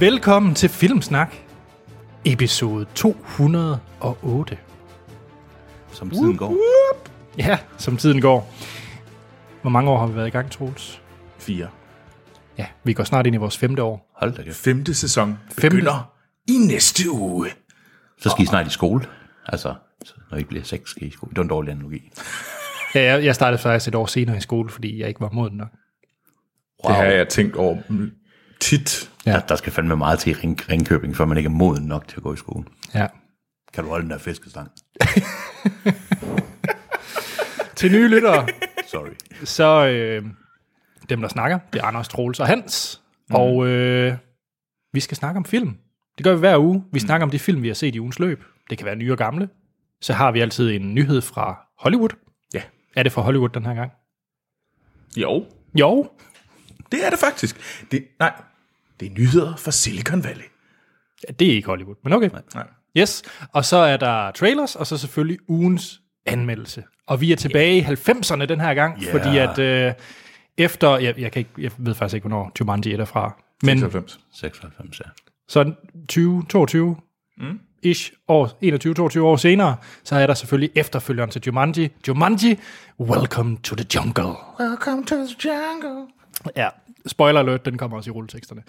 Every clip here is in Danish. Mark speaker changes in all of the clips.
Speaker 1: Velkommen til Filmsnak, episode 208.
Speaker 2: som tiden går.
Speaker 1: Ja, som tiden går. Hvor mange år har vi været i gang, Troels?
Speaker 2: Fire.
Speaker 1: Ja, vi går snart ind i vores femte år.
Speaker 2: Hold da kæft.
Speaker 3: Femte sæson
Speaker 1: Femte?
Speaker 3: begynder i næste uge.
Speaker 2: Så skal I snart i skole. Altså, så når I bliver seks, skal I i skole. Det var en dårlig analogi.
Speaker 1: Ja, jeg, jeg startede faktisk et år senere i skole, fordi jeg ikke var moden nok.
Speaker 2: Wow.
Speaker 3: Det har jeg tænkt over mm, tit.
Speaker 1: Ja.
Speaker 2: Ja. Der, der skal fandme meget til i Ring, Ringkøbing, før man ikke er moden nok til at gå i skole.
Speaker 1: Ja.
Speaker 2: Kan du holde den der fiskestang?
Speaker 1: Til nye lyttere,
Speaker 2: Sorry.
Speaker 1: så øh, dem, der snakker, det er Anders, Troels og Hans. Mm. Og øh, vi skal snakke om film. Det gør vi hver uge. Vi snakker om de film, vi har set i ugens løb. Det kan være nye og gamle. Så har vi altid en nyhed fra Hollywood.
Speaker 3: Ja.
Speaker 1: Er det fra Hollywood den her gang?
Speaker 3: Jo,
Speaker 1: Jo.
Speaker 3: det er det faktisk. Det, nej, det er nyheder fra Silicon Valley.
Speaker 1: Ja, Det er ikke Hollywood, men okay.
Speaker 3: Nej.
Speaker 1: Yes. Og så er der trailers, og så selvfølgelig ugens anmeldelse. Og vi er tilbage i 90'erne den her gang,
Speaker 2: Yeah.
Speaker 1: fordi at øh, efter, jeg, jeg, kan ikke, jeg ved faktisk ikke, hvornår Jumanji er derfra, men
Speaker 3: 96.
Speaker 2: 96, ja.
Speaker 1: så 20, 22, ish, år, 21-22 år senere, så er der selvfølgelig efterfølgeren til Jumanji. Jumanji, Welcome to the Jungle.
Speaker 3: Welcome to the jungle.
Speaker 1: Ja, spoiler alert, den kommer også i rulleteksterne.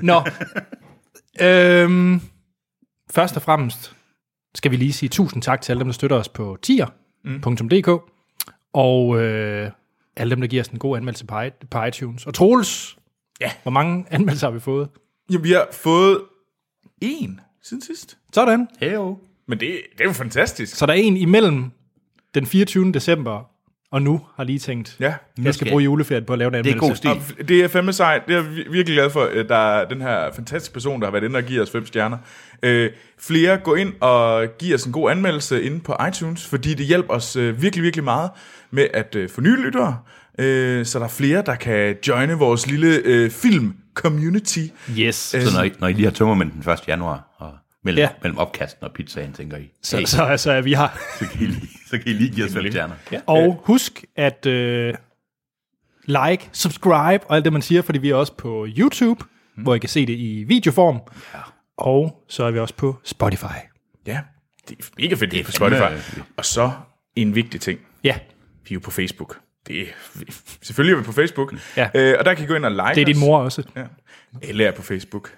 Speaker 1: Nå, øhm, først og fremmest skal vi lige sige tusind tak til alle dem, der støtter os på tier.dk, og øh, alle dem, der giver os en god anmeldelse på, i- på iTunes. Og Troels,
Speaker 3: Ja.
Speaker 1: hvor mange anmeldelser har vi fået?
Speaker 3: Jamen, vi har fået en siden sidst.
Speaker 1: Sådan.
Speaker 2: Heyo.
Speaker 3: Men det, det er jo fantastisk.
Speaker 1: Så der er en imellem den 24. december, og nu har lige tænkt,
Speaker 3: Ja.
Speaker 1: jeg skal bruge juleferien på at lave en
Speaker 2: Det er
Speaker 1: anmeldelse.
Speaker 2: god stil.
Speaker 3: Og Det er fandme sejt. Det er jeg vir- virkelig glad for, at der er den her fantastiske person, der har været inde og give os fem stjerner. Øh, flere gå ind og giv os en god anmeldelse inde på iTunes, fordi det hjælper os øh, virkelig, virkelig meget med at øh, få nye lyttere, øh, så der er flere, der kan joine vores lille øh, film-community.
Speaker 1: Yes.
Speaker 2: Så når I, når I lige har tømmermænd den 1. januar, og mellem,
Speaker 1: Ja.
Speaker 2: ja. mellem opkasten og pizzaen, tænker I,
Speaker 1: Så,
Speaker 2: hey,
Speaker 1: så, altså, er vi har
Speaker 2: så, kan I lige, så kan I lige give os fem stjerner. Ja.
Speaker 1: Og husk at øh, like, subscribe og alt det, man siger, fordi vi er også på YouTube, mm. hvor I kan se det i videoform. Ja. Og så er vi også på Spotify.
Speaker 3: Ja, det er mega fedt, det er på
Speaker 2: fandme-
Speaker 3: Spotify. Og så en vigtig ting.
Speaker 1: Ja,
Speaker 3: Vi er jo på Facebook. Det er, selvfølgelig er vi på Facebook.
Speaker 1: Ja.
Speaker 3: Øh, og der kan I gå ind og like
Speaker 1: det er din
Speaker 3: os.
Speaker 1: mor også.
Speaker 3: Ja. Alle er på Facebook.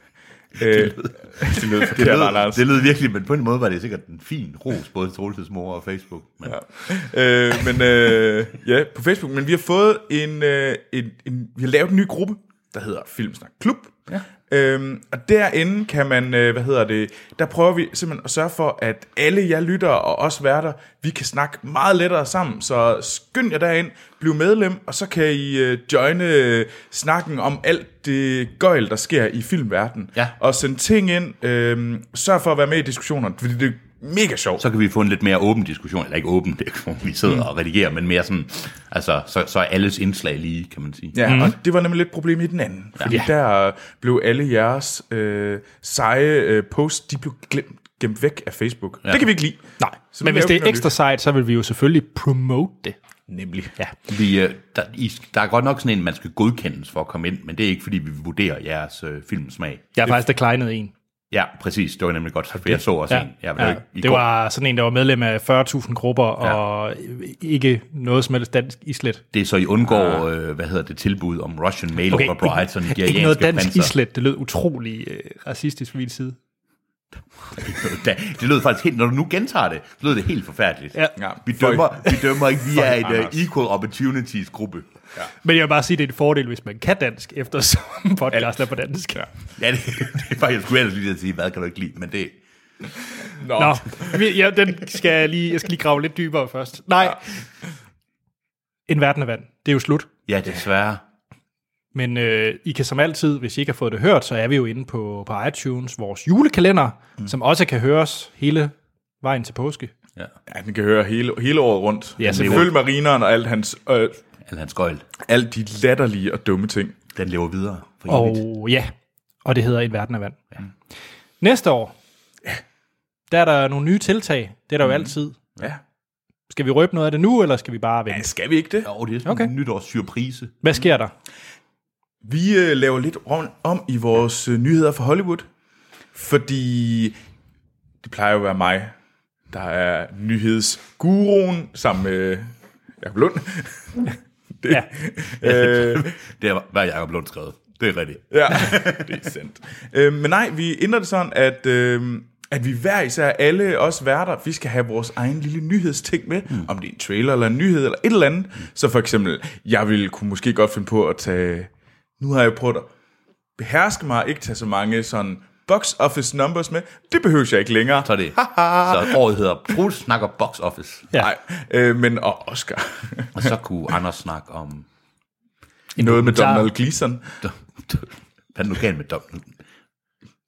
Speaker 3: Øh, det lød
Speaker 2: Det
Speaker 3: forkert,
Speaker 2: lød,
Speaker 3: Anders.
Speaker 2: det lød virkelig, men på en måde var det sikkert en fin ros, både til Troelses mor og Facebook. Men ja.
Speaker 3: øh, men øh, ja, på Facebook. Men vi har fået en, øh, en, en, vi har lavet en ny gruppe, der hedder Filmsnak Klub. Ja. Øhm, og derinde kan man, øh, hvad hedder det, der prøver vi simpelthen at sørge for, at alle jer lyttere og os værter, vi kan snakke meget lettere sammen. Så skynd jer derind, bliv medlem, og så kan I øh, joine øh, snakken om alt det gøjl, der sker i filmverdenen.
Speaker 2: Ja.
Speaker 3: Og send ting ind, øh, sørg for at være med i diskussionerne, fordi det er mega sjovt.
Speaker 2: så kan vi få en lidt mere åben diskussion, eller ikke åben, det er, hvor vi sidder
Speaker 1: Mm.
Speaker 2: og redigerer, men mere sådan, altså, så, så er alles indslag lige, kan man sige.
Speaker 3: Ja, mm. og det var nemlig lidt problem i den anden. Fordi ja. der øh, blev alle jeres øh, seje øh, posts, de blev glemt, gemt væk af Facebook. Ja. Det kan vi ikke lide.
Speaker 1: Nej,
Speaker 3: Så
Speaker 1: men
Speaker 3: nu
Speaker 1: hvis
Speaker 3: laver
Speaker 1: det
Speaker 3: vi
Speaker 1: er
Speaker 3: noget
Speaker 1: ekstra sejt, så vil vi jo selvfølgelig promote det.
Speaker 3: Nemlig.
Speaker 1: Ja.
Speaker 2: Vi, øh, der, I, der er godt nok sådan en, man skal godkendes for at komme ind, men det er ikke, fordi vi vurderer jeres øh, filmsmag.
Speaker 1: Jeg har faktisk declinet en.
Speaker 2: Ja, præcis, det var nemlig godt, for jeg så også
Speaker 1: Ja.
Speaker 2: en. Ja, men
Speaker 1: Ja,
Speaker 2: ikke- I
Speaker 1: det
Speaker 2: går-
Speaker 1: var sådan en, der var medlem af 40.000 grupper, og ikke noget som helst dansk islet.
Speaker 2: det er så I undgår, øh, hvad hedder det, tilbud om Russian Mail okay, over Bride, sådan
Speaker 1: Ah. ikke, ikke noget dansk islet, det lød utrolig øh, racistisk fra min side.
Speaker 2: Det lød faktisk helt, når du nu gentager det, så lød det helt forfærdeligt.
Speaker 1: Ja.
Speaker 3: Ja,
Speaker 2: Vi
Speaker 3: føj.
Speaker 2: dømmer, vi dømmer ikke, vi er
Speaker 3: Føj,
Speaker 2: et øh,
Speaker 3: Anders.
Speaker 2: equal opportunities gruppe.
Speaker 1: Men jeg vil bare sige, at det er en fordel, hvis man kan dansk, eftersom podcasten er på dansk. Ja.
Speaker 2: Ja, det, det er faktisk, jeg skulle ellers lige til at sige, hvad kan du ikke lide, men det,
Speaker 3: Nå.
Speaker 1: Nå,
Speaker 3: Nå.
Speaker 1: vi- ja, den skal jeg, lige, jeg skal lige grave lidt dybere først. Nej. En verden af vand. Det er jo slut.
Speaker 2: ja, desværre.
Speaker 1: Men øh, I kan som altid, hvis I ikke har fået det hørt, så er vi jo inde på, på iTunes, vores julekalender, mm. som også kan høres hele vejen til påske.
Speaker 2: Ja.
Speaker 3: Ja, den kan høre hele, hele året rundt.
Speaker 1: Ja,
Speaker 3: Ja,
Speaker 1: selvfølgelig.
Speaker 3: Følg marineren og alt hans, øh,
Speaker 2: Eller hans gøjl.
Speaker 3: alt de latterlige og dumme ting.
Speaker 2: Den lever videre. For evigt.
Speaker 1: Og ja, og det hedder En verden af vand. Ja. Mm. Næste år, der er der nogle nye tiltag. Det er der jo altid.
Speaker 3: Ja.
Speaker 1: Skal vi røbe noget af det nu, eller skal vi bare
Speaker 3: ja
Speaker 1: vente?
Speaker 3: skal vi ikke det?
Speaker 2: Jo, det er sådan
Speaker 1: Okay.
Speaker 2: okay. en nytårs surprise.
Speaker 1: Hvad sker der?
Speaker 3: Vi øh, laver lidt om, om i vores øh, nyheder fra Hollywood, fordi det plejer jo at være mig, der er nyhedsguruen sammen med Jacob Lund. det,
Speaker 1: Ja.
Speaker 3: øh,
Speaker 2: Det var- var Jacob Lund skrevet. Det er rigtigt.
Speaker 3: Ja, det er sandt. Øh, men nej, vi ændrer det sådan, at, øh, at vi hver især, alle os værter, vi skal have vores egen lille nyhedsting med, mm. om det er en trailer eller en nyhed eller et eller andet. Så for eksempel, jeg ville kunne måske godt finde på at tage, nu har jeg prøvet at beherske mig, ikke tage så mange sådan box office numbers med. Det behøver jeg ikke længere.
Speaker 2: Så er det. så året hedder Troels snakker box office.
Speaker 1: Ja.
Speaker 3: Nej, øh, men og Oscar.
Speaker 2: Og så kunne Anders snakke om...
Speaker 3: Noget med
Speaker 1: dokumentar.
Speaker 3: Donald Gleason.
Speaker 2: Hvad er det nu galt med dommen?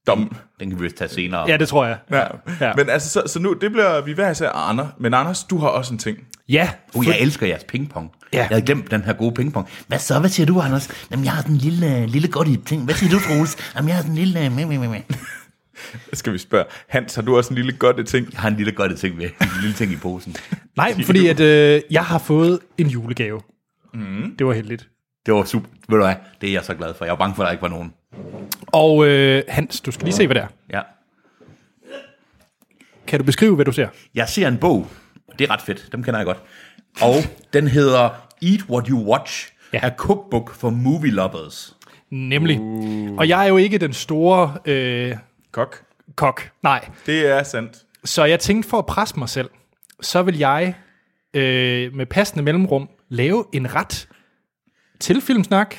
Speaker 3: Dom.
Speaker 2: Den kan vi vist tage senere.
Speaker 1: Ja, det tror jeg.
Speaker 3: Ja.
Speaker 1: Ja.
Speaker 3: ja. Men altså, så, så nu, det bliver vi hver især Anders. Men Anders, du har også en ting.
Speaker 1: Ja,
Speaker 2: Uh, jeg elsker jeres pingpong.
Speaker 1: Ja.
Speaker 2: Ja. Jeg havde glemt den her gode pingpong. Hvad så? Hvad siger du, Anders? Jamen, jeg har sådan en lille, lille godt i ting. Hvad siger du, Troels? Jamen, jeg har sådan en lille... Mæ, mæ, mæ, mæ.
Speaker 3: Skal vi spørge, Hans, har du også en lille godt ting?
Speaker 2: Jeg har en lille godt i ting med. En lille ting i posen.
Speaker 1: nej, fordi at, øh, jeg har fået en julegave. Mm. Det var heldigt.
Speaker 2: Det var super. Ved du hvad? Det er jeg så glad for. Jeg var bange for, at der ikke var nogen.
Speaker 1: Og øh, Hans, du skal lige se, hvad det er.
Speaker 2: Ja.
Speaker 1: Kan du beskrive, hvad du ser?
Speaker 2: Jeg ser en bog. Det er ret fedt. Dem kender jeg godt. Og den hedder Eat What You Watch.
Speaker 1: Ja.
Speaker 2: Ja. A cookbook for movie lovers.
Speaker 1: Nemlig. Uh. Og jeg er jo ikke den store øh,
Speaker 3: Kok.
Speaker 1: kok. Nej.
Speaker 3: Det er sandt.
Speaker 1: Så jeg tænkte for at presse mig selv, så vil jeg øh, med passende mellemrum lave en ret til filmsnak,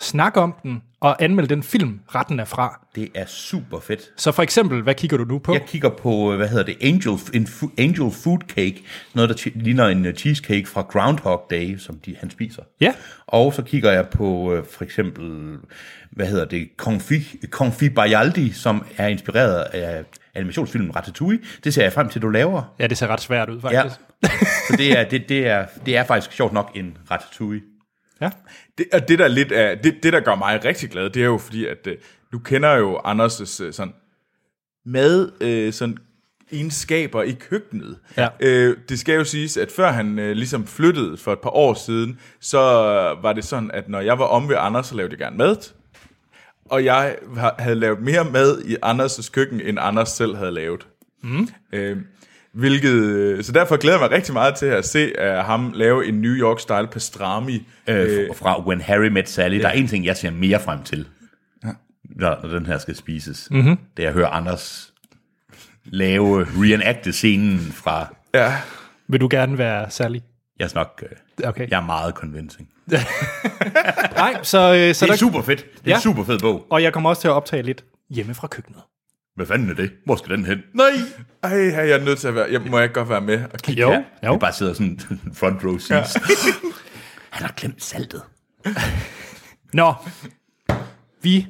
Speaker 1: snakke om den og anmelde den film, retten er fra.
Speaker 2: Det er super fedt.
Speaker 1: Så for eksempel, hvad kigger du nu på?
Speaker 2: Jeg kigger på, øh, hvad hedder det, Angel, en fu- Angel Food Cake. Noget, der ti- ligner en øh, cheesecake fra Groundhog Day, som de, han spiser.
Speaker 1: Ja.
Speaker 2: Og så kigger jeg på øh, for eksempel, hvad hedder det, Confi, Confi Bajaldi, som er inspireret af animationsfilmen Ratatouille. Det ser jeg frem til, du laver.
Speaker 1: Ja, det ser ret svært ud,
Speaker 2: Ja.
Speaker 1: faktisk.
Speaker 2: Så det er, det, det, er, det er faktisk sjovt nok en Ratatouille.
Speaker 1: Ja. ja.
Speaker 3: Det, og det der, lidt er, det, det, der gør mig rigtig glad, det er jo fordi, at øh, du kender jo Anders' øh, sådan, mad, øh, sådan egenskaber i køkkenet.
Speaker 1: Ja.
Speaker 3: Øh, det skal jo siges, at før han øh, ligesom flyttede for et par år siden, så var det sådan, at når jeg var om ved Anders, så lavede jeg gerne mad. Og jeg ha- havde lavet mere mad i Anders' køkken, end Anders selv havde lavet. Mm. Øh, hvilket, øh, så derfor glæder jeg mig rigtig meget til at se uh, ham lave en New York-style pastrami.
Speaker 2: Øh, fra When Harry Met Sally. Der er en ting, jeg ser mere frem til, når, når den her skal spises.
Speaker 3: Mhm.
Speaker 2: Mm-hmm. Det er at høre Anders lave reenacte scenen fra...
Speaker 3: Ja.
Speaker 1: Vil du gerne være særlig?
Speaker 2: Jeg er nok... Øh,
Speaker 1: Okay.
Speaker 2: Jeg er meget convincing.
Speaker 1: Nej, så, øh, så
Speaker 2: Det er
Speaker 1: der,
Speaker 2: super fedt. Det er
Speaker 1: Ja.
Speaker 2: en super fed bog.
Speaker 1: og jeg kommer også til at optage lidt hjemme fra køkkenet.
Speaker 2: Hvad fanden er det? Hvor skal den hen?
Speaker 3: Nej! Ej, her er jeg nødt til at være... Jeg må jeg ikke godt være med og kigge?
Speaker 1: Jo,
Speaker 2: Vi bare sidder sådan front row seats. Han har glemt saltet.
Speaker 1: Nå, vi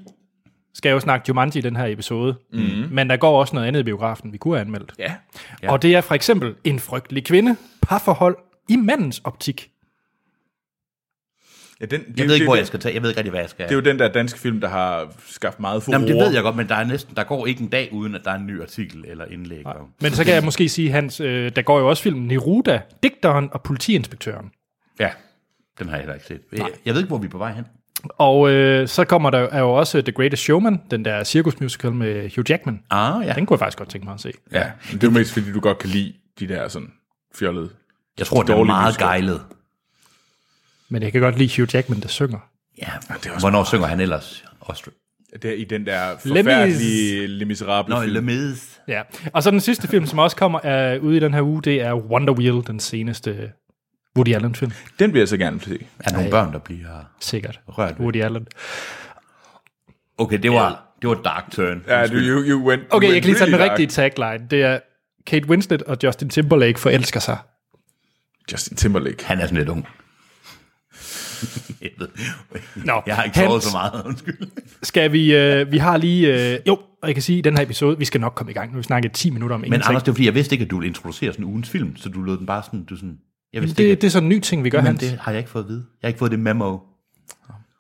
Speaker 1: skal jo snakke Jumanji i den her episode,
Speaker 2: Mhm.
Speaker 1: mm-hmm. men der går også noget andet i biografen, vi kunne have anmeldt.
Speaker 3: Ja.
Speaker 1: Ja. Og det er for eksempel en frygtelig kvinde, parforhold i mandens optik.
Speaker 3: ja den, det,
Speaker 2: Jeg ved ikke,
Speaker 3: det,
Speaker 2: hvor
Speaker 3: det,
Speaker 2: jeg skal tage. Jeg ved ikke rigtig, hvad jeg skal.
Speaker 3: Det er jo den der danske film, der har skabt meget furore.
Speaker 2: Jamen, det ved jeg godt, men der, er næsten, der går ikke en dag, uden at der er en ny artikel eller indlæg. om.
Speaker 1: Men så kan jeg måske sige, Hans, øh, der går jo også filmen Neruda, digteren og politiinspektøren.
Speaker 2: Ja, dem har jeg heller ikke set. Jeg, jeg ved ikke, hvor vi er på vej hen.
Speaker 1: Og øh, så kommer der er jo også The Greatest Showman, den der cirkusmusical med Hugh Jackman.
Speaker 2: Ah, ja.
Speaker 1: Den kunne jeg faktisk godt tænke mig at se.
Speaker 2: ja.
Speaker 3: Men Det er jo mest, fordi du godt kan lide de der sådan fjollede.
Speaker 2: Jeg tror, det er
Speaker 3: Dårlig
Speaker 2: meget
Speaker 3: musical.
Speaker 2: gejlet.
Speaker 1: Men jeg kan godt lide Hugh Jackman, der synger.
Speaker 2: Ja, hvornår synger han ellers? Austri-
Speaker 3: Det er i den der forfærdelige Les Misérables
Speaker 2: Nå,
Speaker 3: film.
Speaker 2: Le Miz.
Speaker 1: Ja. Og så den sidste film, som også kommer øh, ude i den her uge, det er Wonder Wheel, den seneste Woody Allen-film.
Speaker 3: Den vil jeg så gerne se.
Speaker 2: Er der nogle børn, der bliver
Speaker 1: Sikkert.
Speaker 2: rørt? ved?
Speaker 1: Woody Allen.
Speaker 2: Okay, det var, det var dark turn.
Speaker 3: Ja, du, you, you went,
Speaker 1: Okay,
Speaker 3: you
Speaker 1: jeg
Speaker 3: went
Speaker 1: kan lige tage den
Speaker 3: really
Speaker 1: rigtige tagline. Det er Kate Winslet og Justin Timberlake forelsker sig.
Speaker 3: dark. Justin Timberlake.
Speaker 2: Han er sådan lidt ung. jeg, ved,
Speaker 1: Nå,
Speaker 2: jeg har ikke sovet
Speaker 1: Hans.
Speaker 2: så meget, undskyld.
Speaker 1: Skal vi... Øh, vi har lige... Øh, jo, og jeg kan sige, i den her episode, vi skal nok komme i gang. Nu har vi snakket 10 minutter om
Speaker 2: Men
Speaker 1: ingenting.
Speaker 2: Anders, det var fordi, jeg vidste ikke, at du ville introducere sådan ugens film, så du lød den bare sådan, du sådan... Jeg vidste
Speaker 1: det,
Speaker 2: ikke,
Speaker 1: det er sådan en ny ting, vi gør,
Speaker 2: at, men
Speaker 1: Hans.
Speaker 2: det
Speaker 1: Det.
Speaker 2: har jeg ikke fået at vide. Jeg har ikke fået det memo.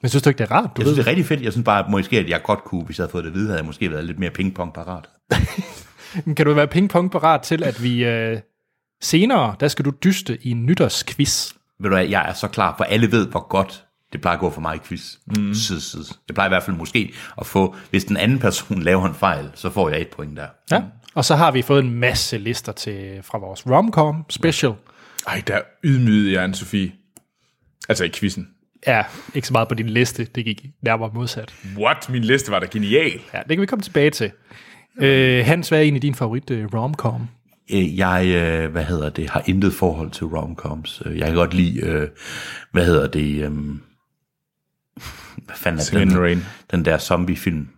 Speaker 1: Men synes du ikke, det er rart? Du
Speaker 2: Jeg
Speaker 1: ved
Speaker 2: synes, det er rigtig fedt. Jeg synes bare, at måske, at jeg godt kunne, hvis jeg havde fået det at vide, havde jeg måske været lidt mere pingpong parat.
Speaker 1: det. Kan du være ping-pong parat til, at vi øh, senere, der skal du dyste i en nytårsquiz?
Speaker 2: Ved du hvad, jeg er så klar, for alle ved, hvor godt Det plejer at gå for meget i quiz. Mm. Sid, sid. Det plejer i hvert fald måske at få, hvis den anden person laver en fejl, så får jeg et point der.
Speaker 1: Ja. Og så har vi fået en masse lister til, fra vores romcom special.
Speaker 3: Ej, der ydmygede jeg Anne-Sophie. Altså i quizzen.
Speaker 1: Ja, ikke så meget på din liste. Det gik nærmere modsat.
Speaker 3: What? Min liste var da genial.
Speaker 1: Ja, det kan vi komme tilbage til. Øh, Hans, hvad er egentlig din favorit øh, romcom?
Speaker 2: Øh, Jeg, øh, hvad hedder det, har intet forhold til romcoms. Øh, Jeg kan godt lide, øh, hvad hedder det, øh, hvad fanden er
Speaker 3: in the
Speaker 2: den,
Speaker 3: Rain.
Speaker 2: den der zombiefilm?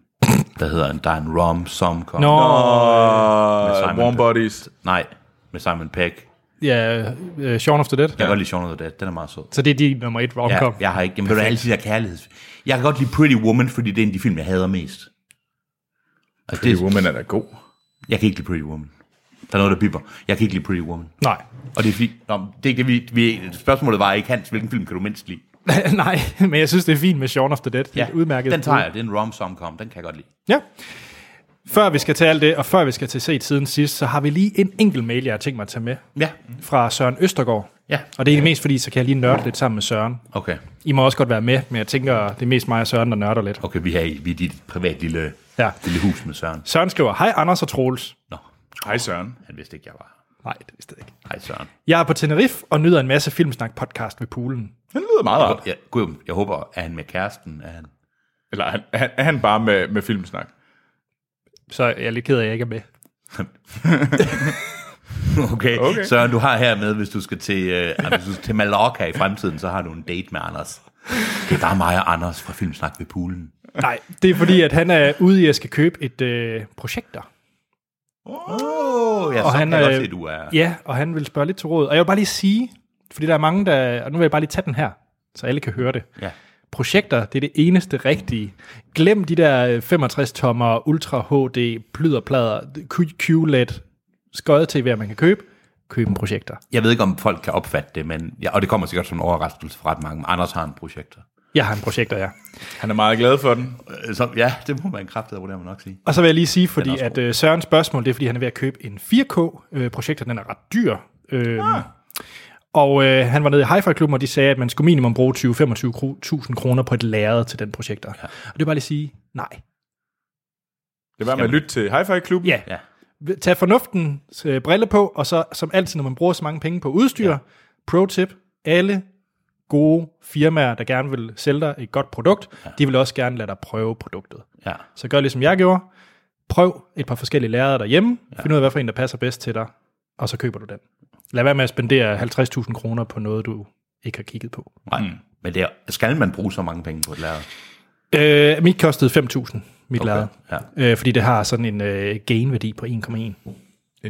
Speaker 2: Hvad hedder den? Der er en rom-som-com.
Speaker 1: Nå, Nå.
Speaker 3: Og
Speaker 2: Simon
Speaker 3: Warm
Speaker 2: Pe-
Speaker 3: Bodies.
Speaker 2: Nej, med Simon Peck. Jeg
Speaker 1: ja, øh, Shaun of the Dead.
Speaker 2: kan
Speaker 1: Ja.
Speaker 2: godt lide Shaun of the Dead. Den er meget sød.
Speaker 1: Så det er din nummer et romcom.
Speaker 2: Ja, jeg har ikke. Jamen, ved du, alle de der kærligheds... Jeg kan godt lide Pretty Woman, fordi det er en af de film, jeg hader mest. Altså,
Speaker 3: Pretty
Speaker 2: det,
Speaker 3: Woman er da god.
Speaker 2: jeg kan ikke lide Pretty Woman. Der er noget, der bipper. Jeg kan ikke lide Pretty Woman.
Speaker 1: Nej.
Speaker 2: Og det er fordi... Nå, det er ikke det, vi, vi... Spørgsmålet var ikke, Hans, hvilken film kan du mindst lide?
Speaker 1: Nej, men jeg synes, det er fint med Shaun of the Dead. Ja, udmærket.
Speaker 2: den tager jeg. Det er en rom som com Den kan jeg godt lide.
Speaker 1: Ja. Før vi skal til alt det, og før vi skal til set siden sidst, så har vi lige en enkelt mail, jeg har tænkt mig at tage med,
Speaker 2: Ja.
Speaker 1: fra Søren Østergaard.
Speaker 2: Ja.
Speaker 1: Og det er det mest, fordi så kan jeg lige nørde lidt sammen med Søren.
Speaker 2: Okay.
Speaker 1: I må også godt være med, men jeg tænker, det er mest mig og Søren, der nørder lidt.
Speaker 2: Okay, vi er i, vi er i dit privat lille,
Speaker 1: Ja.
Speaker 2: lille hus med Søren.
Speaker 1: Søren skriver, hej Anders og Troels.
Speaker 2: Nå,
Speaker 3: Hej Søren.
Speaker 2: han vidste ikke, jeg var.
Speaker 1: Nej, det vidste jeg ikke.
Speaker 2: Hej Søren.
Speaker 1: Jeg er på Tenerife og nyder en masse filmsnak podcast ved poolen.
Speaker 3: Han lyder meget rart.
Speaker 2: Jeg, gud, jeg håber, er han med kæresten? Er han...
Speaker 3: Eller er han, er han- er han bare med, med filmsnak?
Speaker 1: Så jeg er lidt ked af, at jeg ikke er med.
Speaker 2: Okay.
Speaker 3: Okay.
Speaker 2: okay, Søren, du har hermed, hvis du skal til, øh, hvis du skal til Mallorca i fremtiden, så har du en date med Anders. Det er bare mig og Anders fra Filmsnak ved poolen.
Speaker 1: Nej, det er fordi, at han er ude i at skal købe et øh, projekter.
Speaker 2: Oh, ja, og så han,
Speaker 1: han,
Speaker 2: kan jeg godt
Speaker 1: øh,
Speaker 2: se, du er...
Speaker 1: Ja, og han vil spørge lidt til råd. Og jeg vil bare lige sige, fordi der er mange, der... Og nu vil jeg bare lige tage den her, så alle kan høre det.
Speaker 2: Ja.
Speaker 1: Projekter, det er det eneste rigtige. Glem de der 65-tommer Ultra HD plyderplader, Q- QLED, skøjet TV'er, man kan købe. Køb en projekter.
Speaker 2: Jeg ved ikke, om folk kan opfatte det, men, ja, og det kommer sikkert som en overraskelse for ret mange. men Anders har en projektor.
Speaker 1: Jeg har en projekter, ja.
Speaker 3: Han er meget glad for den.
Speaker 2: Øh, Så, ja, det må man kraftigt vurdere, man nok sige.
Speaker 1: Og så vil jeg lige sige, fordi
Speaker 2: også
Speaker 1: at øh, Sørens spørgsmål, det er, fordi han er ved at købe en 4K-projekter, den er ret dyr. Øh, ah. Og øh, han var nede i Hi-Fi-klubben, og de sagde, at man skulle minimum bruge 20-25.000 kroner på et lærred til den projekter. Ja. Og det er bare lige at sige, nej.
Speaker 3: Det var med at lytte til Hi-Fi Klubben.
Speaker 1: Ja.
Speaker 2: Ja.
Speaker 1: Tag fornuften øh, brille på, og så som altid, når man bruger så mange penge på udstyr, ja. pro-tip, alle gode firmaer, der gerne vil sælge dig et godt produkt, ja. de vil også gerne lade dig prøve produktet.
Speaker 2: Ja.
Speaker 1: Så gør ligesom jeg gjorde. Prøv et par forskellige lærere derhjemme. Ja. Find ud af, hvad for en, der passer bedst til dig. Og så køber du den. Lad være med at spendere 50.000 kroner på noget, du ikke har kigget på.
Speaker 2: Nej. Mm. Men det er, skal man bruge så mange penge på et lærer?
Speaker 1: Øh, mit kostede 5.000, mit okay. lærred.
Speaker 2: Ja.
Speaker 1: Øh, fordi det har sådan en øh, gain-værdi på 1,1.
Speaker 3: En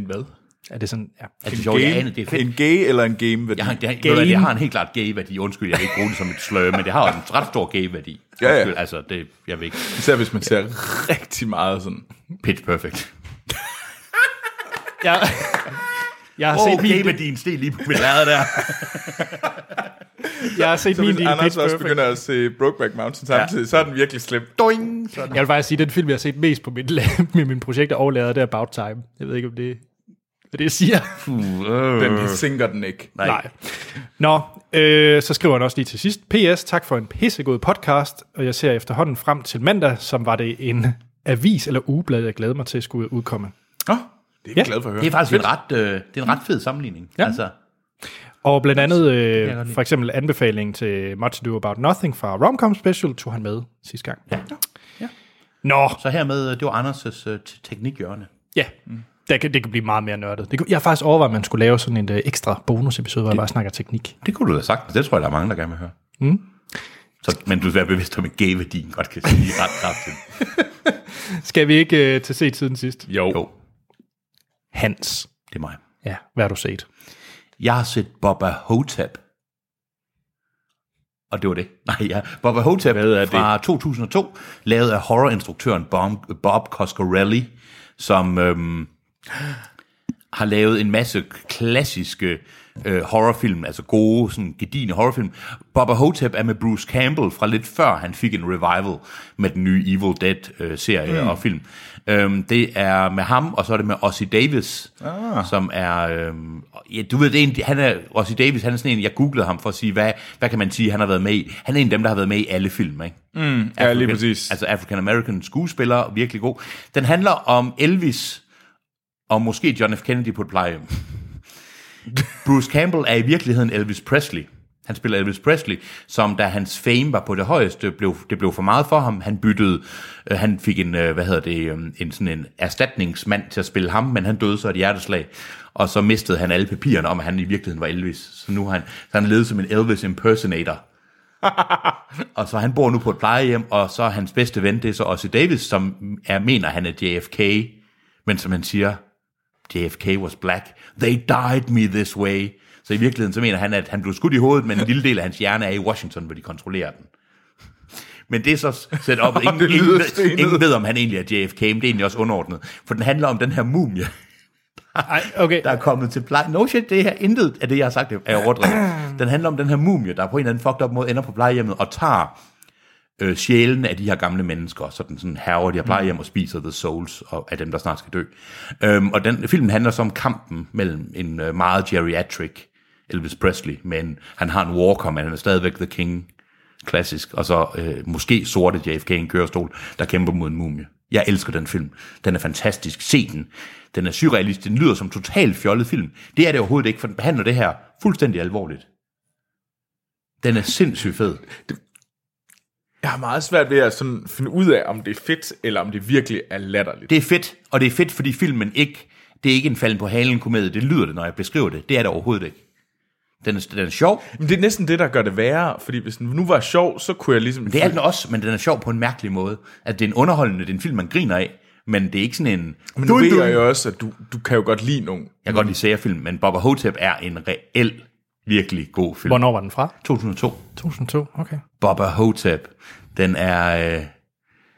Speaker 3: hvad?
Speaker 1: Er det sådan? Ja.
Speaker 2: Altså, jo, jeg aner, det er fedt.
Speaker 3: en gay eller en game? Ved
Speaker 2: Jeg har, det, har,
Speaker 1: Game.
Speaker 2: ved du hvad, det har en helt klart gay-værdi. Undskyld, jeg vil ikke bruge det som et slør, men det har også en ret stor gay-værdi.
Speaker 3: Ja, ja.
Speaker 2: Undskyld, Altså, det, jeg vil ikke.
Speaker 3: Især hvis man ser rigtig meget sådan.
Speaker 2: Pitch perfect.
Speaker 1: Jeg, jeg har
Speaker 2: Åh,
Speaker 1: set
Speaker 2: oh,
Speaker 1: min,
Speaker 2: gay-værdien steg lige på mit lærred der.
Speaker 1: jeg har set
Speaker 3: Så
Speaker 1: min
Speaker 3: hvis
Speaker 1: del i
Speaker 3: Anders
Speaker 1: Pitch
Speaker 3: også
Speaker 1: Perfect.
Speaker 3: begynder at se Brokeback Mountain samtidig, ja. så er den virkelig slem.
Speaker 2: Doing! Sådan.
Speaker 1: Jeg vil faktisk sige, at den film, jeg har set mest på mit, med mine projekter og lavet, det er About Time. Jeg ved ikke, om det er det, jeg siger.
Speaker 2: øh.
Speaker 3: Den sinker den ikke.
Speaker 2: Nej.
Speaker 1: Nej. Nå, øh, så skriver han også lige til sidst. P.S. Tak for en pissegod podcast, og jeg ser efterhånden frem til mandag, som var det en avis eller ugeblad, jeg glæder mig til skulle udkomme.
Speaker 3: Nå, det er jeg
Speaker 1: Ja.
Speaker 3: glad for at høre.
Speaker 2: Det er faktisk en ret, øh, det er en ret fed sammenligning. Ja. Altså,
Speaker 1: Og blandt andet
Speaker 2: jeg godt
Speaker 1: øh,
Speaker 2: lide.
Speaker 1: for eksempel anbefalingen til Much To Do About Nothing fra Romcom Special tog han med sidste gang. Ja.
Speaker 2: Ja.
Speaker 1: Nå,
Speaker 2: så hermed, øh, det var Anders' øh, te- teknikhjørne.
Speaker 1: ja. Det kan, det kan blive meget mere nørdet. Det kunne, jeg har faktisk overvejet, at man skulle lave sådan en øh, ekstra bonusepisode, hvor jeg bare snakker teknik.
Speaker 2: Det kunne du da sagt. Det tror jeg, der er mange, der gerne vil høre. Mm. Så, men du skal være bevidst om, at gay-værdien godt kan sige ret kraftigt.
Speaker 1: Skal vi ikke øh, til set siden sidst?
Speaker 3: Jo.
Speaker 2: Jo,
Speaker 1: Hans.
Speaker 2: det er mig.
Speaker 1: Ja, hvad har du set?
Speaker 2: Jeg har set Boba Hotep. Og det var det. Nej, ja. Boba Hotep
Speaker 3: er det?
Speaker 2: fra 2002, lavet af horrorinstruktøren Bob, Bob Coscarelli, som øhm, har lavet en masse klassiske øh, horrorfilm, altså gode, sådan gedigende horrorfilm. Bubba Hotep er med Bruce Campbell fra lidt før han fik en revival med den nye Evil Dead-serie øh, mm. og film. Øhm, det er med ham, og så er det med Ossie Davis, ah. som er... Øhm, ja, du ved, det er en, han er, Ossie Davis, han er sådan en, jeg googlede ham for at sige, hvad, hvad kan man sige, han har været med i. Han er en af dem, der har været med i alle film, ikke? Mm,
Speaker 3: ja, lige præcis.
Speaker 2: Altså African-American skuespiller, virkelig god. Den handler om Elvis, og måske John F. Kennedy på et plejehjem. Bruce Campbell er i virkeligheden Elvis Presley. Han spiller Elvis Presley, som da hans fame var på det højeste, blev, det blev for meget for ham. Han byttede, øh, han fik en, øh, hvad hedder det, øh, en, sådan en erstatningsmand til at spille ham, men han døde så af et hjerteslag. Og så mistede han alle papirerne om, at han i virkeligheden var Elvis. Så nu har han, så han levet som en Elvis impersonator. og så han bor nu på et plejehjem, og så er hans bedste ven, det er så også Davis, som er, mener, han er JFK, men som han siger, JFK was black. They died me this way. Så i virkeligheden så mener han, at han blev skudt i hovedet, men en lille del af hans hjerne er i Washington, hvor de kontrollerer den. Men det er så set op, ingen,
Speaker 3: Det lyder
Speaker 2: ingen, ved-
Speaker 3: stenet.
Speaker 2: ingen ved, om han egentlig er JFK, men det er egentlig også underordnet. For den handler om den her mumie,
Speaker 1: Ej, okay.
Speaker 2: der er kommet til pleje. No shit, det her intet af det, jeg har sagt, er overdrevet. Den handler om den her mumie, der på en eller anden fucked up måde ender på plejehjemmet og tager øh, sjælen af de her gamle mennesker, så den sådan herrer de her plejehjem og spiser the souls og, af dem, der snart skal dø. Øhm, og den filmen handler så om kampen mellem en øh, meget geriatric Elvis Presley, men han har en walker, men han er stadigvæk the king, klassisk, og så øh, måske sorte JFK i en kørestol, der kæmper mod en mumie. Jeg elsker den film. Den er fantastisk. Se den. Den er surrealistisk. Den lyder som totalt fjollet film. Det er det overhovedet ikke, for den behandler det her fuldstændig alvorligt. Den er sindssygt fed.
Speaker 3: Jeg har meget svært ved at sådan finde ud af, om det er fedt, eller om det virkelig er latterligt.
Speaker 2: Det er fedt, og det er fedt, fordi filmen ikke, det er ikke en falden på halen komedie. Det lyder det, når jeg beskriver det. Det er det overhovedet ikke. Den er, den er sjov.
Speaker 3: Men det er næsten det, der gør det værre, fordi hvis den nu var sjov, så kunne jeg ligesom...
Speaker 2: Det er den også, men den er sjov på en mærkelig måde. At det er en underholdende, det er en film, man griner af, men det er ikke sådan en...
Speaker 3: Men nu ved jeg jo også, at du, du kan jo godt lide nogen.
Speaker 2: Jeg kan godt lide særfilm, men Boba Hotep er en reel, virkelig god film.
Speaker 1: Hvornår var den fra?
Speaker 2: 2002.
Speaker 1: 2002, okay.
Speaker 2: Boba Hotep, den er... Øh,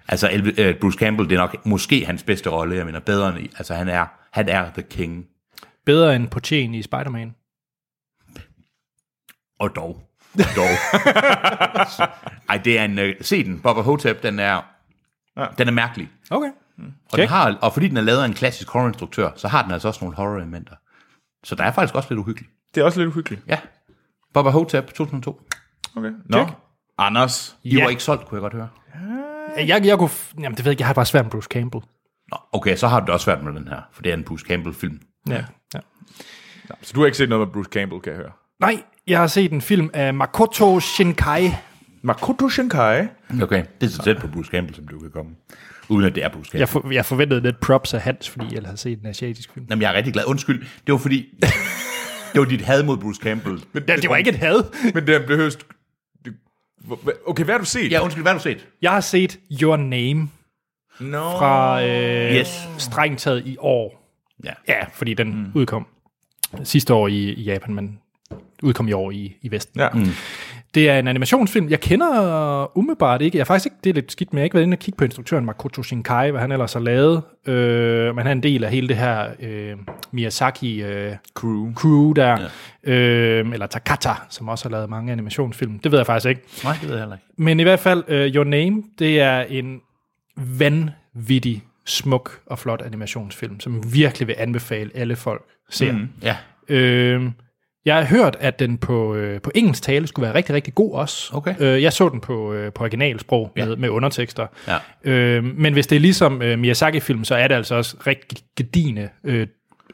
Speaker 2: altså, Elvis- øh, Bruce Campbell, det er nok måske hans bedste rolle, jeg mener, bedre end... Altså, han er, han er the king.
Speaker 1: Bedre end Portien i Spider-Man.
Speaker 2: Og dog. Dog. Ej, det er en... Øh, se den, Boba Hotep, den er... Ja. Den er mærkelig.
Speaker 1: Okay.
Speaker 2: Og, den har, og fordi den er lavet af en klassisk horrorinstruktør, så har den altså også nogle horror-elementer. Så der er faktisk også lidt uhyggelig.
Speaker 3: Det er også lidt uhyggeligt.
Speaker 2: Ja. Boba Hotep, 2002.
Speaker 3: Okay. Nå. Anders.
Speaker 2: I
Speaker 1: Ja.
Speaker 2: var ikke solgt, kunne jeg godt høre.
Speaker 1: Jeg, jeg kunne... f- Jamen, det ved jeg ikke. Jeg har bare svært med Bruce Campbell.
Speaker 2: Nå, okay, så har du det også svært med den her, for det er en Bruce Campbell-film.
Speaker 1: Ja. ja.
Speaker 3: Så du har ikke set noget med Bruce Campbell, kan jeg høre.
Speaker 1: Nej, jeg har set en film af Makoto Shinkai.
Speaker 3: Makoto Shinkai.
Speaker 2: Okay. Det er så tæt på Bruce Campbell, som du kan komme. Uden at det er Bruce Campbell.
Speaker 1: Jeg, for, jeg forventede lidt props af Hans, fordi jeg havde set en asiatisk film.
Speaker 2: Jamen, jeg er rigtig glad. Undskyld, det var fordi... det var dit had mod Bruce Campbell.
Speaker 1: Ja, det var ikke et had.
Speaker 3: Men det behøves... det- hvor- hva- Okay, hvad har du set?
Speaker 2: Ja, undskyld, hvad har du set?
Speaker 1: Jeg har set Your Name
Speaker 3: No.
Speaker 1: fra øh,
Speaker 2: Yes.
Speaker 1: strengt taget i år.
Speaker 2: Ja.
Speaker 1: Ja, fordi den mm. udkom sidste år i, i Japan, men udkom i år i, i Vesten.
Speaker 3: Ja. Mm.
Speaker 1: Det er en animationsfilm. Jeg kender umiddelbart ikke. Jeg er faktisk ikke, det er lidt skidt, men jeg har ikke været inde og kigge på instruktøren Makoto Shinkai, hvad han ellers har lavet. Øh, men han er en del af hele det her øh, Miyazaki øh,
Speaker 3: Crew.
Speaker 1: crew der. Ja. Øh, eller Takata, som også har lavet mange animationsfilm. Det ved jeg faktisk ikke.
Speaker 2: Nej, det ved jeg heller ikke.
Speaker 1: Men i hvert fald, uh, Your Name, det er en vanvittig, smuk og flot animationsfilm, som virkelig vil anbefale alle folk ser. Mm.
Speaker 2: Ja.
Speaker 1: Øh, jeg har hørt, at den på, øh, på engelsk tale skulle være rigtig, rigtig god også.
Speaker 2: Okay.
Speaker 1: Øh, jeg så den på, øh, på originalsprog
Speaker 2: Ja.
Speaker 1: ja. med, med undertekster.
Speaker 2: Ja.
Speaker 1: Øh, men hvis det er ligesom øh, Miyazaki-film, så er det altså også rigtig gedine øh,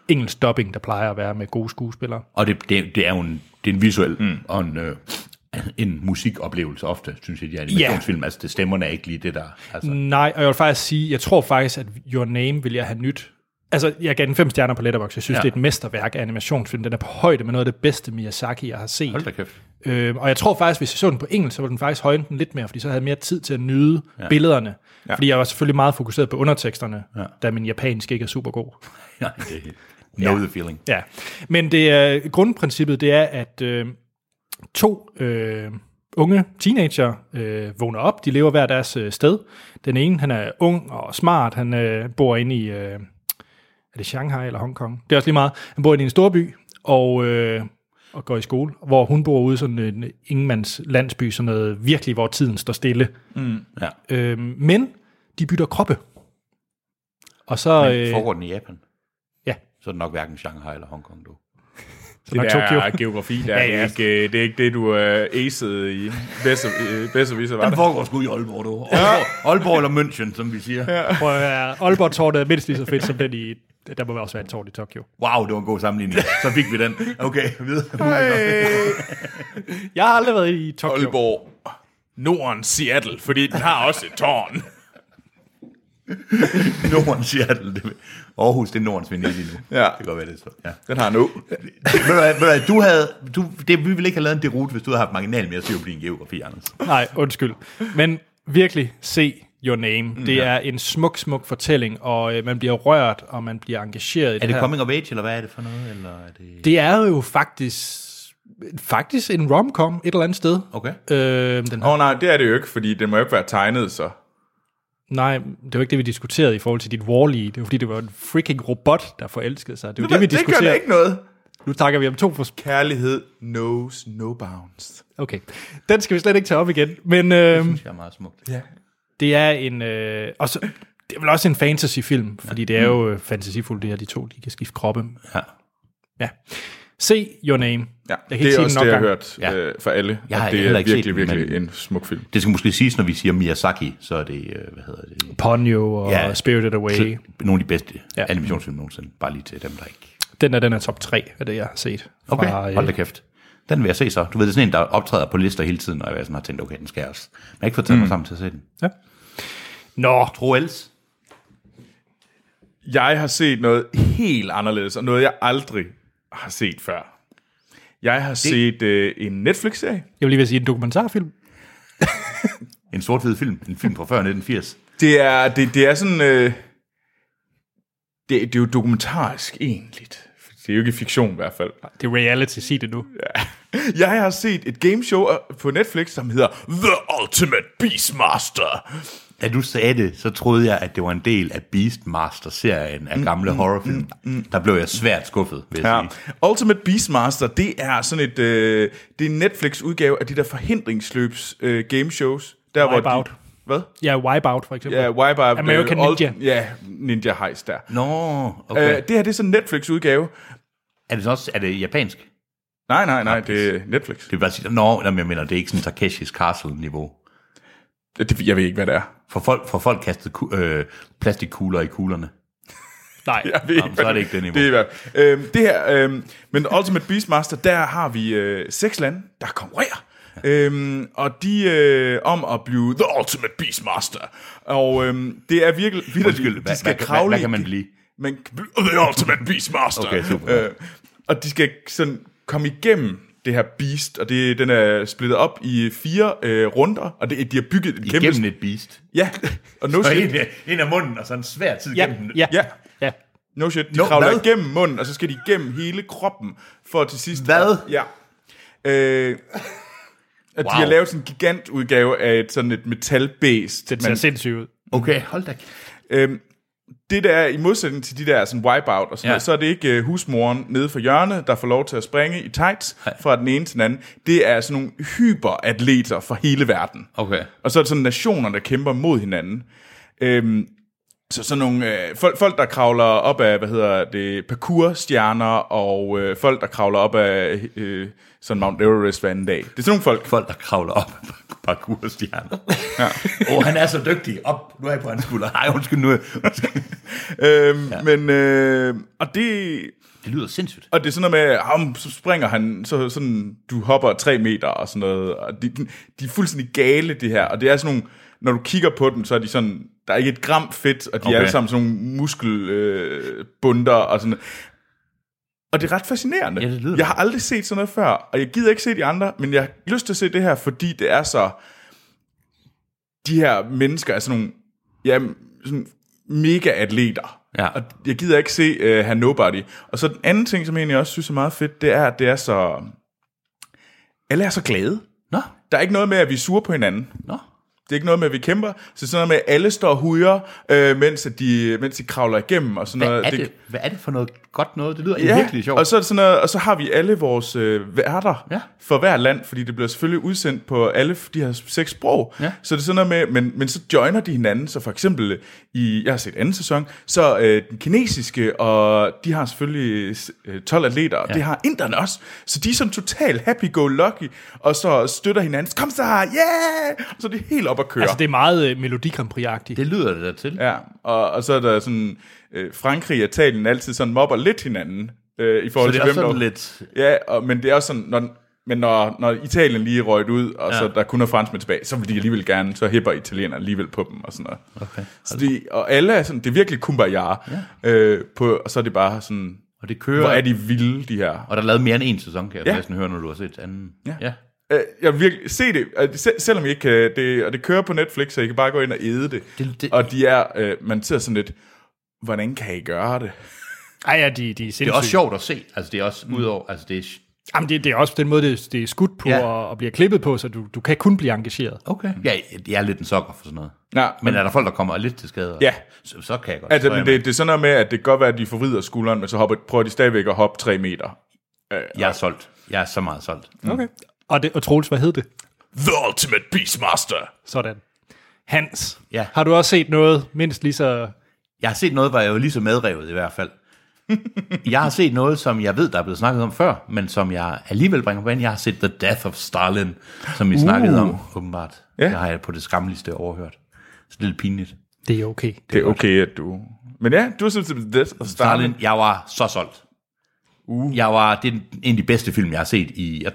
Speaker 1: engelsk dubbing, der plejer at være med gode skuespillere.
Speaker 2: Og det, det, det er jo en, det er en visuel mm. og en, øh, en musikoplevelse ofte, synes jeg, de animationsfilm. Altså, det stemmerne er ikke lige det der. Altså,
Speaker 1: Nej, og jeg vil faktisk sige, jeg tror faktisk, at Your Name vil jeg have nyt. Altså, jeg gav den fem stjerner på Letterboxd. Jeg synes,
Speaker 2: Ja.
Speaker 1: ja. det er et mesterværk af animationsfilm. Den er på højde med noget af det bedste Miyazaki, jeg har set.
Speaker 2: hold da kæft.
Speaker 1: Øhm, og jeg tror faktisk, hvis jeg så den på engelsk, så ville den faktisk højne den lidt mere, fordi så havde jeg mere tid til at nyde ja. billederne. Ja. Fordi jeg var selvfølgelig meget fokuseret på underteksterne, ja. da min japansk ikke er super god.
Speaker 2: Ja, det, know the feeling.
Speaker 1: Ja, men det er, grundprincippet det er, at øh, to øh, unge teenager øh, vågner op. De lever hver deres øh, sted. Den ene, han er ung og smart. Han øh, bor inde i, øh, er det Shanghai eller Hongkong? Det er også lige meget. Han bor inde i en storby, og øh, og går i skole, hvor hun bor ude i sådan en ingenmands landsby, sådan noget virkelig, hvor tiden står stille.
Speaker 2: Ja.
Speaker 1: Øhm, men de bytter kroppe. Og så, øh,
Speaker 2: Foregår den i Japan?
Speaker 1: ja,
Speaker 2: Så er det nok hverken Shanghai eller Hongkong, du.
Speaker 1: så nok Tokyo.
Speaker 3: der geografi, der ja, ja.
Speaker 1: ja.
Speaker 3: Er ikke, øh, det er ikke det, du øh, acede i. Bedste, øh, bedste viser var
Speaker 2: Den
Speaker 3: det.
Speaker 2: foregår sgu i Aalborg, du. Aalborg, Aalborg eller München, som vi siger. Ja.
Speaker 1: Prøv at høre, Aalborg-tårnet er mindst lige så fedt som den i... Der må også være et tårn i Tokyo.
Speaker 2: Wow, det var en god sammenligning. Så fik vi den. Okay, videre.
Speaker 3: Hey,
Speaker 1: Jeg har aldrig været i Tokyo.
Speaker 3: Aalborg. Norden, Seattle, fordi den har også et tårn.
Speaker 2: Norden, Seattle. Det, Aarhus, det er Nordens Venedig nu.
Speaker 3: Ja.
Speaker 2: Det kan godt være, det er så. Ja.
Speaker 3: Den har en å.
Speaker 2: Ved du hvad- ved du hvad, du havde, du, det, vi ville ikke have lavet en derute, hvis du havde haft marginal mere syv på din geografi, Anders.
Speaker 1: Nej, undskyld. Men virkelig, se Your Name. Det er en smuk, smuk fortælling, og øh, man bliver rørt, og man bliver engageret i det,
Speaker 2: Er det
Speaker 1: her.
Speaker 2: coming of age, eller hvad er det for noget? Eller er det...
Speaker 1: Det er jo faktisk faktisk en romcom et eller andet sted.
Speaker 2: Okay.
Speaker 1: Øh, den,
Speaker 3: Åh oh, nej, det er det jo ikke, fordi den må jo ikke være tegnet, så.
Speaker 1: nej, det var ikke det, vi diskuterede i forhold til dit wall -E. Det var fordi, det var en freaking robot, der forelskede sig. Det var det, vi
Speaker 3: det gør da
Speaker 1: diskuterede.
Speaker 3: ikke noget.
Speaker 1: Nu takker vi om to for...
Speaker 3: Kærlighed knows no bounds.
Speaker 1: Okay. Den skal vi slet ikke tage op igen. Men øh,
Speaker 2: Det synes jeg er meget smukt.
Speaker 3: Ja.
Speaker 1: det er en... Øh, og så, det er vel også en fantasyfilm, fordi det er jo øh, fantasifuldt, det her, de to, de kan skifte kroppe.
Speaker 2: Ja.
Speaker 1: Ja. Se Your Name.
Speaker 3: Ja,
Speaker 1: kan
Speaker 3: jeg
Speaker 1: ikke sige
Speaker 3: det er
Speaker 1: den
Speaker 3: også
Speaker 1: nok
Speaker 3: det, jeg har
Speaker 1: gange.
Speaker 3: hørt
Speaker 2: Ja.
Speaker 3: ja. øh, for alle.
Speaker 2: Jeg
Speaker 3: at
Speaker 2: har
Speaker 3: det
Speaker 2: heller
Speaker 3: er
Speaker 2: ikke set
Speaker 3: virkelig,
Speaker 2: den,
Speaker 3: virkelig
Speaker 2: men-
Speaker 3: en smuk film.
Speaker 2: Det skal måske siges, når vi siger Miyazaki, så er det, øh, hvad hedder det,
Speaker 1: Ponyo og
Speaker 2: Ja.
Speaker 1: ja. Spirited Away.
Speaker 2: nogle af de bedste ja.
Speaker 1: Ja.
Speaker 2: animationsfilm nogensinde. Bare lige til dem, der ikke...
Speaker 1: Den er den er top 3 af det, jeg har set.
Speaker 2: Okay,
Speaker 1: Fra, øh,
Speaker 2: hold da kæft. Den vil jeg se så. Du ved, det er sådan en, der optræder på lister hele tiden, og jeg sådan har tænkt, okay, den skal jeg også. Men jeg har ikke fået taget mm. mig sammen til at se den.
Speaker 1: Nå,
Speaker 2: Troels,
Speaker 3: Jeg har set noget helt anderledes, og noget, jeg aldrig har set før. Jeg har det... set øh, en Netflix-serie.
Speaker 1: jeg vil lige ved at sige en dokumentarfilm.
Speaker 2: en sort-hvid film, en film fra før 1980.
Speaker 3: Det er, det, det er sådan... Øh, det, det er jo dokumentarisk, egentlig. Det er jo ikke fiktion i hvert fald.
Speaker 1: Det er reality, sig det nu.
Speaker 3: Jeg har set et gameshow øh, på Netflix, som hedder The Ultimate Beastmaster.
Speaker 2: Da du sagde det, så troede jeg, at det var en del af Beastmaster-serien af gamle horrorfilm. Der blev jeg svært skuffet, vil jeg
Speaker 3: Ja.
Speaker 2: sige.
Speaker 1: Mm.
Speaker 3: Ultimate Beastmaster, det er sådan et øh, det er en Netflix udgave af de der forhindringsløbs øh, game shows, der hvor
Speaker 1: Wipeout.
Speaker 3: de, hvad?
Speaker 1: Ja, Wipeout for eksempel.
Speaker 3: Ja, Wipeout.
Speaker 1: American
Speaker 3: øh,
Speaker 1: Ninja.
Speaker 3: Ja, Ninja Heist der.
Speaker 2: Nå, okay.
Speaker 3: Øh, det her det er sådan en Netflix udgave.
Speaker 2: Er det så også er det japansk?
Speaker 3: Nej, nej, nej, det er Netflix.
Speaker 2: Det vil bare sige, nå, jamen, jeg mener, det er ikke sådan Takeshis Castle-niveau.
Speaker 3: Det, det, jeg ved ikke hvad det er.
Speaker 2: For folk, for folk kastede ku- øh, plastikkugler i kuglerne.
Speaker 1: Nej,
Speaker 3: Jeg ved
Speaker 2: Jamen,
Speaker 3: ikke,
Speaker 2: så er
Speaker 3: hvad
Speaker 2: det ikke det niveau.
Speaker 3: Det er i hvert fald- øhm, det her, øhm, men Ultimate Beastmaster, der har vi øh, seks lande, der konkurrerer. Øhm, og de øh, om at blive The Ultimate Beastmaster. Og øhm, det er virkelig... vildt,
Speaker 2: Undskyld,
Speaker 3: de
Speaker 2: hvad-
Speaker 3: skal
Speaker 2: hvad-
Speaker 3: kravle
Speaker 2: hvad- hvad
Speaker 3: i-
Speaker 2: kan man blive?
Speaker 3: Man kan blive The Ultimate Beastmaster.
Speaker 2: Okay, super.
Speaker 3: Øh, og de skal sådan komme igennem det her beast, og det, den er splittet op i fire øh, runder, og det, de har bygget et kæmpe...
Speaker 2: Gennem et beast.
Speaker 3: Ja, og no
Speaker 2: Og
Speaker 3: shit,
Speaker 2: ind, ind af munden, og så en svær tid
Speaker 1: ja,
Speaker 2: gennem den.
Speaker 1: ja,
Speaker 3: Ja.
Speaker 1: ja. ja.
Speaker 3: No shit, de
Speaker 2: Nå,
Speaker 3: no, kravler
Speaker 2: hvad?
Speaker 3: hvad? igennem munden, og så skal de igennem hele kroppen, for til sidst...
Speaker 2: Hvad?
Speaker 3: Ja. Øh, at wow. de har lavet sådan en gigantudgave af et, sådan et metalbæst.
Speaker 1: Den ser
Speaker 3: men,
Speaker 1: sindssygt ud.
Speaker 2: Okay, hold da kæft.
Speaker 3: øhm, det der er i modsætning til de der sådan wipeout og
Speaker 2: Ja.
Speaker 3: sådan ja. noget, så er det ikke uh, husmoren nede for hjørnet, der får lov til at springe i tights fra den ene til den anden. Det er sådan nogle hyperatleter fra hele verden.
Speaker 2: Okay.
Speaker 3: Og så er det sådan nationer, der kæmper mod hinanden. Øhm, så sådan nogle øh, folk, folk, der kravler op af, hvad hedder det, parkour-stjerner, og øh, folk, der kravler op af øh, sådan Mount Everest hver anden dag. Det er sådan nogle folk.
Speaker 2: Folk, der kravler op af par- parkourstjerner. Ja. Åh, oh, han er så dygtig. Op, nu er jeg på hans skulder. Nej, undskyld nu. er jeg- undskyld.
Speaker 3: Øhm, ja. Men, øh, og det...
Speaker 2: Det lyder sindssygt.
Speaker 3: Og det er sådan noget med, ham, så springer han, så sådan, du hopper tre meter og sådan noget. Og de, de er fuldstændig gale, det her. Og det er sådan nogle, når du kigger på dem, så er de sådan, der er ikke et gram fedt, og de okay.
Speaker 2: Okay.
Speaker 3: er alle sammen sådan nogle muskelbunder øh, bunder og sådan Og det er ret fascinerende.
Speaker 2: Ja, det lyder
Speaker 3: jeg har aldrig set sådan noget før, og jeg gider ikke se de andre, men jeg har lyst til at se det her, fordi det er så... De her mennesker er sådan nogle, ja, sådan mega atleter.
Speaker 2: Ja.
Speaker 3: Og jeg gider ikke se uh, her Nobody. Og så den anden ting, som jeg egentlig også synes er meget fedt, det er, at det er så... Alle er så glade.
Speaker 2: Nå,
Speaker 3: Der er ikke noget med, at vi er sure på hinanden.
Speaker 2: nå.
Speaker 3: Det er ikke noget med, at vi kæmper. Så sådan noget med, at alle står og hujer, øh, mens, at de, mens de kravler igennem. Og sådan
Speaker 2: Hvad
Speaker 3: noget.
Speaker 2: er det, hvad er det for noget godt noget? Det lyder
Speaker 3: Ja,
Speaker 2: virkelig sjovt.
Speaker 3: og så, er det sådan noget, og så har vi alle vores øh, værter
Speaker 2: Ja.
Speaker 3: ja. for hver land, fordi det bliver selvfølgelig udsendt på alle f- de her seks sprog.
Speaker 2: Ja.
Speaker 3: Så det er sådan noget med, men, men så joiner de hinanden, så for eksempel øh, i, jeg har set anden sæson, så øh, den kinesiske, og de har selvfølgelig øh, 12 atleter, og det har inderne også, så de er sådan total happy-go-lucky, og så støtter hinanden, kom så, yeah! Og så er de helt op at køre.
Speaker 1: Altså, det er meget øh, Melodi Grand Prix-agtigt.
Speaker 2: Det lyder det da til.
Speaker 3: Ja, og, og så er der sådan, øh, Frankrig og Italien altid sådan mobber lidt hinanden, øh, i forhold
Speaker 2: Så det er
Speaker 3: til
Speaker 2: også
Speaker 3: hvem der
Speaker 2: sådan lidt...
Speaker 3: Ja, og, men det er også sådan, når, men når, når Italien lige røget ud, og ja.
Speaker 2: Ja.
Speaker 3: så der kun er franskmænd tilbage, så vil de alligevel gerne, så hæpper italienerne alligevel på dem og sådan noget.
Speaker 2: Okay.
Speaker 3: Så de, og alle er sådan, det er virkelig kumbaya, ja. øh, på, og så er det bare sådan,
Speaker 2: Og det
Speaker 3: hvor er
Speaker 2: kører...
Speaker 3: de vilde, de her.
Speaker 2: Og der er lavet mere end en sæson, kan jeg
Speaker 3: Ja.
Speaker 2: ja. næsten høre, når du har set anden.
Speaker 3: Ja.
Speaker 2: ja.
Speaker 3: Øh, jeg vil virkelig se det, og det- selv- selvom I ikke kan, det, og det kører på Netflix, så I kan bare gå ind og æde det.
Speaker 2: Det- det-
Speaker 3: Og de er, øh, man sidder sådan lidt, hvordan kan I gøre det?
Speaker 1: Ej, ja, de, de er sindssygt.
Speaker 2: Det er også sjovt at se. Altså, det er
Speaker 3: Mm.
Speaker 2: også udover... Altså, det er...
Speaker 1: Jamen, det, det er også den måde, det, det er skudt på
Speaker 2: Ja.
Speaker 1: ja. og, og bliver klippet på, så du, du kan kun blive engageret.
Speaker 2: Okay. Jeg, jeg er lidt en sokker for sådan noget.
Speaker 3: Ja,
Speaker 2: Men er der folk, der kommer lidt til skade?
Speaker 3: Ja.
Speaker 2: Så, så kan jeg godt.
Speaker 3: Altså,
Speaker 2: så er
Speaker 3: men
Speaker 2: jeg
Speaker 3: det, det er sådan noget med, at det kan godt være, at de forvrider skulderen, men så hopper, prøver de stadigvæk at hoppe tre meter.
Speaker 2: med. Jeg er solgt. Jeg er så meget solgt.
Speaker 1: Okay. Og, det, og Troels, hvad hed det?
Speaker 3: The Ultimate Beastmaster.
Speaker 1: Sådan. Hans,
Speaker 2: Ja.
Speaker 1: har du også set noget mindst lige så...
Speaker 2: Jeg har set noget, hvor jeg var lige så medrevet i hvert fald. jeg har set noget, som jeg ved, der er blevet snakket om før, men som jeg alligevel bringer på banen. Jeg har set The Death of Stalin, som I uh. snakkede om, åbenbart.
Speaker 3: Ja.
Speaker 2: Det har jeg på det skammeligste overhørt. Så det er lidt pinligt.
Speaker 1: Det er okay.
Speaker 3: Det er okay, at du... Men ja, du har synes, det er og Stalin.
Speaker 2: Stalin, jeg var så solgt. Uh. Jeg var, det er en af de bedste film, jeg har set i... Jeg,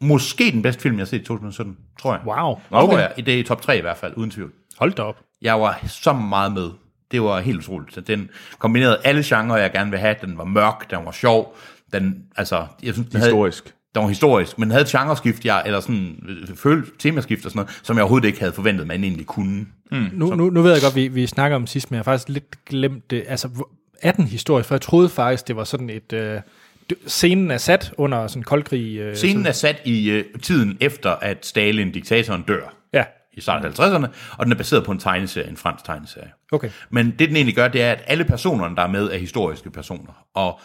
Speaker 2: måske den bedste film, jeg har set i 2017, tror jeg.
Speaker 1: Wow.
Speaker 2: Okay.
Speaker 1: Okay.
Speaker 2: Tror jeg. Det er i top 3 i hvert fald, uden tvivl.
Speaker 1: Hold da op.
Speaker 2: Jeg var så meget med. Det var helt utroligt. Så Den kombinerede alle genrer, jeg gerne vil have. Den var mørk, den var sjov. Den, altså, jeg synes, den havde-
Speaker 3: Historisk.
Speaker 2: den var historisk, men den havde et genreskift, jeg, eller sådan øh, føl, temaskift og sådan noget, som jeg overhovedet ikke havde forventet, man egentlig kunne. Mm.
Speaker 1: Nu, nu, nu ved jeg godt, vi, vi snakker om sidst, men jeg har faktisk lidt glemt det. Altså, hvor- er den historisk? For jeg troede faktisk, det var sådan et... Øh, d- scenen er sat under sådan en koldkrig... Øh,
Speaker 2: Scenen er sat i øh, tiden efter, at Stalin, diktatoren, dør
Speaker 1: Ja,
Speaker 2: i starten af 50'erne, og den er baseret på en tegneserie, en fransk tegneserie.
Speaker 1: okay.
Speaker 2: Men det, den egentlig gør, det er, at alle personerne, der er med, er historiske personer, og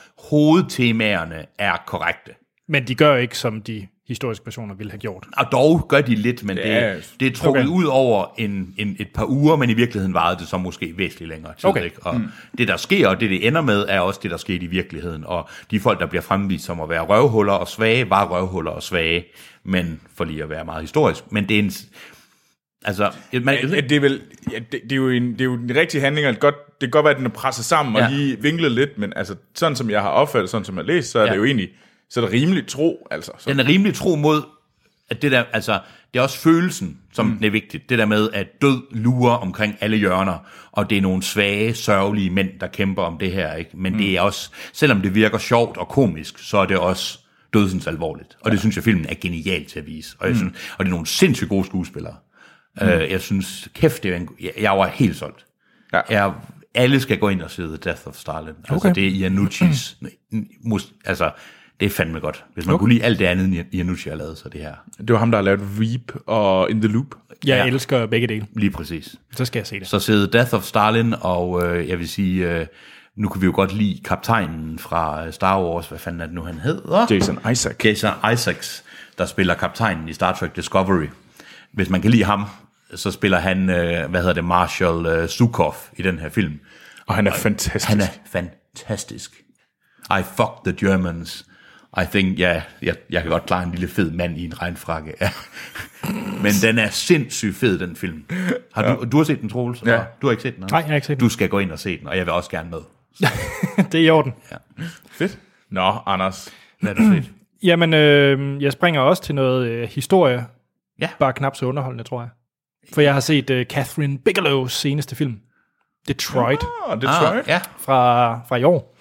Speaker 2: hovedtemaerne er korrekte.
Speaker 1: Men de gør ikke, som de historiske personer ville have gjort.
Speaker 2: Og dog gør de lidt, men det,
Speaker 3: Yes.
Speaker 2: det er trukket
Speaker 1: Okay.
Speaker 2: ud over en, en, et par uger, men i virkeligheden varede det så måske væsentligt længere tid.
Speaker 1: Okay.
Speaker 2: Ikke? Og mm. det, der sker, og det, det ender med, er også det, der skete i virkeligheden. Og de folk, der bliver fremvist som at være røvhuller og svage, var røvhuller og svage, men for lige at være meget historisk. Men det er en... s- Altså, man,
Speaker 3: Ja, det er vel... Ja, det, det, er jo en, det er jo en rigtig handling, og det, godt, det kan godt være, at den er presset sammen og
Speaker 2: Ja.
Speaker 3: lige vinklet lidt, men altså, sådan som jeg har opfattet, sådan som jeg har læst, så er
Speaker 2: Ja.
Speaker 3: det jo egentlig... Så er det rimeligt tro, altså. Så,
Speaker 2: den er rimelig tro mod, at det der, altså, det er også følelsen, som mm. er vigtigt. Det der med, at død lurer omkring alle hjørner, og det er nogle svage, sørgelige mænd, der kæmper om det her, ikke? Men mm. det er også, selvom det virker sjovt og komisk, så er det også dødsens alvorligt. Og det synes jeg, filmen er genial til at vise. Og, jeg synes, og det er nogle sindssygt gode skuespillere. Mm. jeg synes, kæft, det er en, jeg, jeg var helt solgt.
Speaker 3: Ja.
Speaker 2: Jeg, alle skal gå ind og se The Death of Stalin. Okay. Altså,
Speaker 1: Okay.
Speaker 2: det er Iannucci's... mus- altså, det er fandme godt. Hvis man okay. kunne lide alt det andet, end Iannucci har lavet, så det her.
Speaker 3: det var ham, der har lavet Veep og In the Loop.
Speaker 1: Jeg
Speaker 2: Ja.
Speaker 1: ja. elsker begge dele.
Speaker 2: Lige præcis.
Speaker 1: Så skal jeg se det.
Speaker 2: Så sidder Death of Stalin, og øh, jeg vil sige, øh, nu kan vi jo godt lide kaptajnen fra øh, Star Wars. Hvad fanden er det nu, han hedder?
Speaker 3: Jason Isaac.
Speaker 2: Jason Isaacs, der spiller kaptajnen i Star Trek Discovery. Hvis man kan lide ham, så spiller han, øh, hvad hedder det, Marshall øh, Zukov i den her film.
Speaker 3: Og han er fantastisk.
Speaker 2: Han er fantastisk. I fuck the Germans. I think, ja, jeg, jeg kan godt klare en lille fed mand i en regnfrakke. Ja. Men den er sindssygt fed, den film. Har du, du har set den, Troels?
Speaker 3: Ja.
Speaker 2: og Du har ikke set den? eller?
Speaker 1: Nej, jeg har ikke set den.
Speaker 2: Du skal gå ind og se den, og jeg vil også gerne med.
Speaker 1: det er i orden.
Speaker 3: Fedt. Nå, Anders.
Speaker 2: Hvad har du set?
Speaker 1: Jamen, øh, jeg springer også til noget øh, historie.
Speaker 2: Ja.
Speaker 1: Bare knap så underholdende, tror jeg. For jeg har set øh, Catherine Bigelows seneste film. Detroit
Speaker 3: Åh, oh,
Speaker 1: Ah,
Speaker 3: Detroit.
Speaker 2: ja.
Speaker 1: fra, fra i år.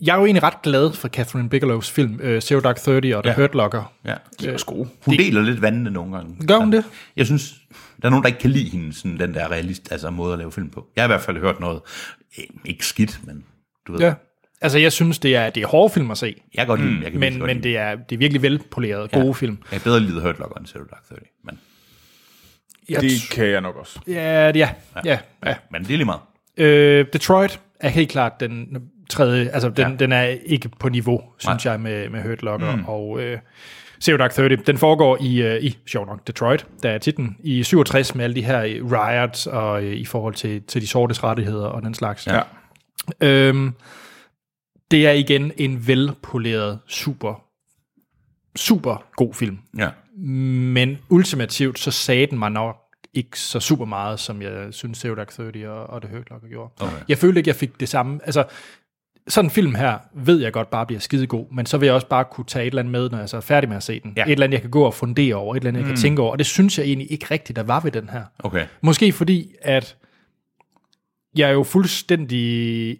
Speaker 1: Jeg er jo egentlig ret glad for Catherine Bigelows film, øh, Zero Dark Thirty og The ja. Hurt Locker.
Speaker 2: ja.
Speaker 3: Det er også gode.
Speaker 2: Hun deler lidt vandene nogle gange.
Speaker 1: Gør hun det?
Speaker 2: Jeg synes, der er nogen, der ikke kan lide hende, sådan den der realist, altså måde at lave film på. Jeg har i hvert fald hørt noget, eh, ikke skidt, men du ved.
Speaker 1: Ja. Altså, jeg synes, det er, det er hårde film at se,
Speaker 2: Jeg kan godt lide mm, jeg kan virkelig
Speaker 1: men,
Speaker 2: godt
Speaker 1: men
Speaker 2: lide
Speaker 1: det er, det er virkelig velpolerede, gode
Speaker 2: Ja.
Speaker 1: film.
Speaker 2: Jeg kan bedre lide The Hurt Locker end Zero Dark Thirty, men
Speaker 1: Jeg
Speaker 3: Det
Speaker 1: tr-
Speaker 3: kan jeg nok også.
Speaker 1: ja, ja, ja, ja.
Speaker 2: Men det er lige meget.
Speaker 1: Øh, Detroit er helt klart den tredje, altså den, ja. den er ikke på niveau, synes jeg, med, med Hurt Locker mm. og øh, Zero Dark Thirty. Den foregår i, øh, i sjov nok, Detroit, der er titlen, i 67 med alle de her øh, riots og øh, i forhold til, til de sortes rettigheder og den slags.
Speaker 3: Ja.
Speaker 1: Øhm, det er igen en velpoleret, super, super god film.
Speaker 2: Ja.
Speaker 1: Men ultimativt, så sagde den mig nok ikke så super meget, som jeg synes, Zero Dark Thirty og, og The Hurt Locker gjorde.
Speaker 2: Okay.
Speaker 1: Jeg følte ikke, jeg fik det samme. Altså, sådan en film her, ved jeg godt bare bliver skidegod, men så vil jeg også bare kunne tage et eller andet med, når jeg så er færdig med at se den.
Speaker 2: Ja. Mm.
Speaker 1: Et eller andet, jeg kan gå og fundere over, et eller andet, jeg kan tænke over, og det synes jeg egentlig ikke rigtigt, der var ved den her.
Speaker 2: Okay.
Speaker 1: Måske fordi, at jeg er jo fuldstændig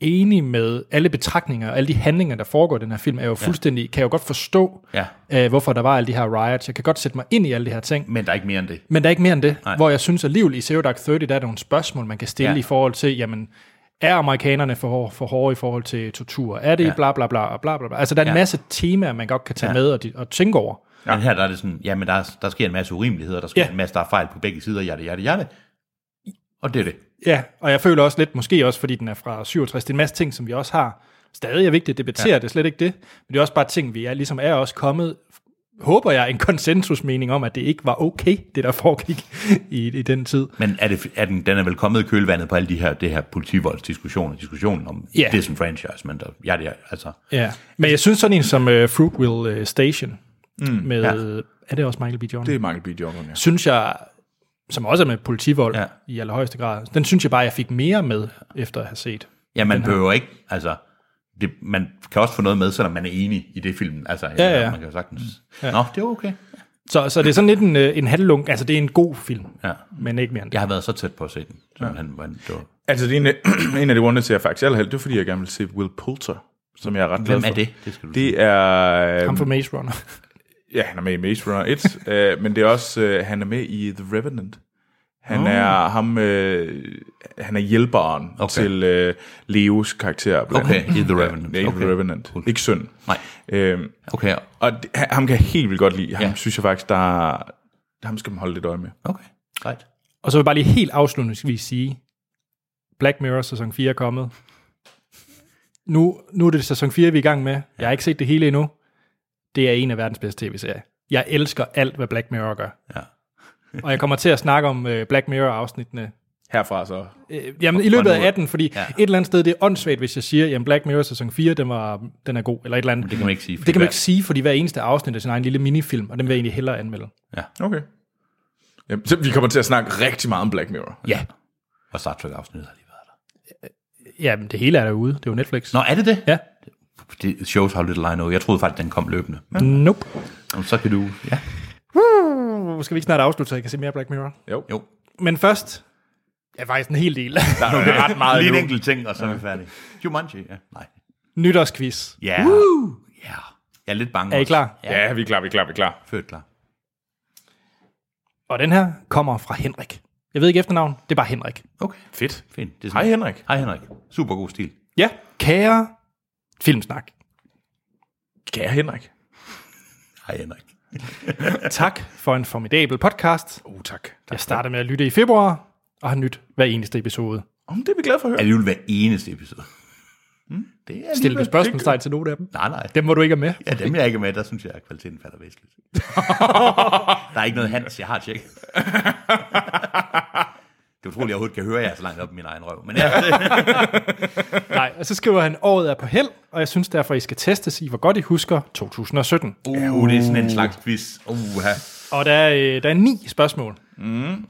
Speaker 1: enig med alle betragtninger, og alle de handlinger, der foregår i den her film, er jo fuldstændig, kan jeg jo godt forstå,
Speaker 2: Ja.
Speaker 1: øh, hvorfor der var alle de her riots. Jeg kan godt sætte mig ind i alle de her ting,
Speaker 2: Men der er ikke mere end det.
Speaker 1: men der er ikke mere end det.
Speaker 2: Nej.
Speaker 1: Hvor jeg synes alligevel i Zero Dark Thirty, der er nogle spørgsmål, man kan stille
Speaker 2: Ja.
Speaker 1: ja. i forhold til, jamen, er amerikanerne for, hår, for hårde i forhold til tortur? Er det
Speaker 2: Ja.
Speaker 1: ja. bla bla bla og bla bla bla? Altså, der er en
Speaker 2: Ja.
Speaker 1: ja. masse temaer, man godt kan tage
Speaker 2: Ja.
Speaker 1: ja. med og, de- og tænke over.
Speaker 2: Ja. Men her der er det sådan, ja, men der, er- der sker en masse urimeligheder, der sker
Speaker 1: Ja.
Speaker 2: en masse, der er fejl på begge sider, jatte, jatte, jatte. Og det er det.
Speaker 1: Ja, og jeg føler også lidt, måske også fordi den er fra 67, det er en masse ting, som vi også har stadig er vigtigt at debattere, ja. det er slet ikke det, men det er også bare ting, vi er, ligesom er også kommet, håber jeg, en konsensusmening om, at det ikke var okay, det der foregik i, i den tid.
Speaker 2: Men er det, er den, den er vel kommet i kølvandet på alle de her, det her politivoldsdiskussioner, diskussionen om
Speaker 1: Ja.
Speaker 2: disenfranchisement og jatte, jatte, altså.
Speaker 1: Ja. Men jeg synes sådan en som uh, Fruitville uh, Station, mm, med,
Speaker 2: ja.
Speaker 1: ja. er det også Michael B. Jordan?
Speaker 3: Det
Speaker 1: Det.
Speaker 3: er Michael B. Jordan, ja.
Speaker 1: Synes jeg, som også er med politivold
Speaker 2: Ja.
Speaker 1: ja. i allerhøjeste grad, den synes jeg bare, jeg fik mere med, efter at have set.
Speaker 2: Ja, man behøver ikke, altså, det, man kan også få noget med, selvom man er enig i det film. Altså,
Speaker 1: Ja, ja.
Speaker 2: man kan jo sagtens, ja. nå, det er okay.
Speaker 1: Så, så det er sådan lidt en, øh, en halvlunk, altså det er en god film,
Speaker 2: Ja.
Speaker 1: men ikke mere end det.
Speaker 2: Jeg har været så tæt på at se den, som ja. han, han, det var,
Speaker 3: Altså, det er en, af- en af de grunde til, at jeg faktisk allerhelst, det er, fordi jeg gerne vil se Will Poulter, som jeg er ret glad
Speaker 2: hvem
Speaker 3: for.
Speaker 2: er det? Det skal du sige.
Speaker 3: Det er...
Speaker 1: Ham fra Maze Runner.
Speaker 3: Ja, han er med i Maze Runner 1, øh, men det er også, øh, han er med i The Revenant. Han oh. er ham, øh, han er hjælperen okay.
Speaker 2: Okay.
Speaker 3: til øh, Leos karakter. blandt
Speaker 2: Okay,
Speaker 3: andet.
Speaker 2: i The Revenant.
Speaker 3: Ja, i
Speaker 2: Okay.
Speaker 3: The Revenant.
Speaker 2: Cool.
Speaker 3: Ikke søn.
Speaker 2: Nej,
Speaker 3: Øh,
Speaker 2: okay,
Speaker 3: og det, ha- ham kan jeg helt vildt godt lide. Ham
Speaker 2: Ja.
Speaker 3: ja. synes jeg faktisk, der er- ham skal man holde lidt øje med.
Speaker 2: okay, right.
Speaker 1: Og så vil jeg bare lige helt afslutningsvis sige, Black Mirror sæson 4 er kommet. Nu, nu er det sæson 4, vi er i gang med. Jeg har ikke set det hele endnu. Det er en af verdens bedste tv-serier. Jeg elsker alt, hvad Black Mirror gør.
Speaker 2: Ja.
Speaker 1: Og jeg kommer til at snakke om øh, Black Mirror-afsnittene
Speaker 3: Herfra så.
Speaker 1: Øh, jamen, i løbet
Speaker 2: fra nu af.
Speaker 1: af 18, fordi
Speaker 2: Ja.
Speaker 1: ja. et eller andet sted, det er åndssvagt, hvis jeg siger, jamen Black Mirror sæson 4, den, var, den er god, eller et eller andet.
Speaker 2: det kan man ikke sige, fordi
Speaker 1: Det kan man
Speaker 2: hver-
Speaker 1: ikke sige, fordi hver eneste afsnit er sin egen lille minifilm, og den vil jeg egentlig hellere anmelde.
Speaker 3: Okay. Jamen, så vi kommer til at snakke rigtig meget om Black Mirror.
Speaker 1: Ja.
Speaker 2: Og Star Trek-afsnittet har lige været der.
Speaker 1: Jamen, det hele er derude. Det er jo Netflix.
Speaker 2: Nå, er det det?
Speaker 1: Ja.
Speaker 2: Det shows how little I know. Jeg troede faktisk, den kom løbende.
Speaker 1: Nope.
Speaker 2: Jamen, Så kan du, ja,
Speaker 1: Uh, skal vi ikke snart afslutte, så jeg kan se mere Black Mirror?
Speaker 3: Jo.
Speaker 2: jo.
Speaker 1: Men først, ja, faktisk en hel del.
Speaker 3: Der er ret meget
Speaker 2: Lige en
Speaker 3: nu.
Speaker 2: enkelt ting, og så er vi færdige. Jumanji, ja. Nej.
Speaker 1: Nytårsquiz.
Speaker 2: Ja. Yeah. Ja. Jeg er lidt bange.
Speaker 1: Er I
Speaker 2: også.
Speaker 1: klar?
Speaker 2: Ja,
Speaker 3: Ja, vi er klar, vi er klar, vi er klar.
Speaker 2: født klar.
Speaker 1: Og den her kommer fra Henrik. Jeg ved ikke efternavn, det er bare Henrik.
Speaker 2: Okay,
Speaker 3: Fedt.
Speaker 2: fint. Det er
Speaker 3: Hej
Speaker 2: sådan-
Speaker 3: Henrik.
Speaker 2: Hej Henrik. Super god stil.
Speaker 1: Ja, kære filmsnak.
Speaker 3: Kære Henrik.
Speaker 2: Hej Henrik.
Speaker 1: Tak for en formidabel podcast.
Speaker 3: Uh, tak. tak.
Speaker 1: Jeg starter med at lytte i februar, og har nyt hver eneste episode.
Speaker 3: Om det er vi glade for at høre.
Speaker 2: Alligevel hver eneste episode. Mm, det er
Speaker 1: Stille du
Speaker 2: alligevel-
Speaker 1: spørgsmålstegn til nogle af dem?
Speaker 2: Nej, nej.
Speaker 1: Dem må du ikke have med.
Speaker 2: Ja, dem jeg er ikke er med, der synes jeg, at kvaliteten falder væsentligt. der er ikke noget Hans, jeg har tjekket. det er utroligt, at jeg overhovedet kan høre jer så langt op i min egen røv. Men ja,
Speaker 1: Nej, og så skriver han, året er på held, og jeg synes derfor, I skal testes i, hvor godt I husker 2017.
Speaker 2: uh, det er sådan en slags quiz. Uh,
Speaker 1: Og der er, øh, der er ni spørgsmål.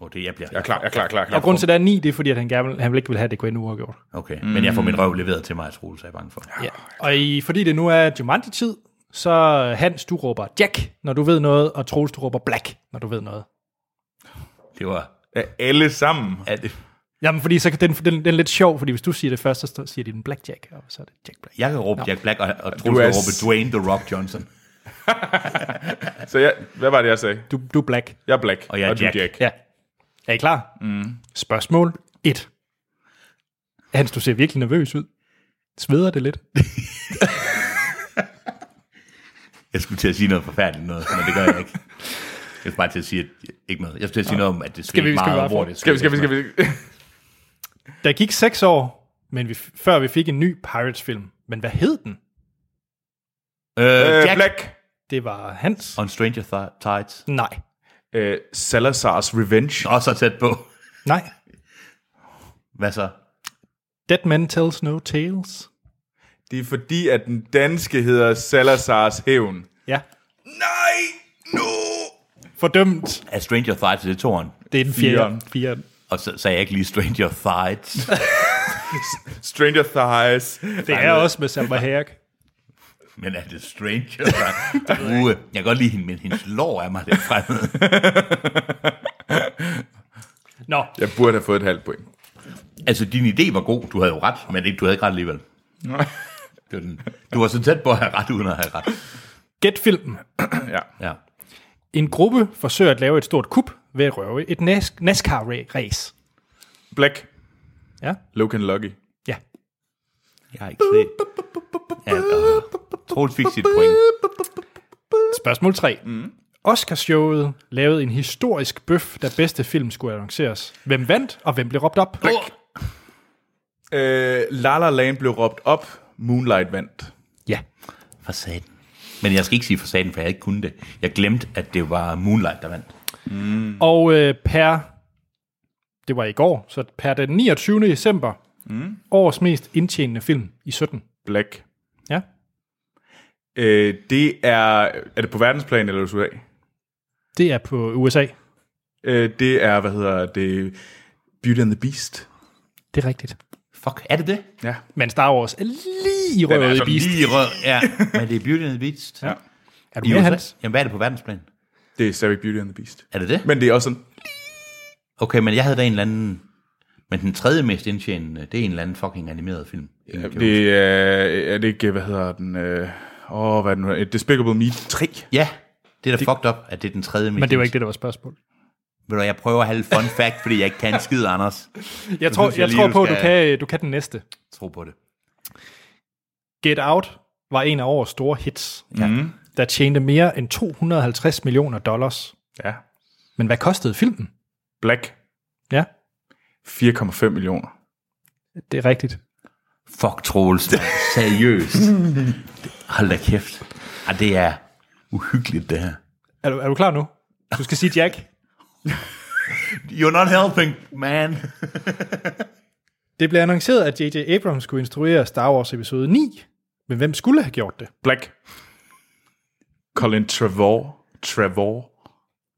Speaker 2: oh, det jeg bliver.
Speaker 3: Jeg er klar, jeg er klar, klar, klar.
Speaker 1: Og grunden til, at der er ni, det er fordi, at han, gerne, vil- han vil ikke vil have, at det går ind uafgjort.
Speaker 2: Okay, mm. men jeg får min røv leveret til mig, Troels, er jeg bange for.
Speaker 1: Ja. Og i, fordi det nu er Jumanji-tid, så øh, Hans, du råber Jack, når du ved noget, og Troels, du råber Black, når du ved noget.
Speaker 2: Det var...
Speaker 3: Ja, alle sammen.
Speaker 2: Er det,
Speaker 1: Jamen, fordi så kan den, den, den er lidt sjov, fordi hvis du siger det først, så står- siger de den Blackjack, og så er det Jack Black.
Speaker 2: jeg kan råbe Jack Black, og, og Troels
Speaker 3: Du
Speaker 2: kan
Speaker 3: er
Speaker 2: råbe
Speaker 3: s-
Speaker 2: Dwayne The Rock Johnson.
Speaker 3: Så jeg, hvad var det, jeg sagde?
Speaker 1: Du, du er Black.
Speaker 3: Jeg er Black,
Speaker 2: Og jeg er
Speaker 3: du
Speaker 2: Jack.
Speaker 1: Ja. Er I klar? Mm. Spørgsmål 1. Hans, du ser virkelig nervøs ud. Sveder det lidt?
Speaker 2: Jeg skulle til at sige noget forfærdeligt noget, men det gør jeg ikke. Jeg skal bare til at sige, at ikke noget. Jeg skal til at sige noget om, at det skal
Speaker 1: vi-
Speaker 2: ikke
Speaker 1: skal vi
Speaker 2: meget,
Speaker 1: bare få-
Speaker 2: hvor det
Speaker 3: Skal vi, skal vi, skal vi?
Speaker 2: Øh,
Speaker 1: Der gik seks år, men vi, før vi fik en ny Pirates-film. Men hvad hed den?
Speaker 2: Øh,
Speaker 3: Øh,
Speaker 2: Jack
Speaker 3: Black.
Speaker 1: Det var Hans.
Speaker 2: on Stranger Thi- Tides.
Speaker 1: Nej.
Speaker 3: Øh, Salazar's Revenge.
Speaker 2: Nå, så tæt på.
Speaker 1: Nej.
Speaker 2: Hvad så?
Speaker 1: Dead Man Tells No Tales.
Speaker 3: Det er fordi, at den danske hedder Salazar's Hævn.
Speaker 1: Ja.
Speaker 3: Nej! Nu!
Speaker 1: Fordømt.
Speaker 2: Er Stranger Tides det er toren?
Speaker 1: Det er den
Speaker 3: Fireren.
Speaker 1: fjerde. Fjeren.
Speaker 2: Og så sagde jeg ikke lige Stranger Tides.
Speaker 3: Stranger Thighs.
Speaker 1: Det er også med Salma Hayek.
Speaker 2: men er det Stranger Tides? Uh, jeg kan godt lide hende, men hendes lår er mig lidt fremmed.
Speaker 1: Nå,
Speaker 3: Jeg burde have fået et halvt point.
Speaker 2: altså, din idé var god. Du havde jo ret, men ikke, du havde ikke ret alligevel. Det var den. Du var så tæt på at have ret, uden at have ret.
Speaker 1: gæt filmen.
Speaker 3: ja.
Speaker 2: Ja.
Speaker 1: En gruppe forsøger at lave et stort kup ved at røve et nas- NASCAR-race.
Speaker 3: Black.
Speaker 1: Ja.
Speaker 3: Logan Lucky.
Speaker 1: Ja.
Speaker 2: Jeg har ikke set. Ja, og Troels fik sit point.
Speaker 1: Spørgsmål 3. Mm. Oscarshowet lavede en historisk bøf, da bedste film skulle annonceres. Hvem vandt, og hvem blev råbt op?
Speaker 3: Øh, La La Land blev råbt op. Moonlight vandt.
Speaker 1: Ja.
Speaker 2: For satan. Men jeg skal ikke sige for satan, for jeg ikke kunne det. Jeg glemte, at det var Moonlight, der vandt.
Speaker 1: Og øh, per, det var i går, så per den 29. december, mm. årets mest indtjenende film i 17.
Speaker 3: Black.
Speaker 1: Ja.
Speaker 3: Øh, det er... Er det på verdensplan eller USA?
Speaker 1: Det er på USA.
Speaker 3: Øh, det er, hvad hedder det... Beauty and the Beast.
Speaker 1: Det er rigtigt.
Speaker 2: Fuck, er det det?
Speaker 3: Ja.
Speaker 1: Men Star Wars er lige
Speaker 3: er
Speaker 1: røvet i
Speaker 3: sådan
Speaker 1: bist.
Speaker 2: Lige rød. Ja, men det er Beauty and the Beast. Ja.
Speaker 1: Er du
Speaker 2: I
Speaker 1: med,
Speaker 2: USA?
Speaker 1: Hans?
Speaker 2: Jamen, hvad er det på verdensplan?
Speaker 3: Det er stadigvæk Beauty and the Beast.
Speaker 2: Er det det?
Speaker 3: Men det er også sådan...
Speaker 2: Okay, men jeg havde da en eller anden... Men den tredje mest indtjenende, det er en eller anden fucking animeret film. Ja,
Speaker 3: Det er, er det ikke, hvad hedder den... Øh, Åh, oh, hvad er det nu? Øh, Despicable Me 3.
Speaker 2: ja det er da fucked up, at det er den tredje mest
Speaker 1: Men det var ikke det, der var spørgsmålet.
Speaker 2: indtjenende. Ved du, jeg prøver at have lidt fun fact, fordi jeg ikke kan skide, Anders.
Speaker 1: Jeg tror,
Speaker 2: synes jeg
Speaker 1: jeg
Speaker 2: lige,
Speaker 1: tror
Speaker 2: du
Speaker 1: på, at
Speaker 2: skal-
Speaker 1: du kan, du kan den næste.
Speaker 2: Tro på det.
Speaker 1: Get Out var en af årets store hits,
Speaker 2: Ja. Mm.
Speaker 1: der tjente mere end 250 millioner dollars.
Speaker 3: Ja.
Speaker 1: Men hvad kostede filmen?
Speaker 3: Black.
Speaker 1: Ja,
Speaker 3: 4,5 millioner.
Speaker 1: det er rigtigt.
Speaker 2: Fuck Troels, mand. seriøst. Hold da kæft. Ej, det er uhyggeligt, det her.
Speaker 1: Er du, er du klar nu? Du skal sige Jack.
Speaker 2: You're not helping, man.
Speaker 1: Det blev annonceret, at J.J. Abrams skulle instruere Star Wars episode 9. Men hvem skulle have gjort det?
Speaker 3: Black. Colin Trevor. Trevor.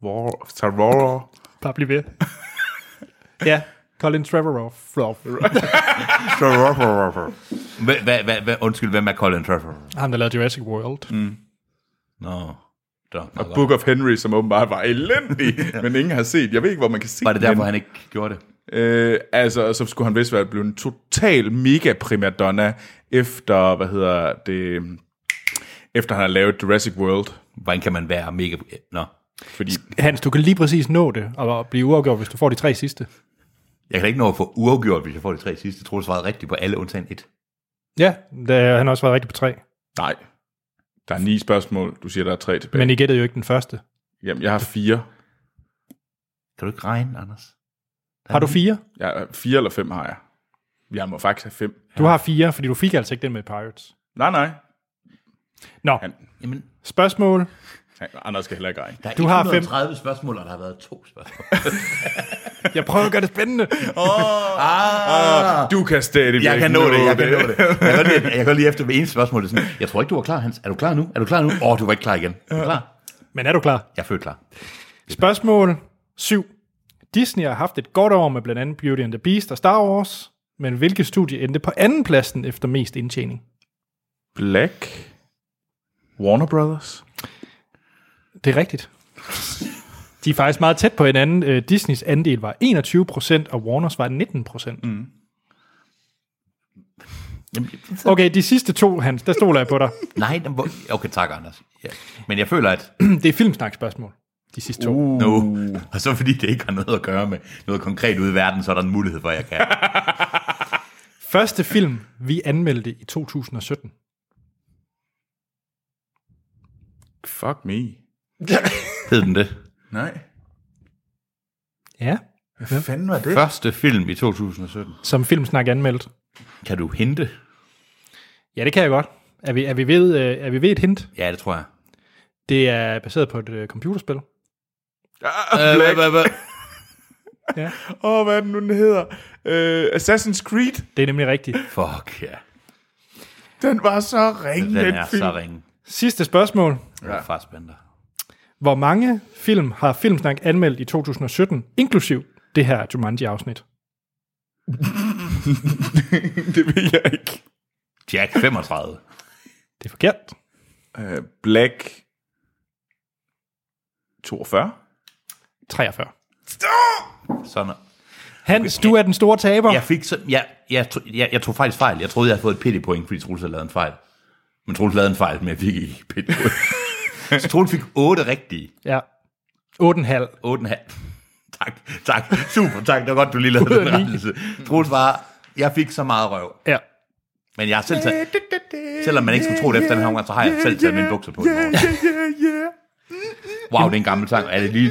Speaker 3: War, Trevor.
Speaker 1: Bare bliv ved. ja, Colin Trevorrow. Flop.
Speaker 2: Hvad, hvad, hvad, hvad, undskyld, hvem er Colin Trevor?
Speaker 1: Ham, der lavede Jurassic World. Mm.
Speaker 2: Nå. No.
Speaker 3: Og Book of Henry, som åbenbart var elendig, men ingen har set. Jeg ved ikke, hvor man kan se
Speaker 2: Var det derfor,
Speaker 3: den.
Speaker 2: han ikke gjorde det?
Speaker 3: Øh, altså, så skulle han vist være blevet en total mega primadonna efter, hvad hedder det, efter han har lavet Jurassic World.
Speaker 2: Hvordan kan man være mega... Nå.
Speaker 3: Fordi
Speaker 1: Hans, du kan lige præcis nå det og blive uafgjort, hvis du får de tre sidste.
Speaker 2: Jeg kan da ikke nå at få uafgjort, hvis jeg får de tre sidste. Jeg tror, du svarede rigtigt på alle undtagen et.
Speaker 1: Ja, der, han har også været rigtig på tre.
Speaker 3: Nej. Der er ni spørgsmål. Du siger, der er tre tilbage.
Speaker 1: Men
Speaker 3: Men...
Speaker 1: I gættede jo ikke den første.
Speaker 3: Jamen, jeg har fire.
Speaker 2: Kan du ikke regne, Anders?
Speaker 1: Har du fire?
Speaker 3: Jeg, fire eller fem har jeg. Jeg må faktisk have fem.
Speaker 1: Du har fire, fordi du fik altså ikke den med Pirates.
Speaker 3: Nej, nej.
Speaker 1: Nå,
Speaker 3: Han,
Speaker 2: Jamen,
Speaker 1: spørgsmål.
Speaker 3: han, Anders skal heller ikke regne.
Speaker 2: der er
Speaker 1: Du har
Speaker 2: 130 spørgsmål, og der har været to spørgsmål.
Speaker 1: Jeg prøver at gøre det spændende.
Speaker 3: Ah, du kan stadig
Speaker 2: Jeg kan nå det, jeg kan nå det. Jeg kan godt lide, jeg kan godt lide efter ved eneste spørgsmål. Det er sådan, jeg tror ikke, du var klar, Hans. Er du klar nu? Er du klar nu? Åh, oh, du var ikke klar igen. Er du klar?
Speaker 1: Men er du klar?
Speaker 2: Jeg er født klar.
Speaker 1: Spørgsmål 7. Disney har haft et godt år med blandt andet Beauty and the Beast og Star Wars, men hvilket studie endte på anden pladsen efter mest indtjening?
Speaker 3: Black. Warner Brothers.
Speaker 1: Det er rigtigt. De er faktisk meget tæt på hinanden. Øh, Disneys andel var 21 procent, og Warners var 19 procent. Mm. Okay, de sidste to, Hans, der stoler jeg på dig.
Speaker 2: Nej, den var... okay, tak, Anders. Ja. Men jeg føler, at
Speaker 1: Det er filmsnakspørgsmål, de sidste to. Uh.
Speaker 2: nu, og så fordi det ikke har noget at gøre med noget konkret ude i verden, så er der en mulighed for, at jeg kan.
Speaker 1: Første film, vi anmeldte i 2017.
Speaker 3: Fuck me.
Speaker 2: Hed den det?
Speaker 3: Nej.
Speaker 1: Ja.
Speaker 3: Hvad fanden var det?
Speaker 2: Første film i 2017.
Speaker 1: Som Filmsnak anmeldt.
Speaker 2: Kan du hente?
Speaker 1: Ja, det kan jeg godt. Er vi, er vi, ved, øh, er vi ved et hint?
Speaker 2: Ja, det tror jeg.
Speaker 1: Det er baseret på et øh, computerspil.
Speaker 2: hvad,
Speaker 3: Ah, Black.
Speaker 2: Øh, hvad, hvad?
Speaker 1: Ja,
Speaker 3: Åh, oh, hvad er den nu, den hedder? Uh, Assassin's Creed.
Speaker 1: det er nemlig rigtigt.
Speaker 2: Fuck, ja.
Speaker 3: Den var så ringe, den,
Speaker 2: Den
Speaker 3: den
Speaker 2: er
Speaker 3: film.
Speaker 2: så ringe.
Speaker 1: Sidste spørgsmål.
Speaker 2: Ja. Farsbender.
Speaker 1: Hvor mange film har Filmsnak anmeldt i 2017, inklusiv det her Jumanji-afsnit?
Speaker 3: det ved jeg ikke.
Speaker 2: Jack 35.
Speaker 1: Det er forkert.
Speaker 3: Uh, Black 42.
Speaker 1: 43.
Speaker 2: Sådan.
Speaker 1: Hans, du er den store taber.
Speaker 2: Jeg fik så, jeg, jeg, tro- jeg, jeg tog faktisk fejl. Jeg troede, jeg havde fået et pity point, fordi Troels havde lavet en fejl. Men Troels lavede en fejl, men jeg fik ikke et pity point. så Troels fik 8 rigtige.
Speaker 1: Ja. 8,5.
Speaker 2: 8,5. Tak, tak. Super, tak. Det var godt, du lige lavede den rettelse. Troels var, jeg fik så meget røv.
Speaker 1: Ja.
Speaker 2: Men jeg har selv taget, selvom man ikke skulle tro det efter den her omgang, så har jeg selv taget mine bukser på. i morgen.
Speaker 3: yeah, yeah.
Speaker 2: Wow, det er en gammel sang. Er det lige,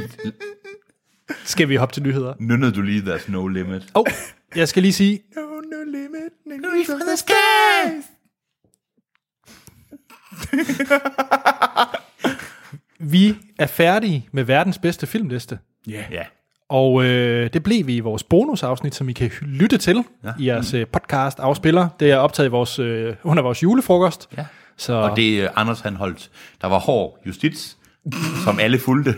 Speaker 1: Skal vi hoppe til nyheder?
Speaker 2: nynnede du lige There's No Limit?
Speaker 1: Og oh, jeg skal lige sige,
Speaker 3: No, no limit. No, no
Speaker 2: Reach for the skies!
Speaker 1: vi er færdige med verdens bedste filmliste.
Speaker 2: Ja,
Speaker 1: Og øh, det blev vi i vores bonusafsnit, som I kan hy- lytte til ja. i jeres øh, podcast afspiller. Det er optaget i vores, øh, under vores julefrokost.
Speaker 2: Ja.
Speaker 1: Så
Speaker 2: og det er øh, Anders han holdt. Der var hård justits, som alle fulgte.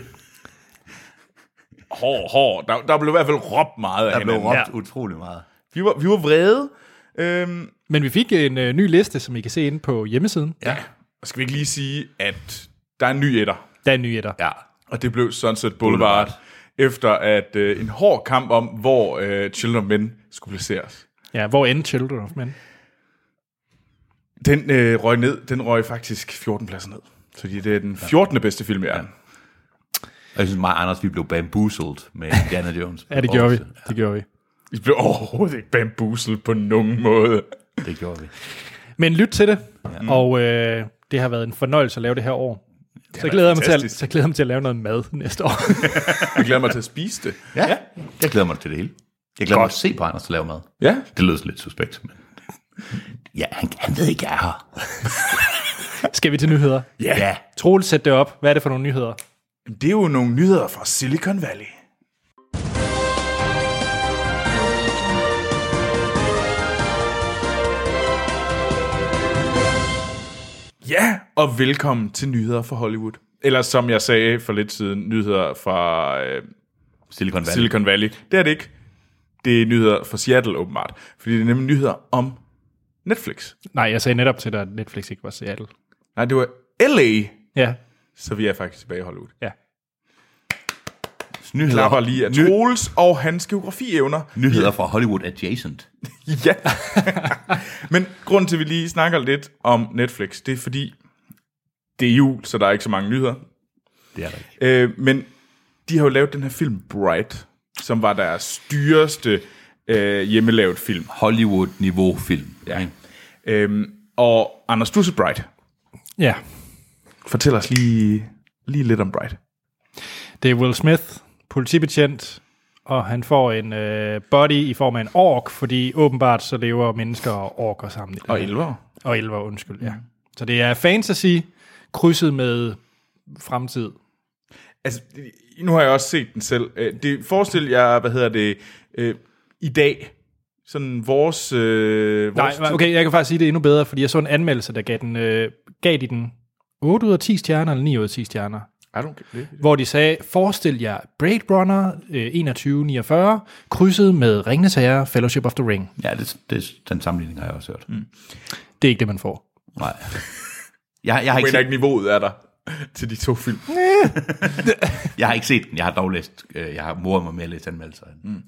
Speaker 3: Hård, hård. Der, der blev i hvert fald råbt meget af
Speaker 2: Der blev
Speaker 3: hinanden.
Speaker 2: råbt utrolig meget.
Speaker 3: Vi var, vi var vrede. Øhm,
Speaker 1: Men vi fik en øh, ny liste, som I kan se inde på hjemmesiden. Ja.
Speaker 3: og skal vi ikke lige sige, at der er en ny etter.
Speaker 1: Der er nye etter. Ja.
Speaker 2: Ja.
Speaker 3: Og det blev Sunset Boulevard.
Speaker 2: Boulevard.
Speaker 3: Efter at øh, en hård kamp om, hvor øh, Children of Men skulle placeres.
Speaker 1: ja, hvor end Children of Men?
Speaker 3: Den øh, røg ned. Den røg faktisk 14 pladser ned. Fordi det er den 14. bedste film i verden.
Speaker 2: Og jeg synes, mig og Anders, vi blev bamboozled med Indiana Jones.
Speaker 1: Ja, det gjorde vi. Det gjorde vi.
Speaker 3: Vi blev overhovedet ikke bambuselt på nogen måde.
Speaker 2: Det gjorde vi.
Speaker 1: Men lyt til det, ja. og øh, det har været en fornøjelse at lave det her år. Så glæder, jeg mig til at,
Speaker 3: fantastisk.
Speaker 1: så glæder jeg mig til at lave noget mad næste år.
Speaker 3: Jeg glæder mig til at spise det.
Speaker 2: Ja, jeg glæder mig til det hele. Jeg glæder mig til at se på Anders og lave mad.
Speaker 3: Ja.
Speaker 2: Det lød lidt suspekt, men... Ja, han, han ved ikke, jeg er her.
Speaker 1: Skal vi til nyheder?
Speaker 3: Ja.
Speaker 2: Ja.
Speaker 1: Troels, sæt det op. Hvad er det for nogle nyheder?
Speaker 3: Det er jo nogle nyheder fra Silicon Valley. Ja, og velkommen til nyheder fra Hollywood. Eller som jeg sagde for lidt siden, nyheder fra øh,
Speaker 2: Silicon Valley. Silicon.
Speaker 3: Silicon Valley. Det er det ikke. Det er nyheder fra Seattle åbenbart. Fordi det er nemlig nyheder om Netflix.
Speaker 1: Nej, jeg sagde netop til dig, at Netflix ikke var Seattle.
Speaker 3: Nej, det var LA,
Speaker 1: Ja,
Speaker 3: så vi er faktisk tilbage i Hollywood.
Speaker 1: ja.
Speaker 2: Nyheder,
Speaker 3: Klapper lige af Troels og hans geografievner.
Speaker 2: nyheder fra Hollywood Adjacent.
Speaker 3: Ja. Men grunden til, at vi lige snakker lidt om Netflix, det er fordi, det er jul, så der er ikke så mange nyheder.
Speaker 2: Det er der ikke.
Speaker 3: Øh, men de har jo lavet den her film Bright, som var deres dyreste øh, hjemmelavet film.
Speaker 2: Hollywood-niveau film. Ja. Ikke?
Speaker 3: Øh, og Anders, du så Bright.
Speaker 1: Ja,
Speaker 3: Fortæl os lige, lige lidt om Bright.
Speaker 1: det er Will Smith, politibetjent, og han får en øh, body i form af en ork, fordi åbenbart så lever mennesker og orker sammen.
Speaker 3: Og 11 år.
Speaker 1: Og elver, undskyld, ja. Så det er fantasy krydset med fremtid.
Speaker 3: Altså, nu har jeg også set den selv. Øh, Det, forestil jer, hvad hedder det, øh, i dag, sådan vores... Øh,
Speaker 1: Nej,
Speaker 3: vores
Speaker 1: okay, jeg kan faktisk sige det endnu bedre, fordi jeg så en anmeldelse, der gav, den, øh, gav de den 8 ud af 10 stjerner, eller 9 ud af 10 stjerner.
Speaker 3: I don't get it.
Speaker 1: Hvor de sagde, forestil jer Blade Runner øh, 2149, krydset med Ringnes Herre, Fellowship of the Ring.
Speaker 2: Ja, det, det, den sammenligning har jeg også hørt. Mm.
Speaker 1: Det er ikke det, man får.
Speaker 2: Nej. Jeg, jeg, har
Speaker 3: Jeg
Speaker 2: ikke
Speaker 3: mener ikke,
Speaker 2: set,
Speaker 3: niveauet er der til de to film.
Speaker 2: jeg har ikke set den. Jeg har dog læst, øh, jeg har moret mig med at læse anmeldelser. af den.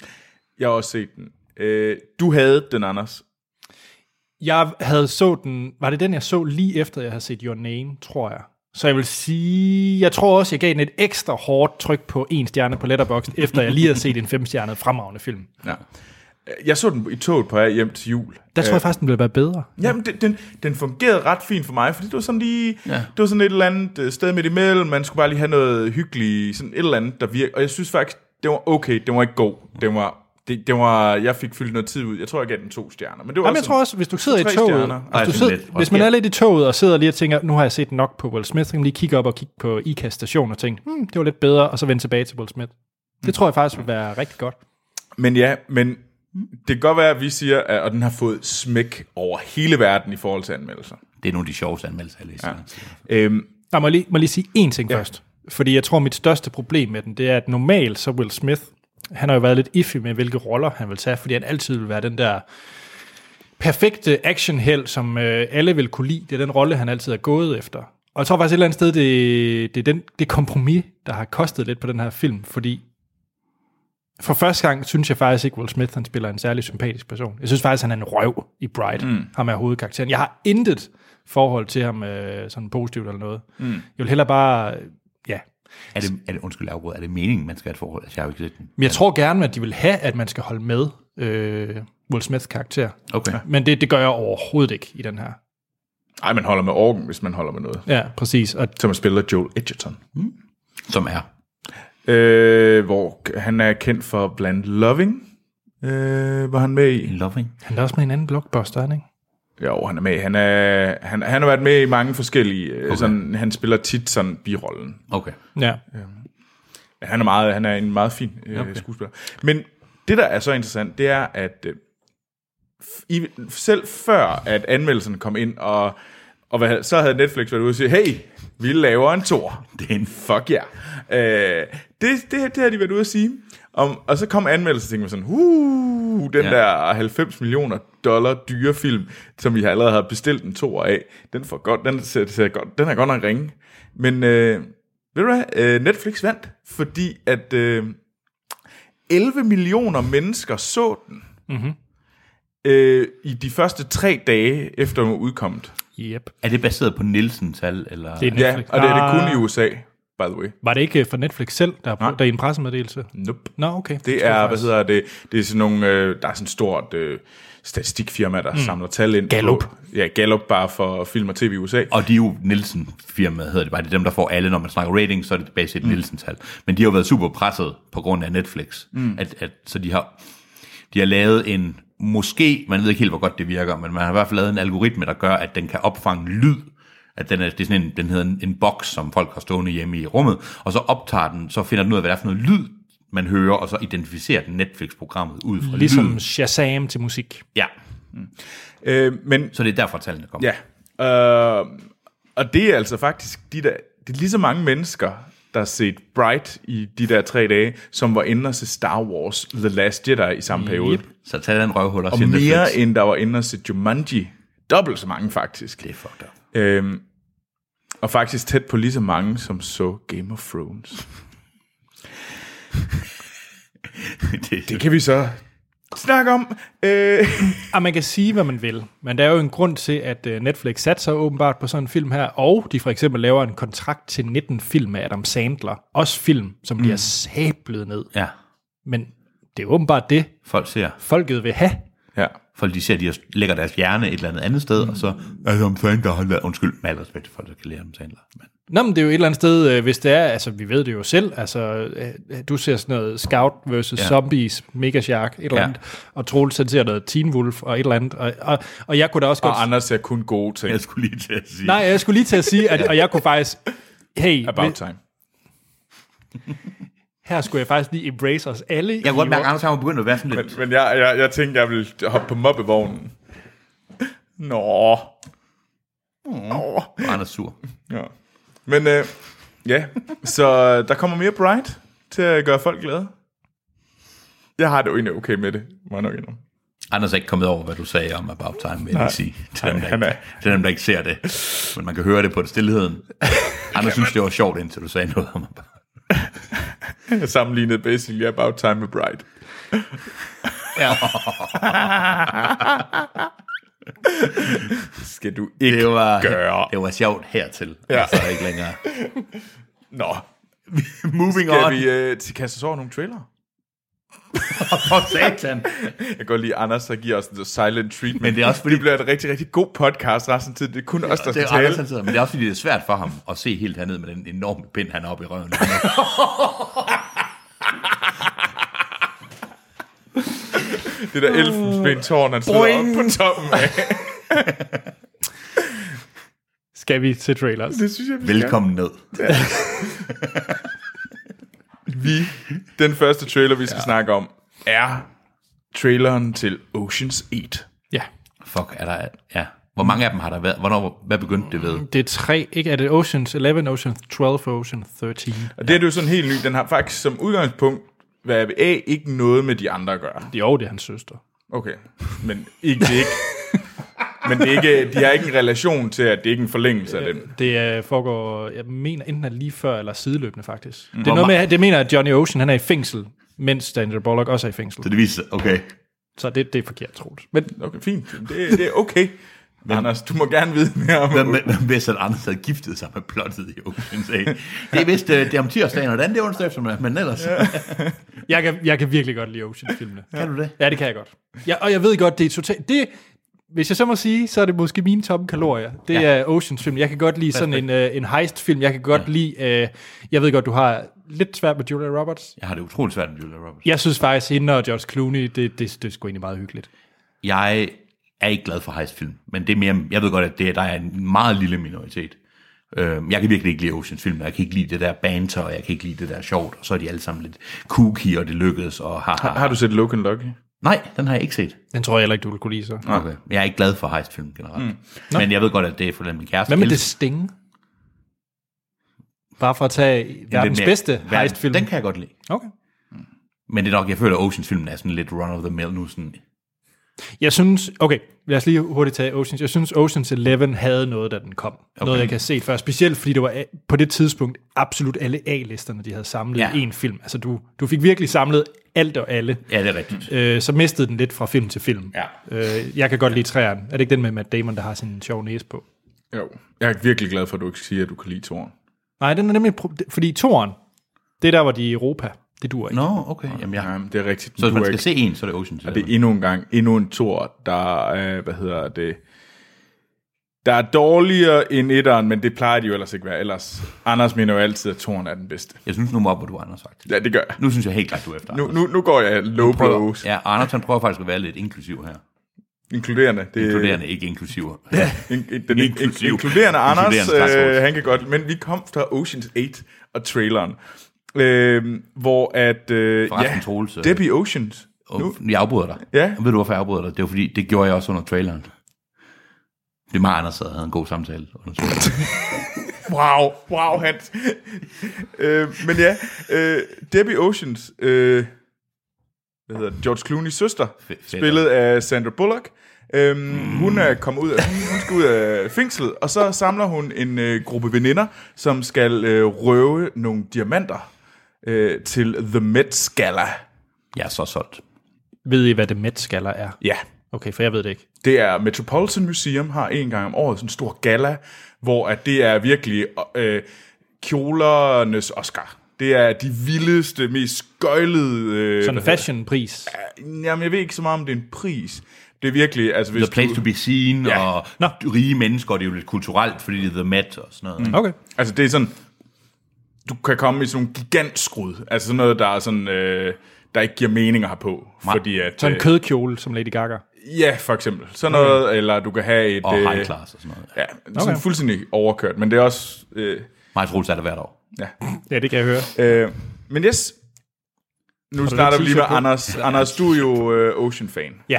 Speaker 3: Jeg har også set den. Øh, du havde den, Anders.
Speaker 1: Jeg havde så den, var det den, jeg så lige efter, jeg havde set Your Name, tror jeg. Så jeg vil sige, jeg tror også, jeg gav den et ekstra hårdt tryk på en stjerne på Letterboxd, efter jeg lige havde set en femstjernet fremragende film.
Speaker 3: Ja. Jeg så den i toget på vej hjem til jul.
Speaker 1: Der tror jeg faktisk, den ville være bedre.
Speaker 3: Jamen, den, den, den fungerede ret fint for mig, fordi det var sådan lige,
Speaker 2: Ja.
Speaker 3: ja. det var sådan et eller andet øh, sted midt imellem, man skulle bare lige have noget hyggeligt, sådan et eller andet, der virkede, og jeg synes faktisk, det var okay, det var ikke god, det var, det, det var, jeg fik fyldt noget tid ud, jeg tror, jeg gav den to stjerner, men det var
Speaker 1: Jamen, jeg
Speaker 3: sådan,
Speaker 1: tror også, hvis du sidder i
Speaker 3: tre
Speaker 1: toget,
Speaker 3: stjerner.
Speaker 1: hvis,
Speaker 2: Ej,
Speaker 1: du
Speaker 2: det er
Speaker 1: sidder,
Speaker 2: lidt.
Speaker 1: hvis man er lidt i toget og sidder lige og tænker, nu har jeg set nok på Will Smith, så kan man lige kigge op og kigge på IKAS station og tænke, hmm, det var lidt bedre, og så vende tilbage til Will Smith. Det tror jeg faktisk vil være rigtig godt.
Speaker 3: Men ja, men det kan godt være, at vi siger, at, og den har fået smæk over hele verden i forhold til anmeldelser.
Speaker 2: Det er nogle af de sjoveste anmeldelser, jeg læser. Ja.
Speaker 3: Øhm,
Speaker 1: Nej, må jeg lige, må jeg lige sige én ting ja. først. Fordi jeg tror, mit største problem med den, det er, at normalt så Will Smith, han har jo været lidt iffy med, hvilke roller han vil tage, fordi han altid vil være den der perfekte actionheld, som øh, alle vil kunne lide. Det er den rolle, han altid er gået efter. Og jeg tror faktisk et eller andet sted, det, det er den, det kompromis, der har kostet lidt på den her film, fordi for første gang synes jeg faktisk ikke, Will Smith han spiller en særlig sympatisk person. Jeg synes faktisk, han er en røv i Bright, mm. ham er hovedkarakteren. Jeg har intet forhold til ham øh, sådan positivt eller noget. Mm. Jeg vil hellere bare, ja.
Speaker 2: Er det, er det, undskyld, jeg afbryder. er det meningen, man skal have et forhold? Altså, jeg har jo ikke set den.
Speaker 1: Men jeg tror gerne, at de vil have, at man skal holde med øh, Will Smiths karakter.
Speaker 2: Okay. Ja.
Speaker 1: Men det, det gør jeg overhovedet ikke i den her.
Speaker 3: ej, man holder med orken, hvis man holder med noget.
Speaker 1: Ja, præcis. Og
Speaker 3: Som er spiller Joel Edgerton.
Speaker 2: Som er.
Speaker 3: Øh, hvor k- han er kendt for blandt Loving, øh, var han med i.
Speaker 2: Loving.
Speaker 1: han er også med i en anden blockbuster, er han ikke?
Speaker 3: Jo, han er med. Han, er, han, han har været med i mange forskellige. Okay. Sådan, han spiller tit sådan birollen.
Speaker 2: Okay.
Speaker 1: Ja.
Speaker 3: Men Han er, meget, han er en meget fin øh, okay. skuespiller. Men det, der er så interessant, det er, at øh, f- i, selv før, at anmeldelsen kom ind, og, og hvad, så havde Netflix været ude og sige, hey, vi laver en tor.
Speaker 2: Det er en
Speaker 3: Fuck ja. Yeah. Øh, det, det, det har de været ude at sige. Om, og så kom anmeldelsen, og tænkte man sådan, uh, den
Speaker 2: Ja.
Speaker 3: ja. der 90 millioner dollar dyre film, som vi allerede har bestilt en to af, den, får godt, den, ser, ser godt, den er godt nok ringe. Men øh, ved du hvad, øh, Netflix vandt, fordi at øh, 11 millioner mennesker så den mm-hmm. øh, i de første tre dage efter den var udkommet.
Speaker 1: Yep.
Speaker 2: Er det baseret på Nielsen-tal? Eller?
Speaker 1: Det er
Speaker 3: Ja,
Speaker 1: Netflix.
Speaker 3: og det er det
Speaker 1: Ah.
Speaker 3: kun i USA, by the way.
Speaker 1: Var det ikke øh, for Netflix selv, der,
Speaker 3: Nej.
Speaker 1: der i en pressemeddelelse?
Speaker 3: Nope.
Speaker 1: Nå, okay.
Speaker 3: Det
Speaker 1: tror jeg
Speaker 3: er, hvad
Speaker 1: faktisk.
Speaker 3: hedder det, det er sådan nogle, øh, der er sådan et stort øh, statistikfirma, der mm. samler tal ind.
Speaker 1: Gallup.
Speaker 3: På, ja, Gallup bare for film og tv i USA.
Speaker 2: Og de er jo Nielsen-firmaet, hedder det bare. Det er dem, der får alle, når man snakker rating, så er det baseret mm. Nielsen-tal. Men de har jo været super presset på grund af Netflix. Mm. At, at, så de har, de har lavet en, måske, man ved ikke helt, hvor godt det virker, men man har i hvert fald lavet en algoritme, der gør, at den kan opfange lyd. At den, er, det er sådan en, den hedder en, en boks, som folk har stående hjemme i rummet, og så optager den, så finder den ud af, hvad det er for noget lyd, man hører, og så identificerer den Netflix-programmet ud fra lyden.
Speaker 1: Ligesom Shazam til musik.
Speaker 2: Ja,
Speaker 3: Øh, men
Speaker 2: så det er derfor tallene kommer.
Speaker 3: ja, øh, og det er altså faktisk de der, det er lige så mange mennesker, der har set Bright i de der tre dage, som var inde og se Star Wars The Last Jedi i samme periode.
Speaker 1: Yep.
Speaker 2: Så tag den røvhul og
Speaker 3: Og
Speaker 2: siger Netflix.
Speaker 3: mere end der var inde og se Jumanji. Dobbelt så mange faktisk.
Speaker 2: Det er fucked up.
Speaker 3: Øhm, og faktisk tæt på lige så mange, som så Game of Thrones.
Speaker 2: det,
Speaker 3: Det kan vi så snakke om. Øh,
Speaker 1: Og Ah, man kan sige, hvad man vil, men der er jo en grund til, at øh, Netflix satser åbenbart på sådan en film her, og de for eksempel laver en kontrakt til 19 film af Adam Sandler. Også film, som mm. bliver sablet ned.
Speaker 2: ja,
Speaker 1: Men det er åbenbart det,
Speaker 2: folk ser.
Speaker 1: folket vil have.
Speaker 3: ja.
Speaker 2: Folk de ser, de har- lægger deres hjerne et eller andet andet sted, mm. og så er det om Sandler, han lavet, undskyld, med al respekt for folk, der kan lære om Sandler. Men
Speaker 1: Nå, men det er jo et eller andet sted, øh, hvis det er, altså vi ved det jo selv, altså øh, du ser sådan noget Scout versus
Speaker 2: Ja.
Speaker 1: ja. Zombies, Mega Shark, et eller
Speaker 2: Ja.
Speaker 1: andet, og Troels han ser noget Teen Wolf og et eller andet, og, og, og jeg kunne da også godt...
Speaker 3: Og Anders er kun gode ting.
Speaker 2: jeg skulle lige til at sige,
Speaker 1: Nej, jeg skulle lige til at sige, at, og jeg kunne faktisk... Hey,
Speaker 3: About
Speaker 1: vi-
Speaker 3: time.
Speaker 1: her skulle jeg faktisk lige embrace os alle.
Speaker 2: jeg kunne godt mærke, at Anders han var begyndt at være sådan lidt,
Speaker 3: Men jeg, jeg, jeg tænkte, jeg ville hoppe på mobbevognen. Nå. Nå.
Speaker 2: og Anders sur.
Speaker 3: Ja. Men øh, ja, så øh, der kommer mere Bright til at gøre folk glade. Jeg har det jo egentlig okay med det, må jeg nok indrømme.
Speaker 2: Anders er ikke kommet over, hvad du sagde om About Time, vil jeg lige sige. Til dem, der
Speaker 3: han
Speaker 2: ikke, til dem, der ikke ser det. Men man kan høre det på det stillheden. Anders synes, det var sjovt, indtil du sagde noget om About
Speaker 3: Jeg sammenlignede basically About Time med Bright.
Speaker 1: Ja.
Speaker 3: Skal du
Speaker 2: det var,
Speaker 3: gøre.
Speaker 2: det var sjovt hertil, ja.
Speaker 3: Ja.
Speaker 2: og så ikke længere.
Speaker 3: Nå.
Speaker 2: Moving
Speaker 3: Skal
Speaker 2: on.
Speaker 3: vi øh, til- kaste os over nogle trailer?
Speaker 2: For satan.
Speaker 3: Jeg kan godt lide, at Anders der giver os en silent treatment.
Speaker 2: Men det er også fordi-
Speaker 3: Det bliver et rigtig, rigtig god podcast resten af tiden. Det er kun os, der
Speaker 2: Det
Speaker 3: skal
Speaker 2: er Anders,
Speaker 3: tale.
Speaker 2: han sidder, men det er også fordi, det er svært for ham at se helt hernede med den enorme pind, han har oppe i røven.
Speaker 3: Det der elfenbentårn, han sidder
Speaker 2: Boing.
Speaker 3: oppe på toppen af.
Speaker 1: Skal vi til trailers?
Speaker 3: Det synes jeg, vi
Speaker 2: Velkommen ned.
Speaker 3: skal. Vi, den første trailer, vi skal ja. snakke om, er traileren til Ocean's 8.
Speaker 1: Ja.
Speaker 2: Fuck, er der... Ja. Hvor mange af dem har der været? Hvornår, hvad begyndte det ved?
Speaker 1: Det er tre, ikke? Er det Oceans 11, Oceans 12, Oceans 13?
Speaker 3: Og det er det jo sådan helt ny. Den har faktisk som udgangspunkt, hvad jeg A, ikke noget med de andre at gøre.
Speaker 1: Jo, det er hans søster.
Speaker 3: Okay, men ikke, det er ikke. men det er ikke, de har ikke en relation til, at det er ikke en forlængelse af den.
Speaker 1: Det øh, foregår, jeg mener, enten er det lige før eller sideløbende, faktisk. Mm. Det er noget med, at- det mener, at Johnny Ocean, han er i fængsel, mens Daniel Bullock også er i fængsel.
Speaker 2: Så det viser okay.
Speaker 1: Så det, det er forkert, troligt. Men
Speaker 3: Okay, fint. Det, det er okay. Men, Anders, du må gerne vide mere om
Speaker 2: Hvad med- hvad hvis at Anders havde giftet sig med plottet i Ocean's 8? Det er vist, øh, det er om tirsdagen, og den det er onsdag eftermiddag, men ellers,
Speaker 1: jeg kan, jeg kan virkelig godt lide Ocean-filmene.
Speaker 2: kan du det?
Speaker 1: Ja, det kan jeg godt. Ja, og jeg ved godt, det er totalt... Det, hvis jeg så må sige, så er det måske mine tomme kalorier. Det ja. er Oceans film. Jeg kan godt lide sådan en, øh, en heist-film. Jeg kan godt ja. lide... Øh, jeg ved godt, du har lidt svært med Julia Roberts.
Speaker 2: Jeg har det utroligt svært med Julia Roberts.
Speaker 1: Jeg synes faktisk, hende og George Clooney, det, det, det er sgu egentlig meget hyggeligt.
Speaker 2: Jeg er ikke glad for heistfilm, men det er mere, jeg ved godt, at det, er- der er en meget lille minoritet. Øhm, Jeg kan virkelig ikke lide Oceans film, jeg kan ikke lide det der banter, og jeg kan ikke lide det der sjovt, og så er de alle sammen lidt kooky, og det lykkedes, og haha.
Speaker 3: Har du set Logan Lucky?
Speaker 2: Nej, den har jeg ikke set.
Speaker 1: Den tror jeg heller ikke, du vil kunne lide så.
Speaker 2: Okay. Jeg er ikke glad for heistfilm generelt. Mm. Men jeg ved godt, at det er for den min kæreste.
Speaker 1: Hvad med det
Speaker 2: elsker.
Speaker 1: stinge? Bare for at tage
Speaker 2: Den
Speaker 1: verdens
Speaker 2: er-
Speaker 1: bedste
Speaker 2: verden-
Speaker 1: heist-film.
Speaker 2: Den kan jeg godt lide.
Speaker 1: Okay.
Speaker 2: Men det er nok, jeg føler, at Oceans-filmen er sådan lidt run of the mill nu. Sådan,
Speaker 1: Jeg synes, okay, lad os lige hurtigt tage Oceans. Jeg synes, Oceans 11 havde noget, da den kom. Okay. Noget, jeg kan se før. Specielt fordi det var a- på det tidspunkt absolut alle A-listerne, de havde samlet
Speaker 2: Ja.
Speaker 1: ja. i én film. Altså, du, du fik virkelig samlet alt og alle.
Speaker 2: ja, det er rigtigt.
Speaker 1: Øh, så mistede den lidt fra film til film.
Speaker 2: Ja.
Speaker 1: Øh, jeg kan godt lide træerne. Er det ikke den med Matt Damon, der har sin sjove næse på?
Speaker 3: Jo. Jeg er virkelig glad for, at du ikke siger, at du kan lide Toren.
Speaker 1: Nej, den er nemlig... pro- det- Fordi toren, det er der, hvor de er i Europa. Det dur ikke.
Speaker 2: Nå, okay. Jamen, jeg,
Speaker 3: Jamen, det er rigtigt.
Speaker 2: så hvis
Speaker 3: du
Speaker 2: man
Speaker 3: er
Speaker 2: skal
Speaker 3: ikke.
Speaker 2: se en, så er det Oceans.
Speaker 3: Det er endnu en gang, endnu en tor, der, øh, hvad hedder det, der er dårligere end etteren, men det plejer de jo ellers ikke at være. Ellers, Anders mener jo altid, at toren er den bedste.
Speaker 2: Jeg synes nu må op, hvor du er, Anders, faktisk.
Speaker 3: Ja, det gør jeg.
Speaker 2: Nu synes jeg helt klart, du er efter.
Speaker 3: Nu, nu, nu går jeg low blows.
Speaker 2: Ja, og Anders han prøver faktisk at være lidt inklusiv
Speaker 3: Øh.
Speaker 2: her.
Speaker 3: Inkluderende. Det,
Speaker 2: Inkluderende, ikke inklusiv.
Speaker 3: In, in, den inklusiv.
Speaker 2: Inklusiv.
Speaker 3: inkluderende Anders,
Speaker 2: Inkluderende Star Wars.
Speaker 3: øh, han kan godt, men vi kom fra Ocean's 8 og traileren, øh, hvor at, øh,
Speaker 2: Forresten,
Speaker 3: ja,
Speaker 2: Troels, øh,
Speaker 3: Debbie Oceans,
Speaker 2: Og
Speaker 3: nu,
Speaker 2: Jeg afbryder dig.
Speaker 3: Ja.
Speaker 2: Og Ved du, hvorfor jeg afbryder dig? Det var fordi, det gjorde jeg også under traileren. Det er mig, og Anders, der havde en god samtale. Under traileren.
Speaker 3: wow, wow, Hans. øh, men ja, øh, Debbie Oceans, øh, hvad hedder det, George Clooney's søster,
Speaker 2: fedt.
Speaker 3: spillet af Sandra Bullock, Øhm, Hun er kommet ud af, hun hun skal ud af fængslet, og så samler hun en øh, gruppe veninder, som skal øh, røve nogle diamanter øh, til The Met Gala.
Speaker 2: jeg er så solgt.
Speaker 1: Ved I, hvad det Met-skaller er?
Speaker 3: Ja,
Speaker 1: Okay, for jeg ved det ikke.
Speaker 3: det er Metropolitan Museum har en gang om året sådan en stor gala, hvor at det er virkelig øh, kjolernes Oscar. Det er de vildeste, mest skøjlede... Øh,
Speaker 1: Sådan en fashionpris.
Speaker 3: jamen, jeg ved ikke så meget om det er en pris. Det er virkelig... Altså, hvis
Speaker 2: The Place to
Speaker 3: du,
Speaker 2: Be Seen,
Speaker 3: Ja.
Speaker 2: ja. og
Speaker 1: Nå.
Speaker 2: rige mennesker, det er jo lidt kulturelt, fordi det er The Met og sådan noget. Mm.
Speaker 1: Okay.
Speaker 3: altså, det er sådan... Du kan komme i sådan nogle gigantskrud. Altså sådan noget, der er sådan... Øh, der ikke giver mening at have på.
Speaker 2: Nej.
Speaker 3: Fordi at,
Speaker 1: Sådan
Speaker 3: øh,
Speaker 1: en kødkjole, som Lady Gaga.
Speaker 3: ja, for eksempel. Sådan noget, eller du kan have et...
Speaker 2: Mm. Og
Speaker 3: øh,
Speaker 2: high class og sådan noget.
Speaker 3: Ja, sådan
Speaker 1: Okay.
Speaker 3: fuldstændig overkørt. Men det er også... Øh,
Speaker 2: Meget Troels er der hvert år.
Speaker 3: ja.
Speaker 1: Ja, det kan jeg høre.
Speaker 3: Øh, men yes, nu starter vi lige med
Speaker 1: t-shirt på?
Speaker 3: Anders. Anders, du er jo øh, Ocean-fan.
Speaker 1: Ja.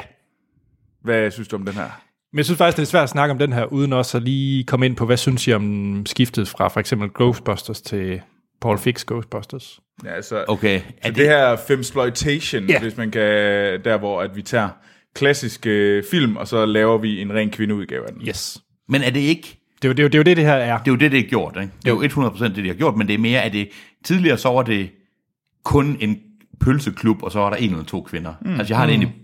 Speaker 3: Hvad synes du om den her?
Speaker 1: Men jeg synes faktisk, det er svært at snakke om den her, uden også at lige komme ind på, hvad synes I om skiftet fra for eksempel Ghostbusters til Paul Fix Ghostbusters?
Speaker 3: Ja, altså, okay.
Speaker 2: Okay,
Speaker 3: så
Speaker 2: er
Speaker 3: det,
Speaker 2: det,
Speaker 3: her femsploitation,
Speaker 1: Ja.
Speaker 3: hvis man kan, der hvor at vi tager klassiske film, og så laver vi en ren kvindeudgave af den.
Speaker 1: Yes.
Speaker 2: men er det ikke
Speaker 1: Det er jo det, er jo- det, er jo det, det her er.
Speaker 2: det er jo det, det er gjort. Ikke? Det er jo 100% det, de har gjort, men det er mere, at det tidligere så var det kun en pølseklub, og så var der en eller to kvinder. Mm. Altså, jeg har det egentlig...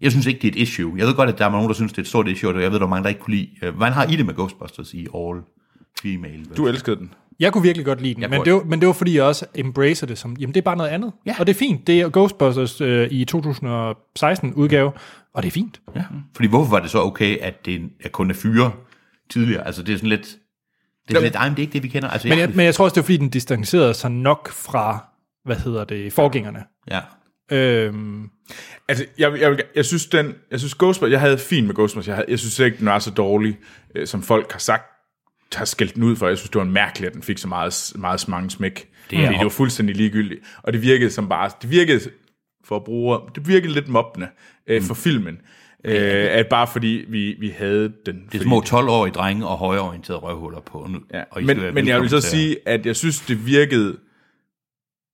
Speaker 2: Jeg synes ikke, det er et issue. Jeg ved godt, at der er nogen, der synes, det er et stort issue, og jeg ved, der er mange, der ikke kunne lide... øh, Hvordan har I det med Ghostbusters i all? Female.
Speaker 3: Du elskede den.
Speaker 1: Jeg kunne virkelig godt lide den,
Speaker 2: Jeg
Speaker 1: men
Speaker 2: kunne
Speaker 1: det, var, men det var fordi, jeg også embracer det som, jamen det er bare noget andet.
Speaker 2: Ja.
Speaker 1: Og det er fint. Det er Ghostbusters øh, i 2016 udgave, og det er fint.
Speaker 2: Ja. Fordi hvorfor var det så okay, at det er kun er fyre tidligere? Altså det er sådan lidt... Det er lidt, ej, men det er ikke det, vi kender. Altså,
Speaker 1: Men jeg, men jeg tror også, det er fordi, den distancerede sig nok fra, hvad hedder det, forgængerne.
Speaker 2: ja.
Speaker 1: Øhm,
Speaker 3: Altså, jeg, jeg, vil- jeg synes, den, jeg synes Ghostbusters, jeg havde fint med Ghostbusters, jeg, havde, jeg synes ikke, den var så dårlig, øh, som folk har sagt, har skældt den ud for. Jeg synes, det var mærkeligt, at den fik så meget, meget mange smæk. Det, er, fordi det var fuldstændig ligegyldigt. Og det virkede som bare, det virkede for at bruge, det virkede lidt mobbende øh, for filmen. Øh, at bare fordi vi, vi havde den.
Speaker 2: Det er små 12-årige drenge og højreorienterede røvhuller på. Nu,
Speaker 3: Ja,
Speaker 2: og
Speaker 3: og
Speaker 2: I skal være
Speaker 3: men, men jeg vil så
Speaker 2: velkommen til at-
Speaker 3: sige, at jeg synes, det virkede...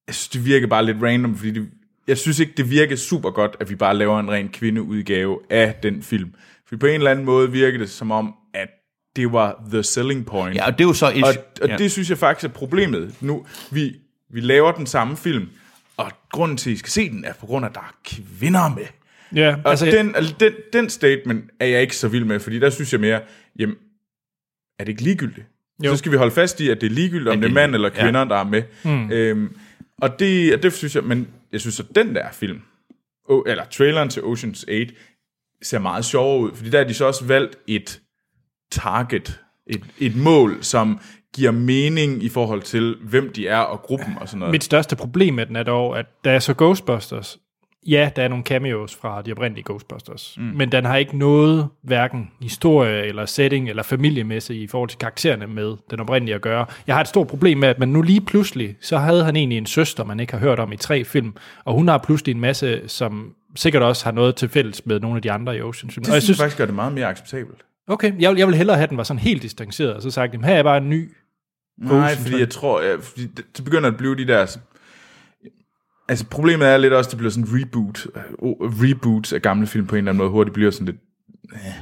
Speaker 3: Jeg synes, det virkede bare lidt random, fordi det, jeg synes ikke, det virkede super godt, at vi bare laver en ren kvindeudgave af den film. For på en eller anden måde virkede det som om, at det var the selling point.
Speaker 2: Ja, og det er jo så... Et,
Speaker 3: og og
Speaker 2: ja.
Speaker 3: ja. det synes jeg faktisk er problemet. Nu, vi, vi laver den samme film, og grunden til, at I skal se den, er på grund af, at der er kvinder med.
Speaker 1: ja,
Speaker 3: Og
Speaker 1: altså,
Speaker 3: altså, den, altså, den, den statement er jeg ikke så vild med, fordi der synes jeg mere, jamen, er det ikke ligegyldigt?
Speaker 1: Jo.
Speaker 3: Jo. Så skal vi holde fast i, at det er ligegyldigt, om det,
Speaker 2: det
Speaker 3: er
Speaker 2: er
Speaker 3: mand eller kvinder, ja. der er med. Mm. Øhm, og, det, og det synes jeg, men jeg synes, at den der film, o, eller traileren til Ocean's 8, ser meget sjovere ud, fordi der har de så også valgt et target, et, et mål, som giver mening i forhold til, hvem de er og gruppen og sådan noget.
Speaker 1: Mit største problem med den er dog, at der er så Ghostbusters. Ja, der er nogle cameos fra de oprindelige Ghostbusters, mm. men den har ikke noget, hverken historie eller setting eller familiemæssigt i forhold til karaktererne med den oprindelige at gøre. Jeg har et stort problem med, at man nu lige pludselig, så havde han egentlig en søster, man ikke har hørt om i tre film, og hun har pludselig en masse, som sikkert også har noget til fælles med nogle af de andre i Ocean's Film.
Speaker 3: det
Speaker 1: Og jeg
Speaker 3: synes jeg
Speaker 1: synes,
Speaker 3: faktisk gør det meget mere acceptabelt.
Speaker 1: okay, jeg, vil- jeg vil hellere have, at den var sådan helt distanceret, og så sagt, jamen, her er bare en ny
Speaker 3: Nej,
Speaker 1: Posen,
Speaker 3: fordi jeg tror, jeg, fordi det, det begynder at blive de der... Altså problemet er lidt også, at det bliver sådan en reboot. Oh, Reboots af gamle film på en eller anden måde hurtigt bliver sådan lidt...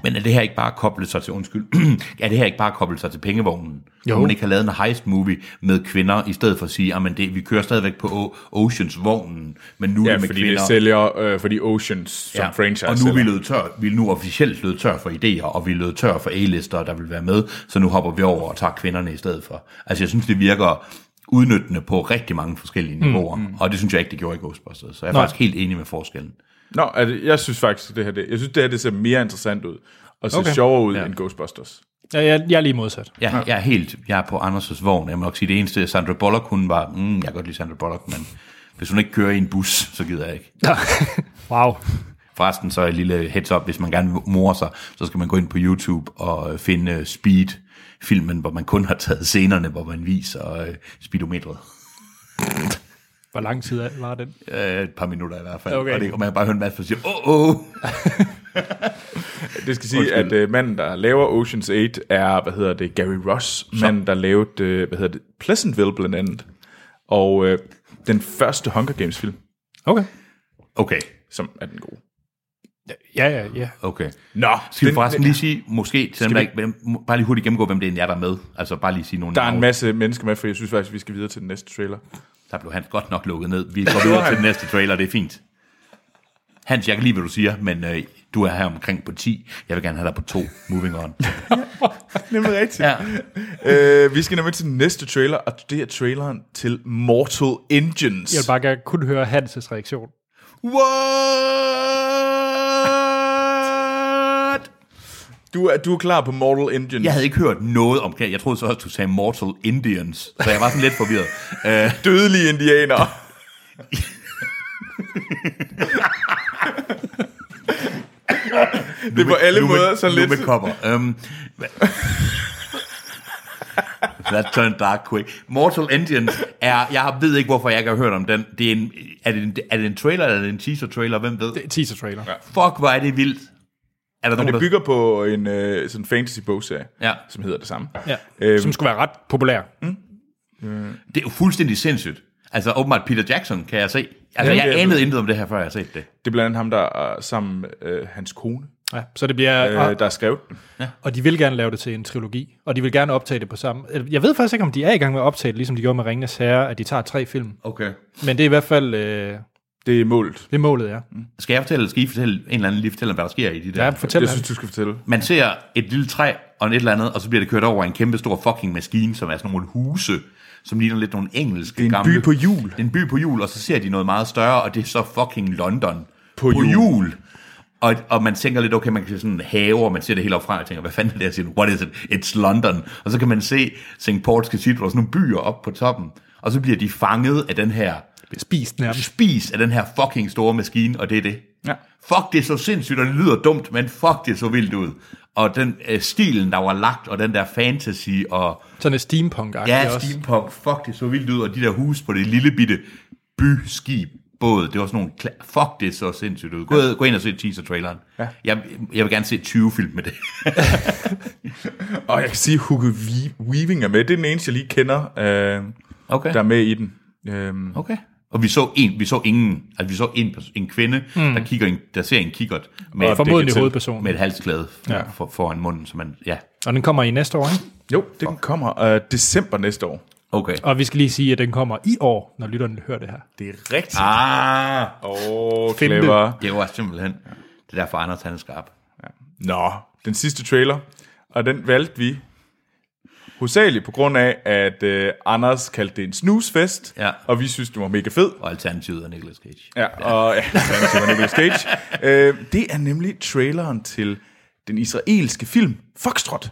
Speaker 2: Men er det her ikke bare koblet sig til, undskyld, er det her ikke bare koblet sig til pengevognen? Jo.
Speaker 1: Jo.
Speaker 2: Hvor man ikke har lavet en heist-movie med kvinder, i stedet for at sige, at vi kører stadigvæk på O- Oceans-vognen, men nu er
Speaker 3: Ja,
Speaker 2: det med
Speaker 3: fordi
Speaker 2: kvinder.
Speaker 3: det sælger, øh, fordi Oceans som ja. franchise
Speaker 2: og nu er vi
Speaker 3: sælger.
Speaker 2: lød tør, vi er nu officielt lød tør for idéer, og vi er lød tør for A-lister, der vil være med, så nu hopper vi over og tager kvinderne i stedet for. Altså jeg synes, det virker udnyttende på rigtig mange forskellige niveauer, mm, og det synes jeg ikke, det gjorde i Ghostbusters. Så jeg er
Speaker 1: Nej.
Speaker 2: faktisk helt enig med forskellen.
Speaker 3: Nå, altså, jeg synes faktisk, det her, det, jeg synes, det her det ser mere interessant ud. Og ser
Speaker 1: Okay.
Speaker 3: okay. sjovere ud ja. end Ghostbusters.
Speaker 1: Ja, jeg, jeg er lige modsat.
Speaker 2: Jeg, ja. jeg er helt, jeg er på Anders' vogn. Jeg må nok sige, det eneste Sandra Bullock, hun var, mm, jeg kan godt lide Sandra Bullock, men hvis hun ikke kører i en bus, så gider jeg ikke.
Speaker 1: wow.
Speaker 2: Forresten så er et lille heads up, hvis man gerne vil more sig, så skal man gå ind på YouTube og øh, finde øh, Speed, filmen, hvor man kun har taget scenerne, hvor man viser øh, speedometret.
Speaker 1: Hvor lang tid er- var den?
Speaker 2: Øh, et par minutter i hvert fald.
Speaker 1: Okay.
Speaker 2: Og det, og man kan bare høre en masse, der siger, åh, åh.
Speaker 3: Det skal sige, Undskyld. at øh, manden, der laver Oceans 8, er, hvad hedder det, Gary Ross. Manden, der lavede, øh, hvad hedder det, Pleasantville blandt andet. Og øh, den første Hunger Games film,
Speaker 1: Okay.
Speaker 2: Okay,
Speaker 3: som er den gode.
Speaker 1: Ja, ja, ja.
Speaker 2: okay.
Speaker 3: Nå,
Speaker 2: Skal vi
Speaker 3: den-
Speaker 2: forresten lige sige, måske, til dem, der
Speaker 3: vi-
Speaker 2: ikke, hvem, bare lige hurtigt gennemgå, hvem det egentlig er, der er med. Altså bare lige sige nogle
Speaker 3: Der er en
Speaker 2: navne.
Speaker 3: masse mennesker med, for jeg synes faktisk, vi skal videre til den næste trailer.
Speaker 2: Der blev han godt nok lukket ned. Vi går videre til den næste trailer, det er fint. Hans, jeg kan lide, hvad du siger, men øh, du er her omkring på 10. Jeg vil gerne have dig på 2. Moving on.
Speaker 3: Nemlig rigtigt.
Speaker 2: Ja.
Speaker 3: øh, vi skal nemlig til den næste trailer, og det er traileren til Mortal Engines.
Speaker 1: Jeg vil bare gerne kun høre Hans' reaktion.
Speaker 2: What?
Speaker 3: Du, er, du er klar på Mortal Engines.
Speaker 2: Jeg havde ikke hørt noget om Jeg troede så også, du sagde Mortal Indians, så jeg var sådan lidt forvirret. Øh,
Speaker 3: Dødelige indianere. det er på alle
Speaker 2: Øh, nu med-
Speaker 3: måder så
Speaker 2: nu
Speaker 3: lidt...
Speaker 2: med kopper. Um, That turned dark quick. Mortal Engines er... Jeg ved ikke, hvorfor jeg ikke har hørt om den. Det er, en, er, det en, er det en trailer, eller er det en teaser-trailer? Hvem ved?
Speaker 1: Teaser-trailer. Ja.
Speaker 2: Fuck, hvor er det vildt. Er der nogen,
Speaker 3: Det
Speaker 2: der...
Speaker 3: bygger på en øh, sådan fantasy bogserie,
Speaker 2: Ja.
Speaker 3: som hedder det samme.
Speaker 1: Ja.
Speaker 3: Øhm.
Speaker 1: Som skulle være ret populær.
Speaker 2: Det er jo fuldstændig sindssygt. Altså, åbenbart Peter Jackson, kan jeg se. Altså,
Speaker 3: det er
Speaker 2: jeg
Speaker 3: jeg
Speaker 2: anede intet om det her, før jeg har set det.
Speaker 3: Det er blandt andet ham, der er sammen med øh, hans kone,
Speaker 1: Ja. Så det bliver...
Speaker 3: øh,
Speaker 1: Øh, og,
Speaker 3: der har skrevet den.
Speaker 1: og de vil gerne lave det til en trilogi, og de vil gerne optage det på samme... eller, Jeg ved faktisk ikke, om de er i gang med at optage det, ligesom de gjorde med Ringenes Herre, at de tager tre film.
Speaker 2: Okay.
Speaker 1: Men det er i hvert fald øh,
Speaker 3: Det er målt.
Speaker 1: det målet er.
Speaker 2: Skal Mm. jeg fortælle, eller skal I fortælle, en eller anden lige fortælle, om, hvad der sker i de der?
Speaker 1: Ja,
Speaker 2: Ja.
Speaker 1: fortæl
Speaker 3: Jeg
Speaker 1: ham.
Speaker 3: synes, du skal fortælle.
Speaker 2: Man ser et lille træ, og et eller andet, og så bliver det kørt over af en kæmpe stor fucking maskine, som er sådan nogle huse, som ligner lidt nogle engelske
Speaker 3: Det er en
Speaker 2: gamle...
Speaker 3: by på hjul.
Speaker 2: Det er en by på jul, og så ser de noget meget større, og det er så fucking London
Speaker 3: På hjul.
Speaker 2: jul. Og, og man tænker lidt, okay, man kan se sådan en have, og man ser det helt opfra, og tænker, hvad fanden er det, jeg siger, what is it, it's London. Og så kan man se St. Paul's Cathedral, og sådan nogle byer op på toppen, og så bliver de fanget af den her,
Speaker 1: Spist nærmest.
Speaker 2: spis af den her fucking store maskine, og det er det.
Speaker 3: Ja.
Speaker 2: Fuck, det er så sindssygt, og det lyder dumt, men fuck, det er så vildt ud. Og den øh, stilen, der var lagt, og den der fantasy, og
Speaker 1: Sådan et steampunk
Speaker 2: ja,
Speaker 1: også.
Speaker 2: steampunk, fuck, det så vildt ud, og de der huse på det lille bitte byskib, båd, det var sådan nogle, kla- fuck, det så sindssygt ud. Gå, gå ind og se teaser-traileren. Ja. Jeg, jeg vil gerne se 20 film med det.
Speaker 3: Og jeg kan sige, at Hugo Wee- Weaving er med. Det er den eneste, jeg lige kender, øh,
Speaker 2: Okay.
Speaker 3: der er med i den. Øhm,
Speaker 2: Okay. Og vi så en, vi så ingen, altså vi så en, pers- en kvinde, mm. der, kigger en, der ser en kikkert med,
Speaker 1: Og formodentlig
Speaker 2: dækket til,
Speaker 1: hovedpersonen.
Speaker 2: med et halsklæde ja. for, foran munden, så man, ja.
Speaker 1: Og den kommer i næste år, ikke?
Speaker 3: jo, den kommer øh, december næste år.
Speaker 2: Okay.
Speaker 1: Og vi skal lige sige, at den kommer i år, når lytterne hører det her.
Speaker 3: Det er rigtigt.
Speaker 2: Ah,
Speaker 3: Åh, oh,
Speaker 1: Find det.
Speaker 3: clever.
Speaker 2: det var simpelthen, det er derfor Anders han er skarp.
Speaker 3: Nå, den sidste trailer, og den valgte vi hovedsageligt på grund af, at øh, Anders kaldte det en snusfest,
Speaker 2: Ja.
Speaker 3: og vi synes, det var mega fed.
Speaker 2: Og alternativet er Nicolas Cage.
Speaker 3: Ja, og ja, det var Nicolas Cage. øh, det er nemlig traileren til den israelske film Foxtrot.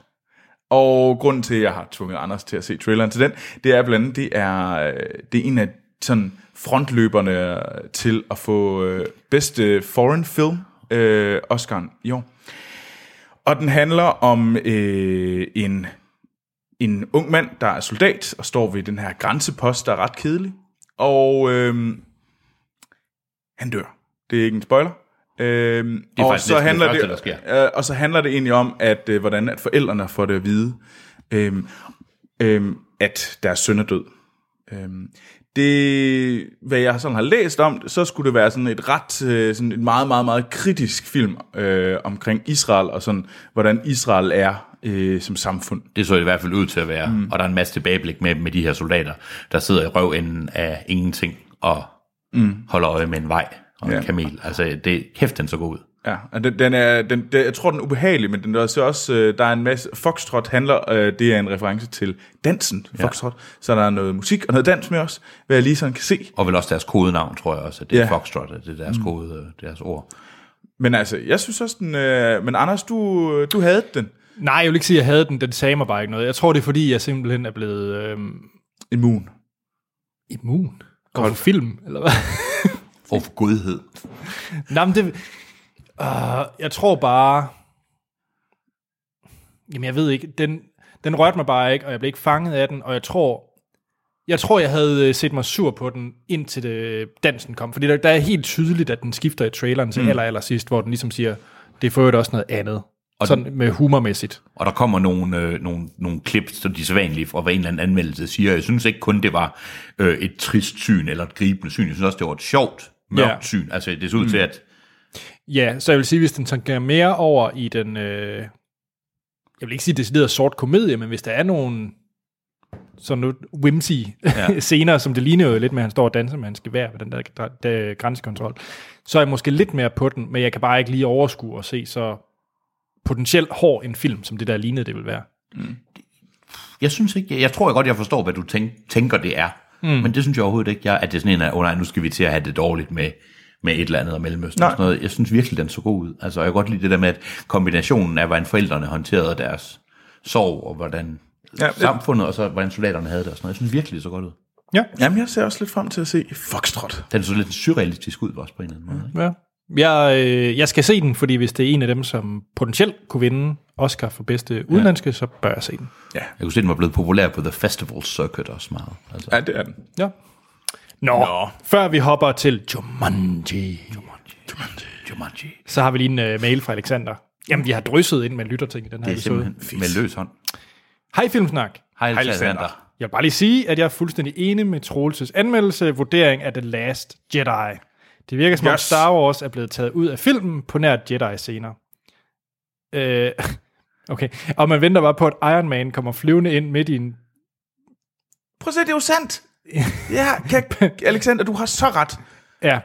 Speaker 3: Og grunden til, at jeg har tvunget Anders til at se traileren til den, det er blandt andet, det er, øh, det er en af sådan frontløberne til at få øh, bedste foreign film øh, Oscar'en i år. Og den handler om øh, en, en ung mand, der er soldat og står ved den her grænsepost, der er ret kedelig. Og øh, han dør. Det er ikke en spoiler. Øhm,
Speaker 2: er
Speaker 3: og,
Speaker 2: faktisk
Speaker 3: så
Speaker 2: næsten
Speaker 3: handler
Speaker 2: det
Speaker 3: det,
Speaker 2: første, der
Speaker 3: øh, og så handler det egentlig om, at øh, hvordan at forældrene får det at vide, øhm, øhm, at deres søn er død. Øhm, det, hvad jeg sådan har læst om, det, så skulle det være sådan et ret, øh, sådan et meget, meget, meget kritisk film øh, omkring Israel, og sådan, hvordan Israel er øh, som samfund.
Speaker 2: Det så i hvert fald ud til at være. Mm. Og der er en masse tilbageblik med, med de her soldater, der sidder i røvenden af ingenting og mm. holder øje med en vej og en
Speaker 3: Ja.
Speaker 2: kamel. Altså, det, kæft, den så god ud.
Speaker 3: Ja, og den, den er, den, den, jeg tror, den er ubehagelig, men den er også, også øh, der er en masse, Foxtrot handler, øh, det er en reference til dansen, Foxtrot, så der er noget musik og noget dans med os, hvad jeg lige sådan kan se.
Speaker 2: Og vel også deres kodenavn, tror jeg også, at det er
Speaker 3: Ja.
Speaker 2: Foxtrot, at det er deres mm. kode, deres ord.
Speaker 3: Men altså, jeg synes også, den, øh, men Anders, du, øh, du havde den,
Speaker 1: Nej, jeg vil ikke sige, at jeg havde den. Den sagde mig bare ikke noget. Jeg tror, det er fordi, jeg simpelthen er blevet øhm,
Speaker 3: immun.
Speaker 1: immun. Over for film, eller hvad?
Speaker 2: Og for godhed.
Speaker 1: Nej, men det... Uh, jeg tror bare... Jamen, jeg ved ikke. Den, den rørte mig bare ikke, og jeg blev ikke fanget af den, og jeg tror... Jeg tror, jeg havde øh, set mig sur på den, indtil det, dansen kom. Fordi der, der er helt tydeligt, at den skifter i traileren til mm. aller, aller sidst, hvor den ligesom siger, det er for øvrigt også noget andet. Og Sådan med humormæssigt.
Speaker 2: Og der kommer nogle, øh, nogle, nogle klip, som de sædvanlige fra hver en eller anden anmeldelse siger. Jeg synes ikke kun, det var øh, et trist syn eller et gribende syn. Jeg synes også, det var et sjovt, mørkt
Speaker 1: Ja.
Speaker 2: yeah. syn. Altså, det ser ud mm. til, at
Speaker 1: Ja, så jeg vil sige, hvis den tangerer mere over i den, øh, jeg vil ikke sige decideret sort komedie, men hvis der er nogle sådan noget whimsy ja. scener, som det ligner jo lidt med, at han står og danser med hans gevær ved den der, der, der grænsekontrol, så er jeg måske lidt mere på den, men jeg kan bare ikke lige overskue og se så potentielt hård en film, som det der lignede, det vil være.
Speaker 2: Jeg synes ikke, jeg, jeg tror godt, jeg forstår, hvad du tænk, tænker, det er. Mm. Men det synes jeg overhovedet ikke, jeg, at det er sådan en af, oh, nej, nu skal vi til at have det dårligt med, med et eller andet og Mellemøsten og
Speaker 3: Nej.
Speaker 2: sådan noget. Jeg synes virkelig, den så god ud. Altså, jeg kan godt lide det der med, at kombinationen af, hvordan forældrene håndterede deres sorg, og hvordan
Speaker 3: Ja,
Speaker 2: ja,
Speaker 3: det-
Speaker 2: samfundet, og så hvordan soldaterne havde det og sådan noget. Jeg synes virkelig, det så godt ud.
Speaker 3: Jamen, jeg ser også lidt frem til at se Foxtrot.
Speaker 2: Den så lidt surrealistisk ud også på en eller anden måde. ikke?
Speaker 1: Ja. Jeg, øh, jeg skal se den, fordi hvis det er en af dem, som potentielt kunne vinde Oscar for bedste udenlandske, ja. så bør jeg se den.
Speaker 2: Jeg kunne se, den var blevet populær på The Festival Circuit også meget. Altså,
Speaker 3: Ja, det er den.
Speaker 1: Ja. Nå, Nå, før vi hopper til Jumanji,
Speaker 2: Jumanji. Jumanji.
Speaker 1: så har vi lige en uh, mail fra Alexander. Jamen, vi har drysset ind med lytterting i den her
Speaker 2: Det er
Speaker 1: episode.
Speaker 2: simpelthen med løs hånd.
Speaker 1: Hej Filmsnak.
Speaker 2: Hej,
Speaker 3: Alexander.
Speaker 2: Alexander.
Speaker 1: Jeg vil bare lige sige, at jeg er fuldstændig enig med Troelses anmeldelse vurdering af The Last Jedi. Det virker som yes. om
Speaker 3: Yes.
Speaker 1: Star Wars er blevet taget ud af filmen på nær Jedi senere. Øh, okay, og man venter bare på, at Iron Man kommer flyvende ind midt i en...
Speaker 3: Prøv at se, det er jo sandt. Ja, kan, Alexander, du har så ret.
Speaker 1: Ja.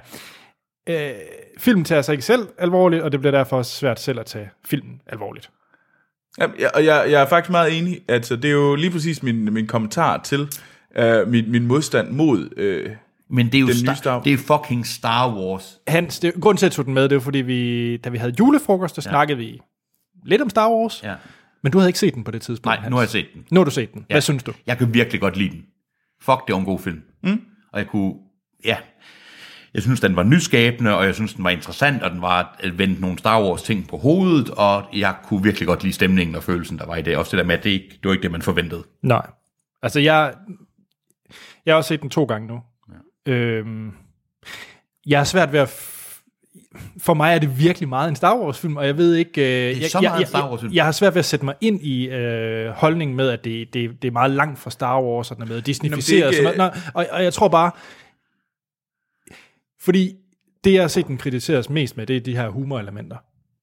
Speaker 1: Øh, filmen tager sig ikke selv alvorligt, og det bliver derfor også svært selv at tage filmen alvorligt.
Speaker 3: Jamen, jeg, og jeg, jeg er faktisk meget enig. Altså, det er jo lige præcis min, min kommentar til øh, min, min modstand mod... Øh,
Speaker 2: Men det er jo
Speaker 3: Den nye
Speaker 2: Star,
Speaker 3: Star-
Speaker 2: det er fucking Star Wars.
Speaker 1: Hans, det, grunden til, at jeg tog den med, det var, fordi vi, da vi havde julefrokost, der ja. snakkede vi lidt om Star Wars,
Speaker 2: Ja.
Speaker 1: men du havde ikke set den på det tidspunkt,
Speaker 2: Nej, nu har jeg set den.
Speaker 1: Nu har du set den. Ja. Hvad synes du?
Speaker 2: Jeg kan virkelig godt lide den. Fuck, det var en god film. Mm. Og jeg kunne, ja, jeg synes, den var nyskabende, og jeg synes, den var interessant, og den var at vende nogle Star Wars ting på hovedet, og jeg kunne virkelig godt lide stemningen og følelsen, der var i det. Også det der med, at det, ikke, det var ikke det, man forventede.
Speaker 1: Nej. Altså, jeg, jeg har også set den to gange nu. Ja. Øhm, jeg har svært ved at... f- For mig er det virkelig meget en Star Wars-film, og jeg ved ikke... Øh, det
Speaker 2: er
Speaker 1: jeg,
Speaker 2: så meget
Speaker 1: jeg,
Speaker 2: en Star
Speaker 1: jeg,
Speaker 2: Wars-film.
Speaker 1: jeg har svært ved at sætte mig ind i øh, holdningen med, at det, det, det er meget langt fra Star Wars, og den er med Disney-ficeret og
Speaker 3: ikke,
Speaker 1: sådan noget. Nå, og, og jeg tror bare... Fordi det, jeg har set den kritiseres mest med, det er de her humorelementer.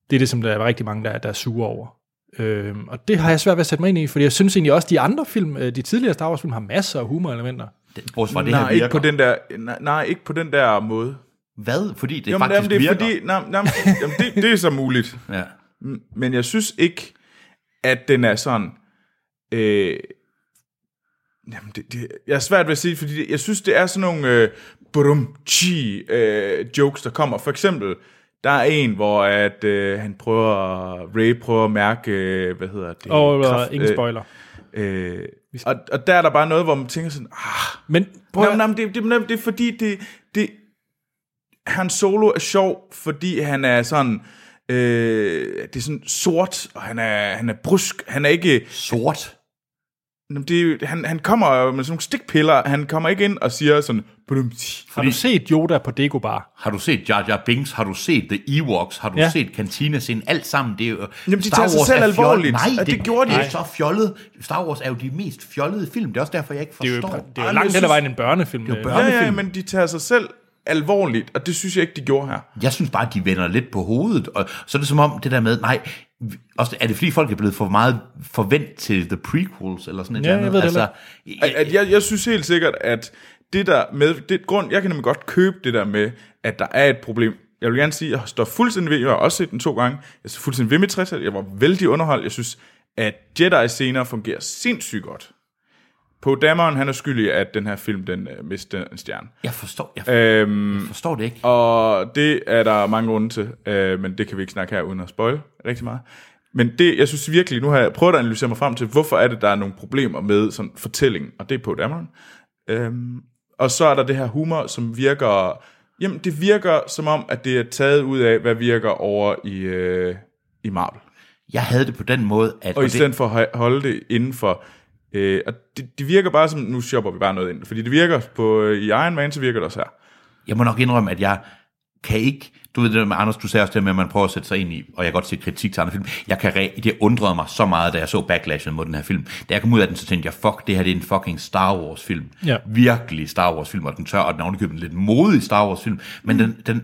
Speaker 1: Det er det, som der er rigtig mange, der, er- der er sure over. Øhm, og det har jeg svært ved at sætte mig ind i, fordi jeg synes egentlig også, at de andre film, øh, de tidligere Star Wars-film, har masser af humorelementer.
Speaker 2: Det- Bortset fra, det
Speaker 3: nej,
Speaker 2: her virker.
Speaker 3: ikke på den der, nej, nej, ikke på den der måde.
Speaker 2: Hvad? Fordi det
Speaker 3: Jamen,
Speaker 2: faktisk
Speaker 3: jamen, det er
Speaker 2: virker.
Speaker 3: fordi, nej, nej, jamen, det, det er så muligt.
Speaker 2: Ja.
Speaker 3: Men jeg synes ikke, at den er sådan... Øh, jamen, det, det, jeg er svært ved at sige, fordi det, jeg synes, det er sådan nogle øh, burum chi øh, jokes, der kommer. For eksempel, der er en, hvor at, øh, han prøver, Ray prøver at mærke, øh, hvad hedder det?
Speaker 1: Og
Speaker 3: Kraft-
Speaker 1: øh, ingen
Speaker 3: øh,
Speaker 1: spoiler.
Speaker 3: Øh, og, og der er der bare noget, hvor man tænker sådan, ah,
Speaker 1: Men prøv
Speaker 3: Nå,
Speaker 1: at,
Speaker 3: nå, men det, det, nej, det er fordi, det, det, han solo er sjov, fordi han er sådan, øh, det er sådan sort, og han er, han er brusk, han er ikke,
Speaker 2: Sort.
Speaker 3: nå, men det, er jo- han, han kommer jo med sådan nogle stikpiller, han kommer ikke ind og siger sådan, "Badum, tji."
Speaker 1: har du set Yoda på Dego Bar?
Speaker 2: Har du set Jar Jar Binks? Har du set The Ewoks? Har du
Speaker 1: Ja.
Speaker 2: ja. set Cantinescenen? Alt sammen, det er jo...
Speaker 3: Jamen, de tager sig
Speaker 2: Wars
Speaker 3: selv
Speaker 2: er fjol-
Speaker 3: alvorligt,
Speaker 2: Nej,
Speaker 3: og det gjorde de
Speaker 2: det er
Speaker 3: ikke.
Speaker 2: så fjollet. Star Wars er jo de mest fjollede film. Det er også derfor, jeg ikke
Speaker 1: Det er
Speaker 2: forstår.
Speaker 1: jo, det er jo
Speaker 3: Ej,
Speaker 1: langt
Speaker 3: jeg
Speaker 1: hen ad
Speaker 3: synes-
Speaker 1: vejen en børnefilm. øh, Det
Speaker 2: er jo børn-
Speaker 3: Ja, ja,
Speaker 2: børnefilm.
Speaker 3: men de tager sig selv alvorligt, og det synes jeg ikke, de gjorde her.
Speaker 2: Jeg synes bare, at de vender lidt på hovedet, og så er det som om det der med, nej, vi- også, er det fordi folk er blevet for meget forvent til the prequels, eller sådan et
Speaker 1: Ja,
Speaker 2: eller andet?
Speaker 1: jeg ved det
Speaker 2: altså,
Speaker 3: At, at jeg, jeg synes helt sikkert, at det der med, det grund, jeg kan nemlig godt købe det der med, at der er et problem. Jeg vil gerne sige, at jeg står fuldstændig ved, jeg har også set den to gange, jeg står fuldstændig ved mit 60 jeg var vældig underholdt, jeg synes, at Jedi-scener fungerer sindssygt godt. På Dameron, han er skyldig, at den her film, den øh, mistede en stjerne.
Speaker 2: jeg forstår, jeg, øhm, jeg forstår det ikke.
Speaker 3: Og det er der mange grunde til, øh, men det kan vi ikke snakke her uden at spoil rigtig meget. Men det, jeg synes virkelig, nu har jeg prøvet at analysere mig frem til, hvorfor er det, der er nogle problemer med sådan fortællingen, og det er på Dameron. Øhm, og så er der det her humor, som virker, jamen det virker som om, at det er taget ud af, hvad virker over i, øh, i Marvel.
Speaker 2: Jeg havde det på den måde, at...
Speaker 3: Og i
Speaker 2: det-
Speaker 3: stedet for at ho- holde det inden for... Øh, og det, det virker bare som, nu shopper vi bare noget ind, fordi det virker på, øh, i Iron Man, så virker det også her.
Speaker 2: jeg må nok indrømme, at jeg kan ikke, du ved det der med Anders, du sagde også det med, at man prøver at sætte sig ind i, og jeg kan godt se kritik til andre film, jeg kan re- det undrede mig så meget, da jeg så backlashen mod den her film. Da jeg kom ud af den, så tænkte jeg, fuck, det her det er en fucking Star Wars film.
Speaker 1: Ja.
Speaker 2: Virkelig Star Wars film, og den tør, og den er ovenikøbet en lidt modig Star Wars film, men mm. den, den,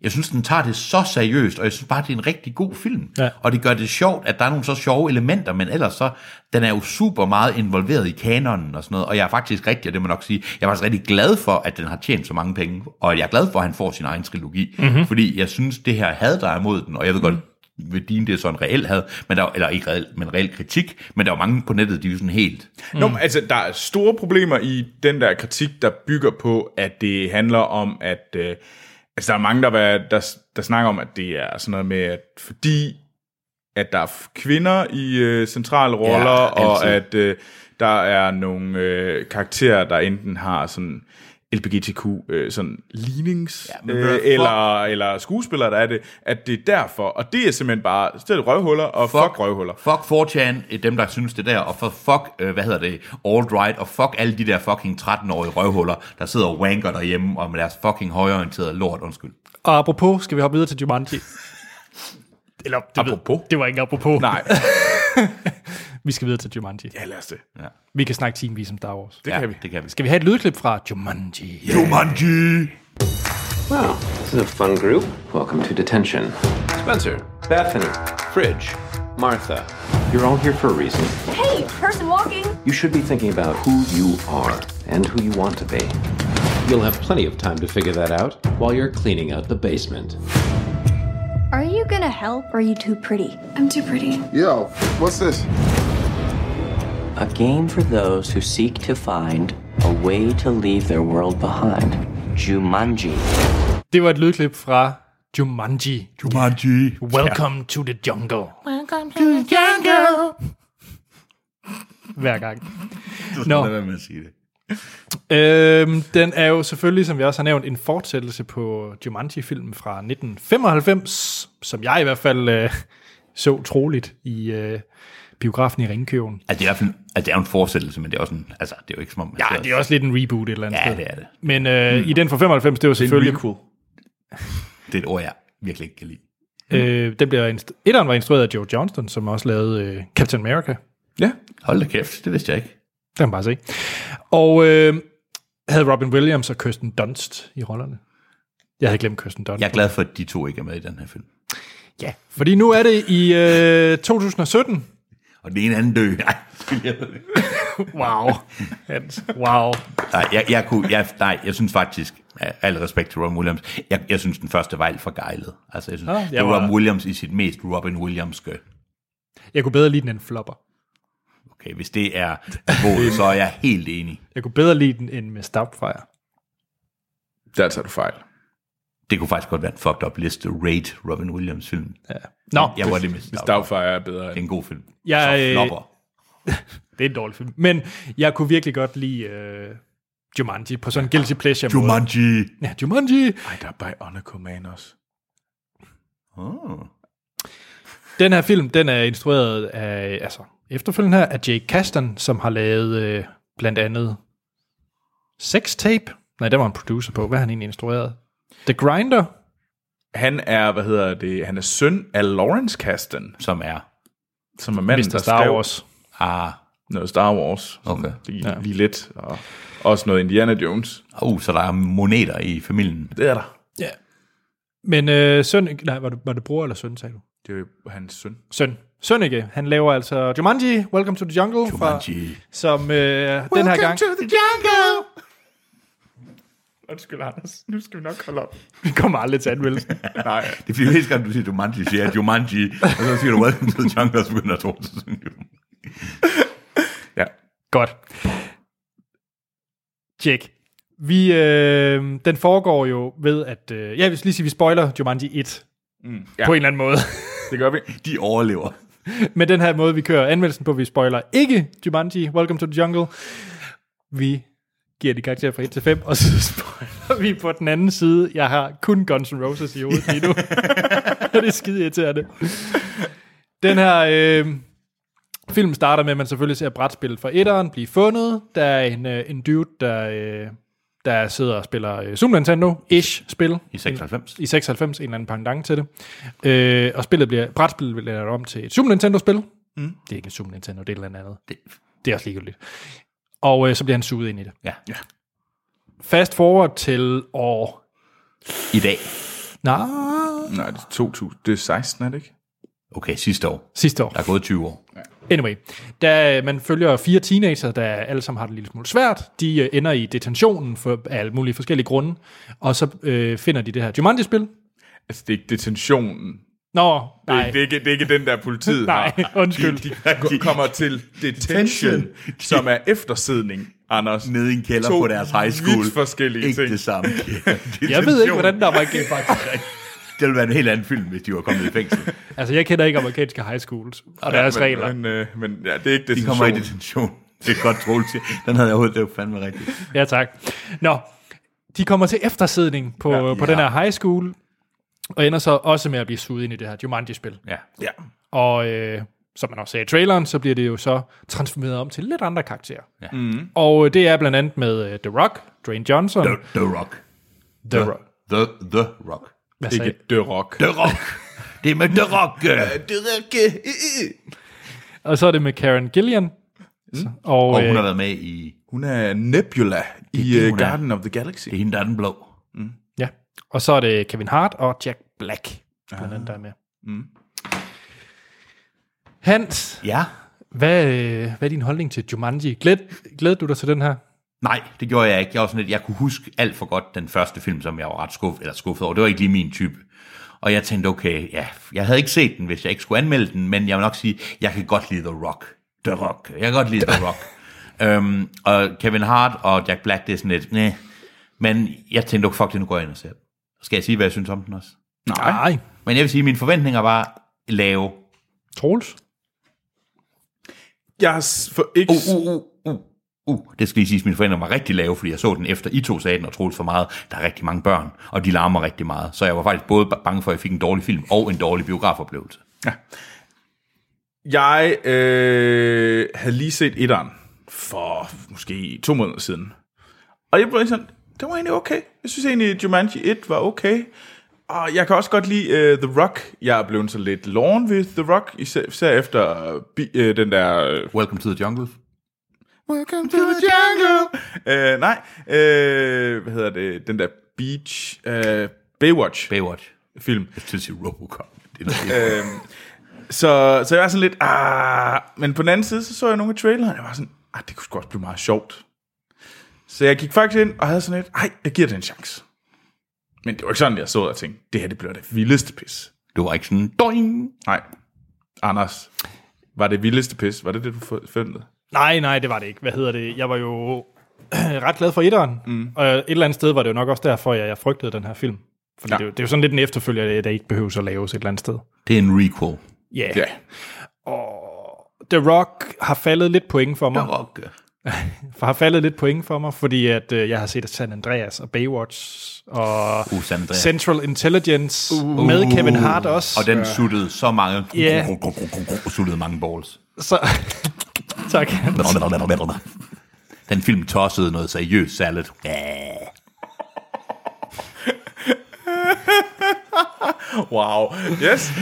Speaker 2: jeg synes, den tager det så seriøst, og jeg synes bare, det er en rigtig god film.
Speaker 1: Ja.
Speaker 2: Og det gør det sjovt, at der er nogle så sjove elementer, men ellers så, den er jo super meget involveret i kanonen og sådan noget, og jeg er faktisk rigtig, og det må jeg nok sige, jeg er faktisk rigtig glad for, at den har tjent så mange penge, og jeg er glad for, at han får sin egen trilogi, mm-hmm. fordi jeg synes, det her had, der er mod den, og jeg ved godt, ved din, det er så en reel had, men der, var- eller ikke reel, men reel kritik, men der er jo mange på nettet, de er jo sådan helt,
Speaker 3: Mm. Nå, men altså, der er store problemer i den der kritik, der bygger på, at det handler om, at... Øh, altså, der er mange, der, der, der, der snakker om, at det er sådan noget med, at fordi at der er f- kvinder i øh, centrale roller,
Speaker 2: Ja,
Speaker 3: ja, og
Speaker 2: altid.
Speaker 3: at øh, der er nogle øh, karakterer, der enten har sådan LGBTQ øh, sådan lignings,
Speaker 2: Ja,
Speaker 3: ja,
Speaker 2: men hvad
Speaker 3: øh,
Speaker 2: fuck?
Speaker 3: eller, eller skuespillere, der er det, at det er derfor, og det er simpelthen bare, det er røvhuller, og fuck, fuck røvhuller.
Speaker 2: Fuck 4chan, eh, dem der synes det der, og for fuck, øh, hvad hedder det, alt-right, og fuck alle de der fucking 13-årige røvhuller, der sidder og wanker derhjemme, og med deres fucking højorienterede lort, undskyld.
Speaker 1: Og apropos, skal vi hoppe videre til Jumanji? Eller, det
Speaker 3: Apropos?
Speaker 1: Ved, det var ikke apropos.
Speaker 3: Nej,
Speaker 1: Vi skal videre til Jumanji.
Speaker 3: ja, lad os det.
Speaker 2: Ja,
Speaker 1: Vi kan snakke timevis om Star Wars.
Speaker 3: Det
Speaker 2: ja,
Speaker 3: kan vi.
Speaker 2: Det kan vi.
Speaker 1: Skal vi have et lydklip fra Jumanji?
Speaker 2: Jumanji!
Speaker 4: Wow, this is a fun group. Welcome to detention. Spencer, Bethany, Fridge, Martha. You're all here for a reason.
Speaker 5: Hey, person walking.
Speaker 4: You should be thinking about who you are and who you want to be. You'll have plenty of time to figure that out while you're cleaning out the basement.
Speaker 5: Are you you gonna help or are you too pretty?
Speaker 6: I'm too pretty.
Speaker 7: Yo, what's this?
Speaker 8: A game for those who seek to find a way to leave their world behind. Jumanji.
Speaker 1: Det var et lydklip fra Jumanji.
Speaker 2: Jumanji.
Speaker 1: Welcome to the jungle. Welcome to the jungle. Hver gang. Nå.
Speaker 2: Lad være med at sige det.
Speaker 1: Øhm, den er jo selvfølgelig, som vi også har nævnt, en fortsættelse på Jumanji-filmen fra 1995, som jeg i hvert fald øh, så troligt i øh, biografen i Ringkøben.
Speaker 2: Altså, det er, i hvert fald, altså, det er jo en fortsættelse, men det er også en, altså, det er jo ikke som om...
Speaker 1: Ja, det er også lidt en reboot et eller andet
Speaker 2: Ja,
Speaker 1: sted.
Speaker 2: det er det.
Speaker 1: Men øh, i den fra 95, det var selvfølgelig...
Speaker 2: Det er et ord, jeg virkelig ikke kan lide.
Speaker 1: Øh, den bliver inst- Etteren var instrueret af Joe Johnston, som også lavede øh, Captain America.
Speaker 3: Ja.
Speaker 2: Hold da kæft, det vidste jeg ikke.
Speaker 1: Det kan man bare se. Og øh, havde Robin Williams og Kirsten Dunst i rollerne. Jeg havde glemt Kirsten Dunst.
Speaker 2: Jeg er glad for, at de to ikke er med i den her film.
Speaker 1: ja. Fordi nu er det i øh, 2017.
Speaker 2: Og den ene anden dø. Nej,
Speaker 1: Wow. Hans, wow.
Speaker 2: nej, jeg, jeg, kunne, jeg, nej, jeg synes faktisk, af al respekt til Robin Williams, jeg, jeg synes, den første var alt for gejlet. Altså, jeg synes,
Speaker 1: Nå,
Speaker 2: ah,
Speaker 1: jeg
Speaker 2: jeg det var
Speaker 1: var-
Speaker 2: Robin Williams i sit mest Robin Williamske.
Speaker 1: Jeg kunne bedre lide den end Flopper.
Speaker 2: Okay, hvis det er niveauet, så er jeg helt enig.
Speaker 1: Jeg kunne bedre lide den end med Stopfire.
Speaker 3: Der tager du fejl.
Speaker 2: Det kunne faktisk godt være en fucked up liste. Raid Robin Williams film. Ja.
Speaker 1: Nå,
Speaker 2: Jeg var det med Star Wars.
Speaker 3: Dagfire er bedre
Speaker 2: Det er
Speaker 3: end...
Speaker 2: en god film.
Speaker 1: Jeg, øh,
Speaker 2: så flopper.
Speaker 1: det er en dårlig film. Men jeg kunne virkelig godt lide øh, Jumanji på sådan en guilty pleasure måde.
Speaker 2: Jumanji.
Speaker 1: Ja, Jumanji.
Speaker 3: Ej, der er Bionicle Man også.
Speaker 2: Oh.
Speaker 1: Den her film, den er instrueret af, altså efterfølgende her, af Jake Kasdan, som har lavet øh, blandt andet Sex Tape. Nej, der var en producer på. Hvad har han egentlig instrueret? The Grinder.
Speaker 3: Han er, hvad hedder det, han er søn af Lawrence Kasten,
Speaker 2: Som er...
Speaker 3: som er manden,
Speaker 1: Mr.
Speaker 3: der
Speaker 1: Star
Speaker 3: skrev
Speaker 1: Wars.
Speaker 2: Ah,
Speaker 3: noget Star Wars. sådan
Speaker 2: Okay.
Speaker 3: Lige, ja. lige lidt. Og også noget Indiana Jones.
Speaker 2: uh, så der er moneter i familien.
Speaker 3: Det er der.
Speaker 1: Ja. Men øh, Søn... Nej, var det, var det bror eller søn, sagde du?
Speaker 3: Det er jo hans søn.
Speaker 1: Søn. Sønneke. Han laver altså Jumanji, Welcome to the Jungle, Fra,
Speaker 2: Jumanji.
Speaker 1: som øh, den her gang...
Speaker 3: the jungle! Undskyld, Anders. Nu skal vi nok holde op.
Speaker 1: Vi kommer aldrig til anmeldelsen.
Speaker 3: Nej,
Speaker 2: Det er fordi, hver gang du siger Jumanji, siger jeg Jumanji. Og så siger du, welcome to the jungle, og så begynder jeg at tro, at du synger Jumanji.
Speaker 3: ja.
Speaker 1: Godt. Tjek. Vi, øh, den foregår jo ved, at... Øh, ja, vi skal lige sige, vi spoiler Jumanji 1 mm, ja. på en eller anden måde.
Speaker 3: Det gør vi.
Speaker 2: De overlever.
Speaker 1: Men den her måde, vi kører anmeldelsen på, vi spoiler ikke Jumanji, Welcome to the Jungle. Vi giver de karakterer fra 1 til 5, og så spoiler vi på den anden side. Jeg har kun Guns N' Roses i hovedet lige nu. det er skide irriterende. Den her øh, film starter med, at man selvfølgelig ser brætspillet fra etteren blive fundet. Der er en, øh, en dude, der, øh, der sidder og spiller øh, Super Nintendo-ish spil.
Speaker 2: I 96.
Speaker 1: I 96, en eller anden pendant til det. Øh, og spillet bliver, brætspillet bliver lavet om til et Super Nintendo-spil. Mm. Det er ikke et Super Nintendo, det er et eller andet andet.
Speaker 2: Det,
Speaker 1: Det er også ligegyldigt. Og øh, så bliver han suget ind i det.
Speaker 2: ja. ja.
Speaker 1: Fast forward til år...
Speaker 2: I dag.
Speaker 1: Nej,
Speaker 3: Nej, det er 2000. Det er 16, er det ikke?
Speaker 2: Okay, sidste år.
Speaker 1: sidste år.
Speaker 2: Der er gået 20 år.
Speaker 1: Anyway, da man følger fire teenager, der alle sammen har det en lille smule svært, de øh, ender i detentionen for, af alle mulige forskellige grunde, og så øh, finder de det her Jumanji-spil.
Speaker 3: Altså, det er ikke detentionen.
Speaker 1: Nå,
Speaker 3: Det er,
Speaker 1: nej.
Speaker 3: ikke- det, er ikke, det er ikke den der politiet
Speaker 1: Nej,
Speaker 3: har.
Speaker 1: undskyld.
Speaker 3: De, de, de kommer til detention, som er eftersidning, Anders.
Speaker 2: Nede i en kælder
Speaker 3: To
Speaker 2: på deres high school.
Speaker 3: vidt forskellige
Speaker 2: ikke
Speaker 3: ting.
Speaker 2: det samme.
Speaker 1: Jeg ved ikke, hvordan der var...
Speaker 2: Det ville være en helt anden film, hvis de var kommet i fængsel.
Speaker 1: Altså, jeg kender ikke amerikanske high schools og deres
Speaker 3: men,
Speaker 1: regler.
Speaker 3: Men, øh, men ja, det er ikke
Speaker 2: De kommer i
Speaker 3: detentionen.
Speaker 2: detention. Det er godt troligt. Den havde jeg overhovedet, det var fandme rigtigt.
Speaker 1: Ja, tak. Nå, de kommer til eftersidning på, ja, på
Speaker 2: Ja.
Speaker 1: den her high school, og ender så også med at blive suget ind i det her Jumanji-spil.
Speaker 2: Ja.
Speaker 3: Ja.
Speaker 1: Og øh, som man også sagde i traileren, så bliver det jo så transformeret om til lidt andre karakterer. Ja. Mm. Og øh, det er blandt andet med øh, The Rock, Dwayne Johnson,
Speaker 2: The, the Rock.
Speaker 1: The, Rock.
Speaker 2: The, the Rock.
Speaker 1: Hvad
Speaker 3: Ikke
Speaker 1: sagde?
Speaker 3: The Rock.
Speaker 2: The Rock. Det er med The Rock.
Speaker 3: The Rock.
Speaker 1: Og så er det med Karen Gillian. Mm. Og,
Speaker 2: Og
Speaker 1: øh,
Speaker 2: hun har været med i...
Speaker 3: Hun er Nebula i
Speaker 2: det,
Speaker 3: øh,
Speaker 2: hun er.
Speaker 3: Garden of the Galaxy.
Speaker 2: Det er hende, der er den blå.
Speaker 1: ja. og så er det Kevin Hart og Jack Black, blandt andet, der er med. Ah. Mm. Hans,
Speaker 2: Ja.
Speaker 1: Hvad, øh, hvad er din holdning til Jumanji? Glæd, glæder du dig til den her?
Speaker 2: Nej, det gjorde jeg ikke. Jeg, var sådan lidt, jeg kunne huske alt for godt den første film, som jeg var ret skuffet, eller skuffet over. Det var ikke lige min type. Og jeg tænkte, okay, ja, jeg havde ikke set den, hvis jeg ikke skulle anmelde den, men jeg vil nok sige, jeg kan godt lide The Rock. The Rock. Jeg kan godt lide The Rock. øhm, og Kevin Hart og Jack Black, det er sådan lidt, næh. Men jeg tænkte, okay, fuck det, nu går jeg ind og ser den. Skal jeg sige, hvad jeg synes om den også?
Speaker 1: Nej.
Speaker 2: Men jeg vil sige, at mine forventninger var lave.
Speaker 1: Troels?
Speaker 3: Jeg har s- for ikke...
Speaker 2: Uh, uh, uh, uh, uh. Det skal lige siges, at mine forældre var rigtig lave, fordi jeg så den efter I to sagde den og troede for meget. Der er rigtig mange børn, og de larmer rigtig meget. Så jeg var faktisk både ba- bange for, at jeg fik en dårlig film og en dårlig biografoplevelse.
Speaker 3: uh. Jeg øh, havde lige set etteren for måske to måneder siden. Og jeg blev sådan, det var egentlig okay. Jeg synes egentlig, Jumanji 1 var okay. Og jeg kan også godt lide øh, The Rock. Jeg er blevet så lidt loven ved The Rock, især, især efter øh, bi, øh, den der... Øh,
Speaker 2: Welcome to the jungle.
Speaker 3: Welcome to the jungle! Øh, nej, øh, hvad hedder det? Den der Beach... Øh, Baywatch-film.
Speaker 2: Baywatch. Jeg skulle sige Robocop. Det er noget,
Speaker 3: Øhm, så, så jeg var sådan lidt, ah, men på den anden side, så så jeg nogle af trailerne, og jeg var sådan, ah, det kunne sgu også blive meget sjovt. Så jeg gik faktisk ind og havde sådan lidt, ej, jeg giver det en chance. Men det var ikke sådan, jeg så og tænkte, det her, det bliver det vildeste pis.
Speaker 2: det var ikke sådan, doing.
Speaker 3: Nej, Anders, var det vildeste pis? Var det det, du forventede?
Speaker 1: Nej, nej, det var det ikke. Hvad hedder det? Jeg var jo ret glad for etteren, mm. og et eller andet sted var det jo nok også derfor, jeg, jeg frygtede den her film. Fordi
Speaker 3: Ja.
Speaker 1: ja. det, er jo- det er jo sådan lidt en efterfølger, der ikke behøver at laves et eller andet sted.
Speaker 2: Det er en requel.
Speaker 1: Ja. Yeah.
Speaker 3: Ja.
Speaker 1: The Rock har faldet lidt point for mig.
Speaker 2: Rock.
Speaker 1: for har faldet lidt point for mig, fordi at øh, jeg har set San Andreas og Baywatch og
Speaker 2: Uh, San Andreas.
Speaker 1: Central Intelligence uh, med Kevin Hart også.
Speaker 2: Og den suttede så mange,
Speaker 1: Ja.
Speaker 2: suttede mange balls.
Speaker 1: Så, tak.
Speaker 2: Den film tossede noget seriøst særligt.
Speaker 3: Wow, yes.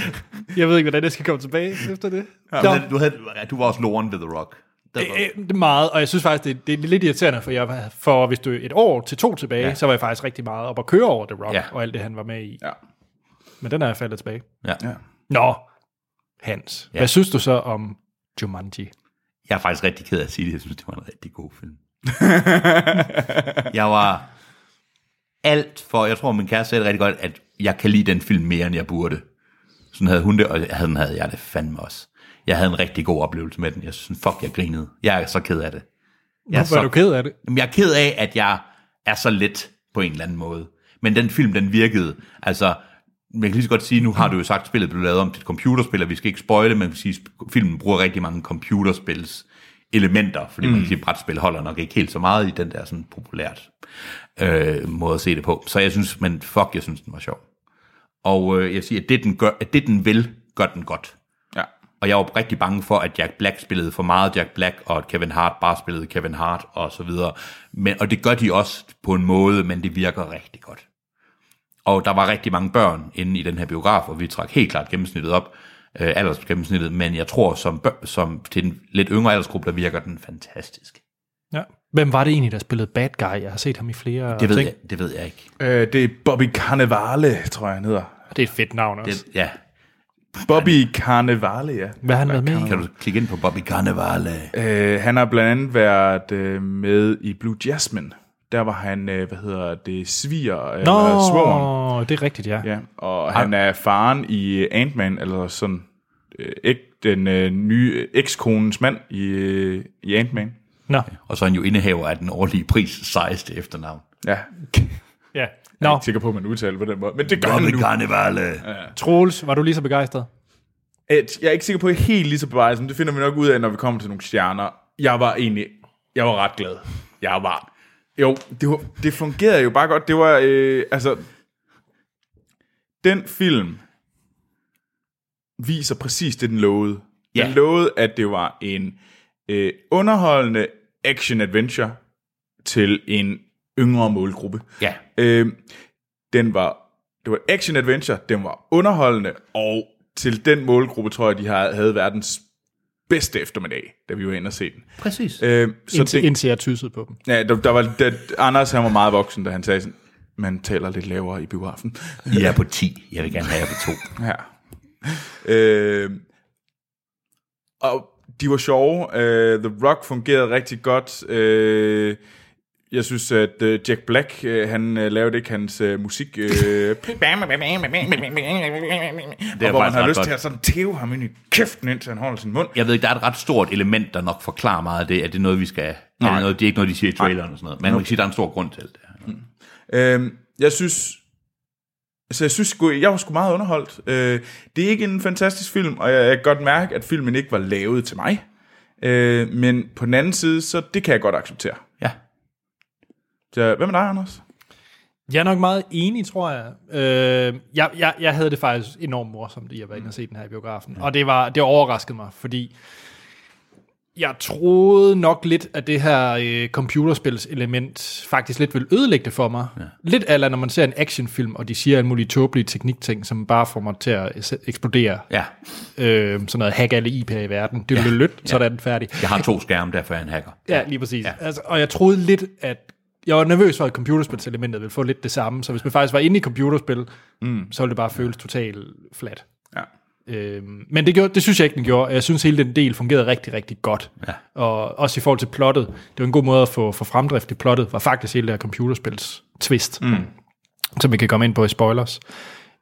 Speaker 1: Jeg ved ikke, hvordan jeg skal komme tilbage efter det. Ja,
Speaker 2: Du, du, havde, du var også loren ved The Rock. Det var-
Speaker 1: Øh, det er meget, og jeg synes faktisk, det, det er lidt irriterende, for, jeg, var- for hvis du er et år til to tilbage,
Speaker 2: Ja.
Speaker 1: ja. så var jeg faktisk rigtig meget op at køre over The Rock,
Speaker 2: Ja.
Speaker 1: ja. og alt det, han var med i.
Speaker 3: Ja.
Speaker 1: Men den er jeg faldet tilbage.
Speaker 2: Ja. ja.
Speaker 3: Ja.
Speaker 1: Nå, Hans, ja. hvad synes du så om Jumanji?
Speaker 2: Jeg er faktisk rigtig ked af at sige det. Jeg synes, det var en rigtig god film. jeg var alt for... Jeg tror, min kæreste sagde det rigtig godt, at jeg kan lide den film mere, end jeg burde. Sådan havde hun det, og sådan havde jeg det fandme også. Jeg havde en rigtig god oplevelse med den. Jeg synes, fuck, jeg grinede. Jeg er så ked af det. Jeg
Speaker 1: Hvorfor er du ked af det?
Speaker 2: Jamen, jeg er ked af, at jeg er så let på en eller anden måde. Men den film, den virkede. Altså, man kan lige så godt sige, nu har du jo sagt, at spillet blev lavet om til et computerspil, og vi skal ikke spoile, men man kan sige, at filmen bruger rigtig mange computerspils elementer, fordi mm. man kan sige, at brætspil holder nok ikke helt så meget i den der sådan populært øh, måde at se det på. Så jeg synes, men fuck, jeg synes, den var sjov. Og øh, jeg siger, at det, den gør, at det, den vil, gør den godt.
Speaker 3: Ja.
Speaker 2: Og jeg var rigtig bange for, at Jack Black spillede for meget Jack Black, og at Kevin Hart bare spillede Kevin Hart, og så videre. Men, og det gør de også på en måde, men det virker rigtig godt. Og der var rigtig mange børn inde i den her biograf, og vi trak helt klart gennemsnittet op, øh, aldersgennemsnittet, men jeg tror, som, bør, som til en lidt yngre aldersgruppe, der virker den fantastisk.
Speaker 1: Ja. Hvem var det egentlig, der spillede Bad Guy? Jeg har set ham i flere
Speaker 2: Det ved,
Speaker 1: ting.
Speaker 2: jeg, det ved jeg ikke.
Speaker 3: Øh, det er Bobby Carnevale, tror jeg, han hedder.
Speaker 1: Og Det er et fedt navn også.
Speaker 2: Det, ja.
Speaker 3: Bobby Carnevale, ja.
Speaker 1: Hvad har han været med i?
Speaker 2: Kan du klikke ind på Bobby Carnevale?
Speaker 3: Øh, han har blandt andet været øh, med i Blue Jasmine. Der var han, øh, hvad hedder det, sviger øh, eller svogeren.
Speaker 1: Nå, det er rigtigt, ja.
Speaker 3: Ja, og han er faren i øh, Ant-Man, eller sådan øh, æg- den øh, nye øh, ekskonens mand i, øh, i Ant-Man.
Speaker 1: Nå,
Speaker 2: Og så er han jo indehaver af den årlige pris sejeste efternavn.
Speaker 3: Ja,
Speaker 1: ja.
Speaker 3: jeg er
Speaker 1: Nå
Speaker 3: ikke sikker på, at man udtaler på den måde, men det gør han
Speaker 2: Bobby
Speaker 3: nu.
Speaker 2: Carnevale.
Speaker 1: Troels, var du lige så begejstret?
Speaker 3: Et, jeg er ikke sikker på, at jeg er helt lige så bevejs, men det finder vi nok ud af, når vi kommer til nogle stjerner. Jeg var egentlig, jeg var ret glad. Jeg var, jo, det, var, det fungerede jo bare godt. Det var, øh, altså, den film viser præcis det, den lovede. Den
Speaker 2: Ja.
Speaker 3: lovede, at det var en øh, underholdende action-adventure til en yngre målgruppe.
Speaker 2: Ja.
Speaker 3: Øh, den var, det var action adventure, den var underholdende, og til den målgruppe tror jeg, de har- havde verdens bedste eftermiddag, da vi var inde og se den.
Speaker 2: Præcis.
Speaker 3: Øh, så
Speaker 1: Indtil,
Speaker 3: det,
Speaker 1: indtil jeg tyssede på dem.
Speaker 3: ja, der, der var, der, Anders han var meget voksen, da han sagde sådan, man taler lidt lavere i biografen.
Speaker 2: Jeg er på 10. Jeg vil gerne have jer på 2.
Speaker 3: Ja. Øh, og de var sjove. Øh, The Rock fungerede rigtig godt. Øh, Jeg synes, at øh, Jack Black, øh, han øh, lavede ikke hans øh, musik... Øh, det
Speaker 2: er
Speaker 3: er hvor man
Speaker 2: faktisk
Speaker 3: har
Speaker 2: ret
Speaker 3: lyst
Speaker 2: godt.
Speaker 3: til at sådan tæve ham ind i kæften, indtil han holder sin mund.
Speaker 2: Jeg ved ikke, der er et ret stort element, der nok forklarer meget af det, at det er noget, vi skal... Nej. Er det, noget, det er ikke noget, de siger i traileren og sådan noget. Men man kan sige, at der er en stor grund til det.
Speaker 3: Øhm, jeg synes... Altså, jeg synes sgu, jeg var sgu meget underholdt. Øh, det er ikke en fantastisk film, og jeg, jeg kan godt mærke, at filmen ikke var lavet til mig. Øh, men på den anden side, så det kan jeg godt acceptere.
Speaker 2: Ja.
Speaker 3: Så, hvad med dig, Anders?
Speaker 1: Jeg er nok meget enig, tror jeg. Øh, jeg, jeg, jeg havde det faktisk enormt morsomt i at være inde og se den her i biografen. Og det, var, det overraskede mig, fordi jeg troede nok lidt, at det her øh, computerspilselement faktisk lidt ville ødelægge det for mig. Ja. Lidt ala, når man ser en actionfilm, og de siger en mulig tåbelige teknikting, som bare får mig til at es- eksplodere.
Speaker 2: Ja.
Speaker 1: Øh, sådan noget hack alle IP'er i verden. Det ja. lidt, så er den færdig.
Speaker 2: Jeg har to skærme, derfor er jeg en hacker.
Speaker 1: Ja, lige præcis. Ja. Altså, og jeg troede lidt, at jeg var nervøs for, at computerspilselementet ville få lidt det samme. Så hvis man faktisk var inde i computerspil, mm. så ville det bare føles totalt flat.
Speaker 3: Ja.
Speaker 1: Øhm, men det, gjorde, det synes jeg ikke, den gjorde. Jeg synes, hele den del fungerede rigtig, rigtig godt. Ja. Og også i forhold til plottet. Det var en god måde at få, få fremdrift i plottet, var faktisk hele det her computerspils twist, mm. som vi kan komme ind på i spoilers.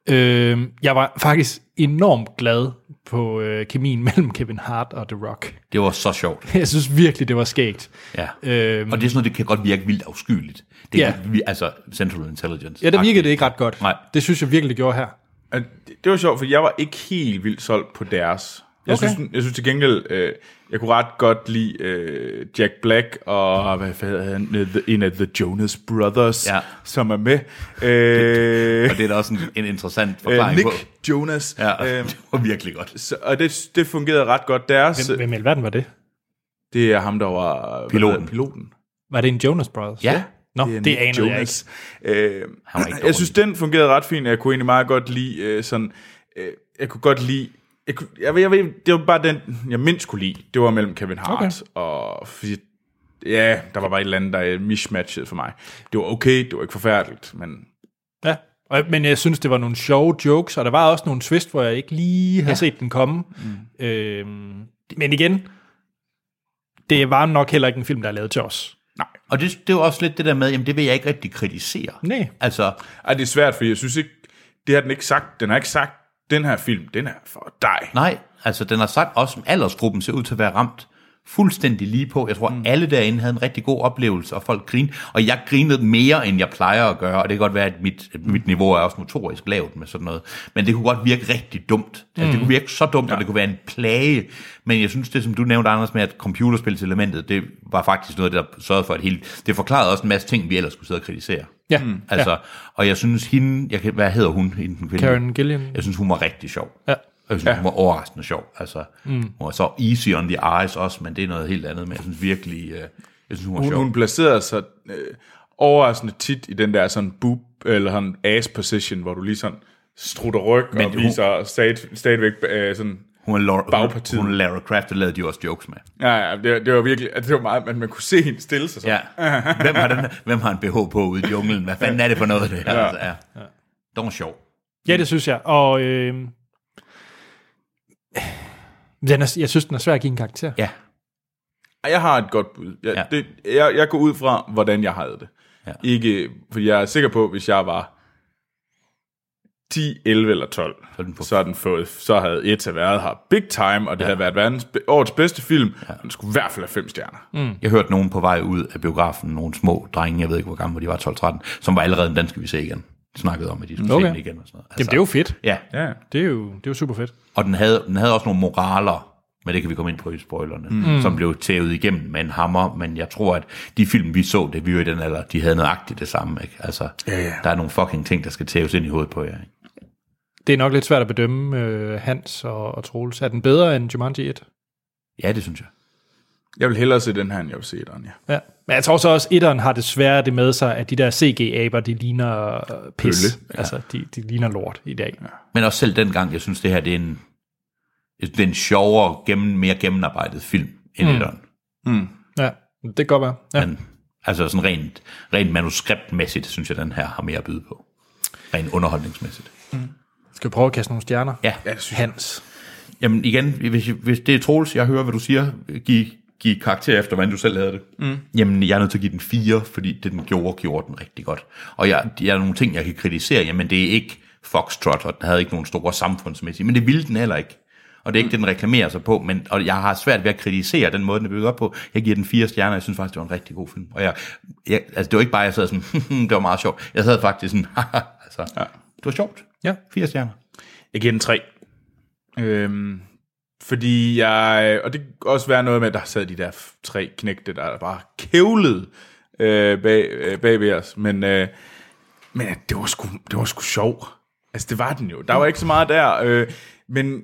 Speaker 1: Øhm, jeg var faktisk enormt glad på øh, kemien mellem Kevin Hart og The Rock.
Speaker 2: Det var så sjovt.
Speaker 1: Jeg synes virkelig, det var skægt.
Speaker 2: Ja.
Speaker 1: Øhm.
Speaker 2: Øhm. Og det er sådan noget, det kan godt virke vildt afskyeligt. Det
Speaker 1: Ja.
Speaker 2: ja. kan, vi- altså Central Intelligence.
Speaker 1: Ja, der virkede det ikke ret godt.
Speaker 2: Nej.
Speaker 1: Det synes jeg virkelig, det gjorde her.
Speaker 3: Altså, det, det var sjovt, for jeg var ikke helt vildt solgt på deres. Jeg,
Speaker 1: Okay.
Speaker 3: okay. synes, jeg synes til gengæld, øh, jeg kunne ret godt lide øh, Jack Black og hvad hedder han, Øh, the, en af The Jonas Brothers,
Speaker 2: Ja.
Speaker 3: ja. som er med. Øh,
Speaker 2: Og det er da også en, en interessant
Speaker 3: øh,
Speaker 2: forklaring
Speaker 3: Nick
Speaker 2: på.
Speaker 3: Jonas.
Speaker 2: Ja,
Speaker 3: Øhm,
Speaker 2: det var virkelig godt.
Speaker 3: så, og det, det fungerede ret godt deres.
Speaker 1: Hvem, hvem i alverden var det?
Speaker 3: Det er ham, der var hvad
Speaker 2: Piloten.
Speaker 3: hedder piloten.
Speaker 1: Var det en Jonas Brothers?
Speaker 2: Ja.
Speaker 1: Nå, det, det
Speaker 3: Nick
Speaker 1: anede jeg ikke.
Speaker 3: Øh,
Speaker 2: var ikke
Speaker 3: jeg synes, den fungerede ret fint. Jeg kunne egentlig meget godt lide øh, sådan... Øh, jeg kunne godt lide... Jeg, kunne, jeg, ved- jeg, ved, det var bare den, jeg mindst kunne lide. Det var mellem Kevin Hart okay. og... Fordi, ja, der var bare et eller andet, der øh, mismatchede for mig. Det var okay, det var ikke forfærdeligt, men...
Speaker 1: Ja. Og, men jeg synes, det var nogle sjove jokes, og der var også nogle twist, hvor jeg ikke lige havde ja. set den komme. Mm. Øhm, men igen, det var nok heller ikke en film, der er lavet til os.
Speaker 2: Og det, det er jo også lidt det der med, jamen det vil jeg ikke rigtig kritisere.
Speaker 1: Nej.
Speaker 2: Altså,
Speaker 3: Ej, det er svært, fordi jeg synes ikke... Det har den ikke sagt. Den har ikke sagt, den her film, den er for dig.
Speaker 2: nej, altså den har sagt også, at aldersgruppen ser ud til at være ramt fuldstændig lige på. Jeg tror, mm. alle derinde havde en rigtig god oplevelse, og folk grinede. Og jeg grinede mere, end jeg plejer at gøre, og det kan godt være, at mit, at mit niveau er også notorisk lavt med sådan noget. Men det kunne godt virke rigtig dumt. Altså, Det kunne virke så dumt, ja. og det kunne være en plage. Men jeg synes, det som du nævnte, Anders, med at computerspilselementet, det var faktisk noget, der sørgede for et helt... Det forklarede også en masse ting, vi ellers skulle sidde og kritisere.
Speaker 1: Ja. Mm.
Speaker 2: Altså, ja. og jeg synes hende, jeg kan, hvad hedder hun, hende, den kvinde?
Speaker 1: Karen Gillian.
Speaker 2: Jeg synes, hun var rigtig sjov.
Speaker 1: Ja.
Speaker 2: Jeg synes, ja. hun var overraskende sjov. Altså, mm. Hun var så easy on the eyes også, men det er noget helt andet. Men jeg synes virkelig, øh, jeg synes, hun var
Speaker 3: hun,
Speaker 2: sjov.
Speaker 3: hun placerede sig øh, overraskende tit i den der sådan boob, eller sådan ass position, hvor du lige sådan strutter ryg
Speaker 2: Men
Speaker 3: og
Speaker 2: hun-
Speaker 3: viser stad, stadigvæk øh, sådan...
Speaker 2: Hun er, Laura,
Speaker 3: Bagpartiet.
Speaker 2: hun er Lara Croft, det lavede de også jokes med.
Speaker 3: Ja, ja, det, det var virkelig... Altså, det var meget, at man kunne se hende stille sig sådan.
Speaker 2: Ja. Hvem, har den, hvem har en BH på ude i junglen? Hvad fanden er det for noget, det her? Ja. Altså, ja. Det var sjov.
Speaker 1: Ja, det synes jeg. Og øhm, den er, jeg synes, den er svær at give en karakter.
Speaker 2: Ja.
Speaker 3: Ej, Jeg har et godt bud. Jeg,
Speaker 2: Ja.
Speaker 3: ja. det, jeg, jeg går ud fra, hvordan jeg havde det.
Speaker 2: Ja.
Speaker 3: Ja. Ikke, for jeg er sikker på, hvis jeg var 10, 11 eller 12,
Speaker 2: er
Speaker 3: så,
Speaker 2: den på-
Speaker 3: så, den fået, så havde Etta været her big time, og det ja. havde været verdens, be- årets bedste film. Ja. Den skulle i hvert fald have fem stjerner.
Speaker 2: Jeg hørte nogen på vej ud af biografen, nogle små drenge, jeg ved ikke hvor gamle de var, 12-13, som var allerede, den skal vi se igen. De snakkede om, at de skulle okay.
Speaker 1: Okay.
Speaker 2: se den igen og sådan noget. Altså,
Speaker 1: Jamen, det er jo fedt.
Speaker 2: Ja,
Speaker 3: Ja.
Speaker 1: Det er jo, det er jo super fedt.
Speaker 2: Og den havde, den havde også nogle moraler, men det kan vi komme ind på i spoilerne, mm. som blev tævet igennem med en hammer, men jeg tror, at de film, vi så, det vi var i den alder, de havde nøjagtigt det samme. Ikke? Altså, ja, ja. der er nogle fucking ting, der skal tæves ind i hovedet på jer. Ikke?
Speaker 1: Det er nok lidt svært at bedømme øh, Hans og, og Troels. Er den bedre end Jumanji 1?
Speaker 2: Ja, det synes jeg.
Speaker 3: Jeg vil hellere se den her, end jeg vil se den, ja.
Speaker 1: Ja. Men jeg tror så også, at etteren har desværre det med sig, at de der CG-aber, de ligner øh, pis.
Speaker 3: Pølle.
Speaker 1: Ja. Altså, de, de ligner lort i dag. Ja.
Speaker 2: Men også selv dengang, jeg synes, det her det er en, det er en sjovere, gennem, mere gennemarbejdet film end mm. etteren.
Speaker 1: ja. Det kan godt være. Ja.
Speaker 2: Men, altså sådan rent, rent manuskriptmæssigt, synes jeg, den her har mere at byde på. Rent underholdningsmæssigt.
Speaker 1: Skal vi prøve at kaste nogle stjerner?
Speaker 2: Ja.
Speaker 1: Hans.
Speaker 2: Jamen igen, hvis, hvis det er Troels, jeg hører, hvad du siger, giv give karakter efter, hvordan du selv havde det. Mm. Jamen, jeg er nødt til at give den fire, fordi det, den gjorde, gjorde den rigtig godt. Og jeg, der er nogle ting, jeg kan kritisere. Jamen, det er ikke Foxtrot, og den havde ikke nogen store samfundsmæssige, men det ville den heller ikke. Og det er ikke det, den reklamerer sig på, men, og jeg har svært ved at kritisere den måde, den er bygget op på. Jeg giver den fire stjerner, jeg synes faktisk, det var en rigtig god film. Og jeg, jeg altså, det var ikke bare, jeg sad sådan, det var meget sjovt. Jeg sad faktisk sådan, altså, ja. det var sjovt.
Speaker 1: Ja.
Speaker 2: Fire stjerner.
Speaker 3: Jeg giver den tre. Øhm, fordi jeg... Og det kan også være noget med, at der sad de der f- tre knægte, der bare kævlede øh, bag, øh, bag ved os. Men, øh, men at det var sgu, det var sgu sjov. Altså, det var den jo. Der var ikke så meget der. Øh, men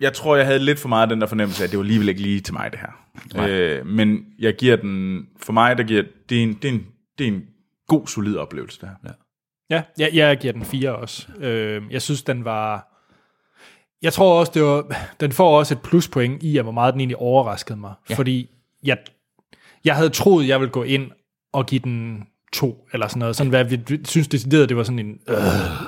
Speaker 3: jeg tror, jeg havde lidt for meget af den der fornemmelse af, at det var alligevel ikke lige til mig, det her. Øh, men jeg giver den... For mig, der giver... Det er en, det er en, det er en god, solid oplevelse, det her. Ja.
Speaker 1: Ja, jeg, jeg giver den 4 også. Øh, jeg synes, den var... Jeg tror også, det var, den får også et pluspoint i, at hvor meget den egentlig overraskede mig. Ja. Fordi jeg, jeg havde troet, jeg ville gå ind og give den to, eller sådan noget. Sådan, hvad vi vi synes decideret, det var sådan en øh,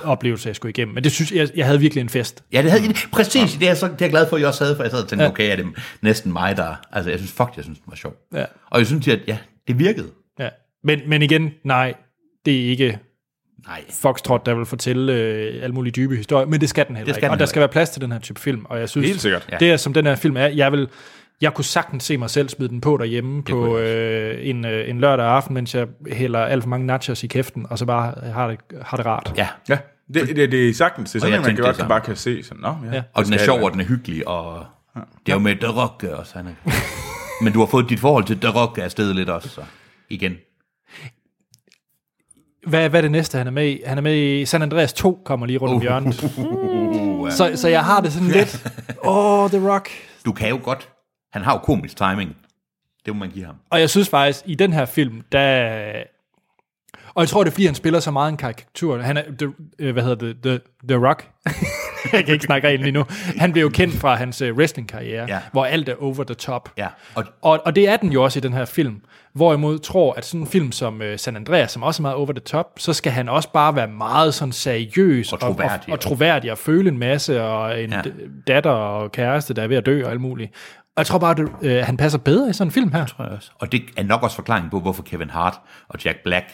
Speaker 1: oplevelse, jeg skulle igennem. Men det synes jeg, jeg havde virkelig en fest.
Speaker 2: Mm. Ja, det havde, præcis, det er, jeg så, det er jeg glad for, at jeg også havde, for jeg sad og tænkte, ja. okay, er det næsten mig, der... Altså, jeg synes, fuck, jeg synes, det var sjovt.
Speaker 1: Ja.
Speaker 2: Og jeg synes, at ja, det virkede.
Speaker 1: Ja. Men, men igen, nej, det er ikke
Speaker 2: Nej.
Speaker 1: Foxtrot, der vil fortælle øh, alle mulige dybe historier, men det skal den heller
Speaker 2: Det skal
Speaker 1: ikke. og
Speaker 2: den
Speaker 1: der
Speaker 2: heller
Speaker 1: skal være plads til den her type film, og jeg synes,
Speaker 3: Helt sikkert.
Speaker 2: Ja.
Speaker 1: det er som den her film er, jeg vil jeg kunne sagtens se mig selv smide den på derhjemme på
Speaker 2: kunne
Speaker 1: øh, en, øh, en lørdag aften, mens jeg hælder alt for mange nachos i kæften, og så bare har det, har det rart.
Speaker 2: Ja.
Speaker 3: Ja, det, det, det er sagtens. Det er
Speaker 2: Og jeg
Speaker 3: sådan, at man
Speaker 2: tænkte
Speaker 3: kan godt
Speaker 2: det samme.
Speaker 3: bare kan se sådan, Nå, ja.
Speaker 1: Ja.
Speaker 3: ja.
Speaker 2: Og den er sjov, og den er hyggelig, og det er jo med The Rock også, han er. Men du har fået dit forhold til The Rock afsted lidt også, så igen.
Speaker 1: Hvad, hvad er det næste, han er med i? Han er med i San Andreas 2, kommer lige
Speaker 2: Uh.
Speaker 1: rundt om hjørnet. Så, så jeg har det sådan lidt, åh, oh, The Rock.
Speaker 2: Du kan jo godt. Han har jo komisk timing. Det må man give ham.
Speaker 1: Og jeg synes faktisk, i den her film, der... Og jeg tror, det er, fordi han spiller så meget en karikatur. Han er, the, øh, hvad hedder det, The, the Rock. jeg kan ikke snakke rent lige nu. Han blev jo kendt fra hans øh, wrestling-karriere,
Speaker 2: Ja.
Speaker 1: hvor alt er over the top.
Speaker 2: Ja. Og
Speaker 1: Og, og det er den jo også i den her film. Hvorimod tror, at sådan en film som øh, San Andreas, som også er meget over the top, så skal han også bare være meget sådan seriøs
Speaker 2: Og
Speaker 1: og,
Speaker 2: troværdig.
Speaker 1: og troværdig og føle en masse, og en
Speaker 2: Ja.
Speaker 1: ja. datter og kæreste, der er ved at dø og alt muligt. Og jeg tror bare, at øh, han passer bedre i sådan en film her.
Speaker 2: tror jeg også. Og det er nok også forklaringen på, hvorfor Kevin Hart og Jack Black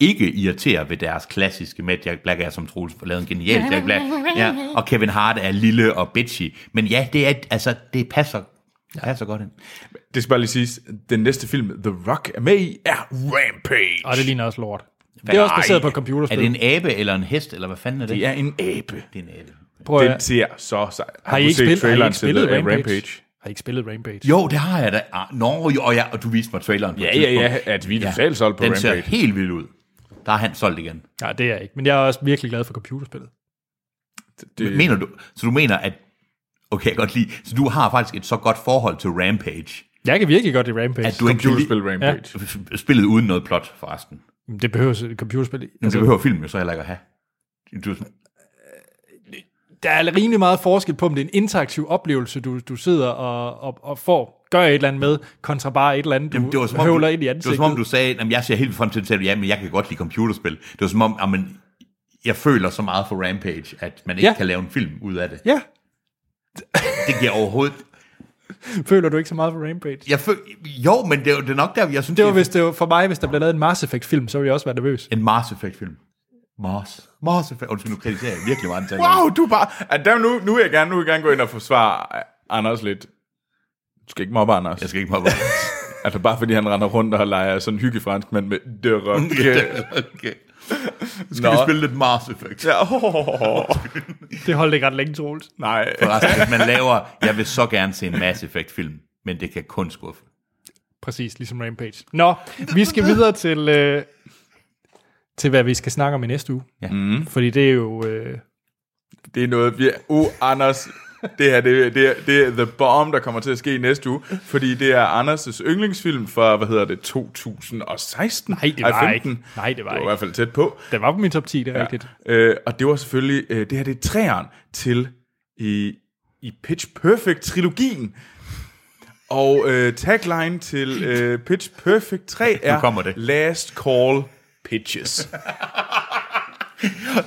Speaker 2: ikke irriterer ved deres klassiske med, at Jack Black er som Troels lavet en genial Jack Black, ja, og Kevin Hart er lille og bitchy. Men ja, det, er, altså, det passer, passer godt ind.
Speaker 3: Det skal bare lige siges, den næste film, The Rock er med i, er Rampage.
Speaker 1: Og det ligner også lort. det er også baseret på et
Speaker 2: Er
Speaker 1: computerspil.
Speaker 2: det en abe eller en hest, eller hvad fanden er det?
Speaker 3: Det er en abe.
Speaker 2: det er en abe.
Speaker 1: Prøv at,
Speaker 3: Den ser så sej.
Speaker 1: har, I
Speaker 3: du
Speaker 1: ikke
Speaker 3: set
Speaker 1: spillet, har I ikke
Speaker 3: traileren til,
Speaker 1: spillet
Speaker 3: øh,
Speaker 1: Rampage? Har I ikke spillet Rampage?
Speaker 2: Jo, det har jeg da. Ah, Nå, jo, og, jeg, og du viste mig traileren på et
Speaker 3: Ja, ja, ja,
Speaker 2: tidspunkt.
Speaker 3: at vi er totalt solgt på
Speaker 2: Den
Speaker 3: Rampage.
Speaker 2: ser helt vildt ud. Der er han solgt igen.
Speaker 1: Nej, det er jeg ikke. Men jeg er også virkelig glad for computerspillet.
Speaker 3: Det,
Speaker 2: Mener du, så du mener, at... Okay, jeg kan godt lide. Så du har faktisk et så godt forhold til Rampage,
Speaker 1: Jeg kan virkelig godt i Rampage.
Speaker 2: at du ikke kan
Speaker 3: computerspil Rampage. Ja.
Speaker 2: lide spillet uden noget plot, forresten. Men
Speaker 1: Det behøves et computerspil.
Speaker 2: altså,
Speaker 1: Altså,
Speaker 2: det behøver filmen jo så heller ikke at have. Du, er sådan-
Speaker 1: der er rimelig meget forskel på, om det er en interaktiv oplevelse, du, du sidder og, og, og får, gør et eller andet med, kontra bare et eller andet, du
Speaker 2: Jamen,
Speaker 1: Jamen,
Speaker 2: det var som om,
Speaker 1: høvler
Speaker 2: du,
Speaker 1: ind i
Speaker 2: det var
Speaker 1: ansigtet.
Speaker 2: som om, du sagde, at jeg ser helt frem til, at du sagde, ja, men jeg kan godt lide computerspil. Det var som om, jamen, jeg føler så meget for Rampage, at man ikke
Speaker 1: Ja.
Speaker 2: kan lave en film ud af det.
Speaker 1: Ja,
Speaker 2: Det giver overhovedet...
Speaker 1: føler du ikke så meget for Rampage?
Speaker 2: Jeg føl, jo, men det er, jo- det er nok der, jeg synes,
Speaker 1: Det var,
Speaker 2: er-
Speaker 1: hvis det var for mig, hvis der blev lavet en Mars Effect-film, så ville jeg også være nervøs.
Speaker 2: En Mars Effect film. Mars. Mars Effect. Undskyld, nu kritiserer jeg virkelig meget antallet.
Speaker 3: Wow, du er bare... At der, nu, nu, vil jeg gerne, nu vil jeg gerne gå ind og forsvare øh, Anders lidt. Du skal ikke mobbe Anders.
Speaker 2: Jeg skal ikke mobbe.
Speaker 3: Altså bare fordi han render rundt og leger sådan en hyggefransk mand med The Rock.
Speaker 2: okay. Så skal Nå. vi spille lidt Mars Effect.
Speaker 3: Ja, oh,
Speaker 1: Det holdt ikke ret længe, Troels.
Speaker 3: nej.
Speaker 2: Forresten, hvis man laver, jeg vil så gerne se en Mass Effect film, men det kan kun skuffe.
Speaker 1: Præcis, ligesom Rampage. Nå, vi skal videre til, øh, til hvad vi skal snakke om i næste uge.
Speaker 2: Ja.
Speaker 1: Mm. Fordi det er jo... Øh,
Speaker 3: Det er noget, vi... Uh, Anders, det her, det, er- det, er, det er the bomb, der kommer til at ske i næste uge, fordi det er Anders' yndlingsfilm fra, hvad hedder det, 2016?
Speaker 1: Nej, det var
Speaker 3: Ej,
Speaker 1: ikke. Nej, det var
Speaker 3: det var i
Speaker 1: ikke.
Speaker 3: hvert fald tæt på.
Speaker 1: den var på min top 10, det er ja. rigtigt.
Speaker 3: Øh, og det var selvfølgelig, øh, det her det er træeren til i, i Pitch Perfect-trilogien. Og øh, tagline til øh, Pitch Perfect 3 er
Speaker 2: kommer det.
Speaker 3: Last Call Pitches.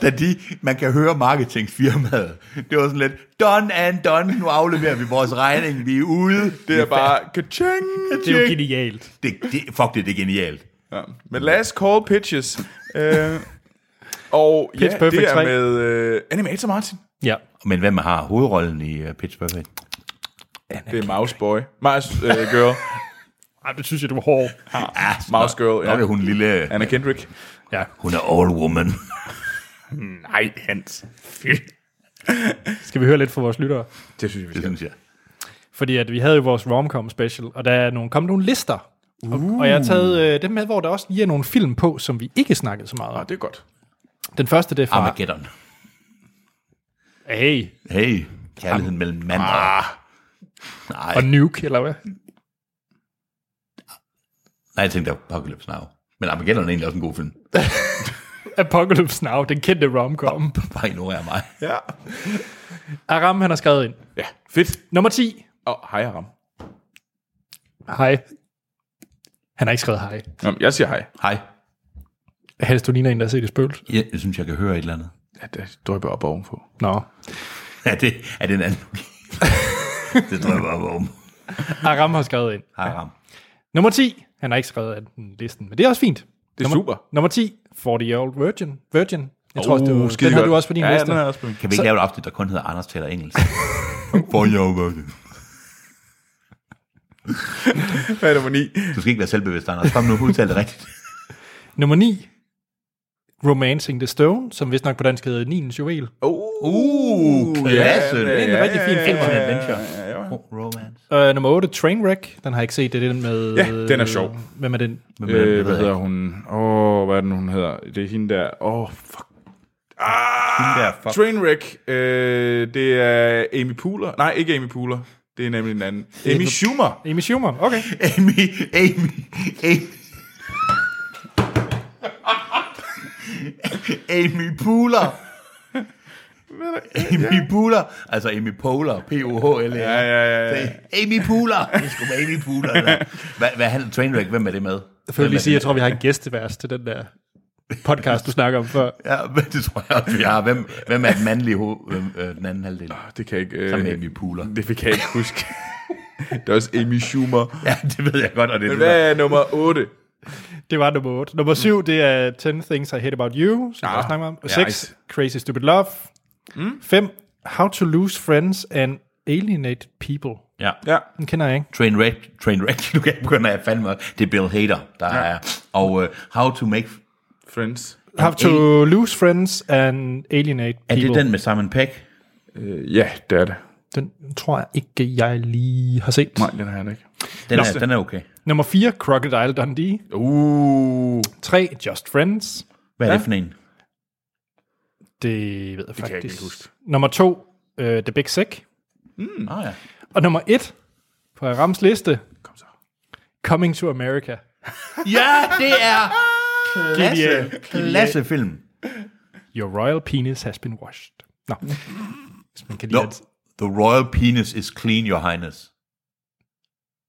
Speaker 2: da de, man kan høre marketingfirmaet, det var sådan lidt, done and done, nu afleverer vi vores regning, vi er ude.
Speaker 3: Det er bare ka-ching.
Speaker 1: Det er jo genialt.
Speaker 2: Det, det, fuck det, det er genialt.
Speaker 3: Ja. Men last call pitches. øh, og
Speaker 1: Pitch
Speaker 3: ja,
Speaker 1: Perfect
Speaker 3: det er
Speaker 1: 3.
Speaker 3: med øh, Animator Martin.
Speaker 1: Ja.
Speaker 2: Men hvem har hovedrollen i uh, Pitch Perfect?
Speaker 3: Det er Mouse Boy. Mouse øh, Girl.
Speaker 1: Ej, det synes jeg, du var hård.
Speaker 3: Mouse Girl,
Speaker 2: Ja. Nok er
Speaker 3: ja.
Speaker 2: hun en lille,
Speaker 3: Anna Kendrick.
Speaker 1: Ja.
Speaker 2: hun er all woman.
Speaker 3: Nej, Hans.
Speaker 1: Skal vi høre lidt fra vores lyttere?
Speaker 3: Det synes jeg, vi
Speaker 2: Det
Speaker 3: skal.
Speaker 2: synes jeg.
Speaker 1: Fordi at vi havde jo vores romcom special, og der er nogle, kom nogle lister. Uh. Og jeg har taget øh, dem med, hvor der også lige er nogle film på, som vi ikke snakkede så meget
Speaker 3: Ja,
Speaker 1: om.
Speaker 3: det er godt.
Speaker 1: Den første, Ah, det er fra...
Speaker 2: Armageddon.
Speaker 1: Hey,
Speaker 2: Hey, kærligheden mellem mand og...
Speaker 3: Ah.
Speaker 2: Nej,
Speaker 1: og Nuke, eller hvad?
Speaker 2: nej, jeg tænkte Apocalypse Now. Men Armageddon er egentlig også en god film.
Speaker 1: Apocalypse Now, den kendte romcom.
Speaker 2: Bare ignorer mig.
Speaker 3: Ja.
Speaker 1: Aram, han har skrevet ind.
Speaker 3: Ja, fedt.
Speaker 1: Nummer 10.
Speaker 3: Og hej, Aram.
Speaker 1: Hej. Han har ikke skrevet hej.
Speaker 3: Nå, jeg siger hej.
Speaker 2: Hej.
Speaker 1: Hans, du ligner en, der har set i spøgelse.
Speaker 2: Jeg, jeg synes, jeg kan høre et eller andet.
Speaker 3: Ja, det drøber op ovenpå.
Speaker 1: Nå.
Speaker 2: Er det, er det en anden Det tror jeg bare om.
Speaker 1: Aram Ah, har skrevet ind.
Speaker 2: Haram.
Speaker 1: Nummer 10. Han har ikke skrevet af den listen, men det er også fint.
Speaker 3: Det er
Speaker 1: nummer,
Speaker 3: super.
Speaker 1: Nummer 10. 40 Year Old Virgin. Virgin. Jeg tror også, det var,
Speaker 3: skide
Speaker 1: den har
Speaker 3: godt.
Speaker 1: du også på din
Speaker 3: ja,
Speaker 1: liste.
Speaker 3: Ja, den er også på min.
Speaker 2: Kan vi ikke lave et afsnit, der kun hedder Anders taler engelsk? For jeg var det.
Speaker 3: Hvad er nummer 9?
Speaker 2: Du skal ikke være selvbevidst, Anders. Kom nu, udtal det rigtigt.
Speaker 1: Nummer 9. Romancing the Stone, som vist nok på dansk hedder Nilens Juvel.
Speaker 3: Uh,
Speaker 2: Uh, klasse.
Speaker 1: Det er en rigtig fin film.
Speaker 2: Action adventure. Romance.
Speaker 1: Øh, nummer 8, Trainwreck. Den har jeg ikke set. Det er den med...
Speaker 3: Ja, den er sjov.
Speaker 1: Hvem er den?
Speaker 2: Men,
Speaker 3: øh, hvad hedder hun? Åh, oh, hvad er den, hun hedder? Det er hende der. Åh, oh, fuck. Ah,
Speaker 2: der, fuck.
Speaker 3: Trainwreck. Øh, det er Amy Pooler. Nej, ikke Amy Pooler. Det er nemlig en anden. Amy Schumer.
Speaker 1: Amy Schumer. Okay.
Speaker 2: Amy, Amy, Amy. Amy Pooler. Amy Pooler. Altså Amy Poehler. P-O-H-L-E.
Speaker 3: Ja, ja, ja, ja.
Speaker 2: Amy Pooler. Det skulle være Amy Pooler. Eller. Hvad, hvad handler Trainwreck? Hvem er det med?
Speaker 1: Jeg føler lige sige, jeg tror, vi har en gæsteværs til den der podcast, du snakker om før.
Speaker 2: Ja, men det tror jeg også, vi har. Hvem, hvem er den mandlige hoved, øh, øh, den anden halvdel?
Speaker 3: Det kan jeg ikke... øh,
Speaker 2: Sammen med Amy Pooler.
Speaker 3: Det kan jeg ikke huske. det er også Amy Schumer.
Speaker 2: Ja, det ved jeg godt, og det er
Speaker 3: Men
Speaker 2: det, der-
Speaker 3: hvad er nummer 8?
Speaker 1: Det var nummer 8.
Speaker 3: Mm.
Speaker 1: Nummer 7, det er 10 Things I Hate About You, som jeg også snakker om. Og 6,
Speaker 3: Ah, nice. Mm.
Speaker 1: Crazy Stupid Love. 5, How to Lose Friends and Alienate People.
Speaker 2: Ja.
Speaker 3: Ja.
Speaker 1: Den kender jeg ikke.
Speaker 2: Trainwreck, Trainwreck, du kan begynde at fandme, det er Bill Hader, der ja. er, og uh, How to Make,
Speaker 3: Friends.
Speaker 1: How to Lose Friends and Alienate
Speaker 2: er
Speaker 1: People.
Speaker 2: det den med Simon Peck?
Speaker 3: Øh, ja, det er det.
Speaker 1: Den tror jeg ikke, jeg lige har set.
Speaker 3: Nej, den har jeg ikke.
Speaker 2: Den er, den er okay.
Speaker 1: Nummer 4, Crocodile Dundee.
Speaker 3: Uh,
Speaker 1: 3, Just Friends.
Speaker 2: Hvad er det for en?
Speaker 1: Det ved jeg faktisk. Det
Speaker 3: jeg ikke huske.
Speaker 1: Nummer 2, uh, The Big Sick.
Speaker 2: Mm. Ah, ja.
Speaker 1: Og nummer 1 på Rams liste,
Speaker 3: kom så.
Speaker 1: Coming to America.
Speaker 2: ja, det er klasse,
Speaker 1: Genial.
Speaker 2: klasse film.
Speaker 1: Your royal penis has been washed. Nå. Hvis man kan lide
Speaker 2: No,
Speaker 1: at-
Speaker 2: the royal penis is clean, your highness.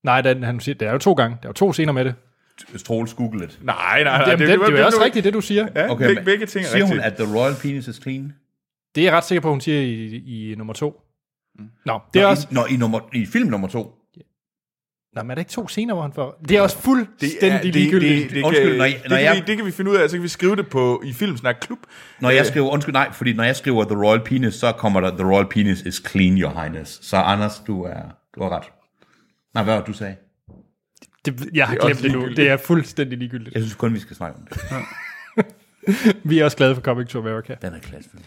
Speaker 1: Nej, den, han siger, der er jo to gange. Der er jo to scener med det.
Speaker 2: Troels google lidt.
Speaker 3: Nej, nej, nej.
Speaker 1: Jamen, det, det, det, er jo også
Speaker 3: nu-
Speaker 1: rigtigt, det du siger. Ja.
Speaker 3: Ja, okay, begge,
Speaker 2: men
Speaker 3: begge ting er
Speaker 2: siger hun,
Speaker 3: rigtigt.
Speaker 2: at the royal penis is clean?
Speaker 1: Det er jeg ret sikker på, hun siger i, i nummer to. Nå, det er
Speaker 2: Nå,
Speaker 1: også...
Speaker 2: i, nå, i, nummer, i film nummer to.
Speaker 1: Nå, men er der ikke to scener, hvor han får... Det er også fuldstændig
Speaker 3: det, det, det,
Speaker 1: ligegyldigt.
Speaker 3: det,
Speaker 2: Undskyld,
Speaker 3: kan,
Speaker 2: når I-
Speaker 3: det,
Speaker 2: når
Speaker 3: kan
Speaker 2: jeg-
Speaker 3: vi, det kan vi finde ud af, så kan vi skrive det på i Filmsnak Klub.
Speaker 2: Når jeg skriver, undskyld, nej, fordi når jeg skriver The Royal Penis, så kommer der The Royal Penis is clean, your highness. Så Anders, du er, du har ret. Nej, hvad var det, du sagde?
Speaker 1: det, jeg har
Speaker 3: Det er
Speaker 1: glemt
Speaker 3: også
Speaker 1: det nu.
Speaker 3: ligegyldigt.
Speaker 1: Det er fuldstændig ligegyldigt.
Speaker 2: Jeg synes kun, vi skal snakke om det.
Speaker 1: Vi er også glade for Coming to America.
Speaker 2: Den er klasse. film.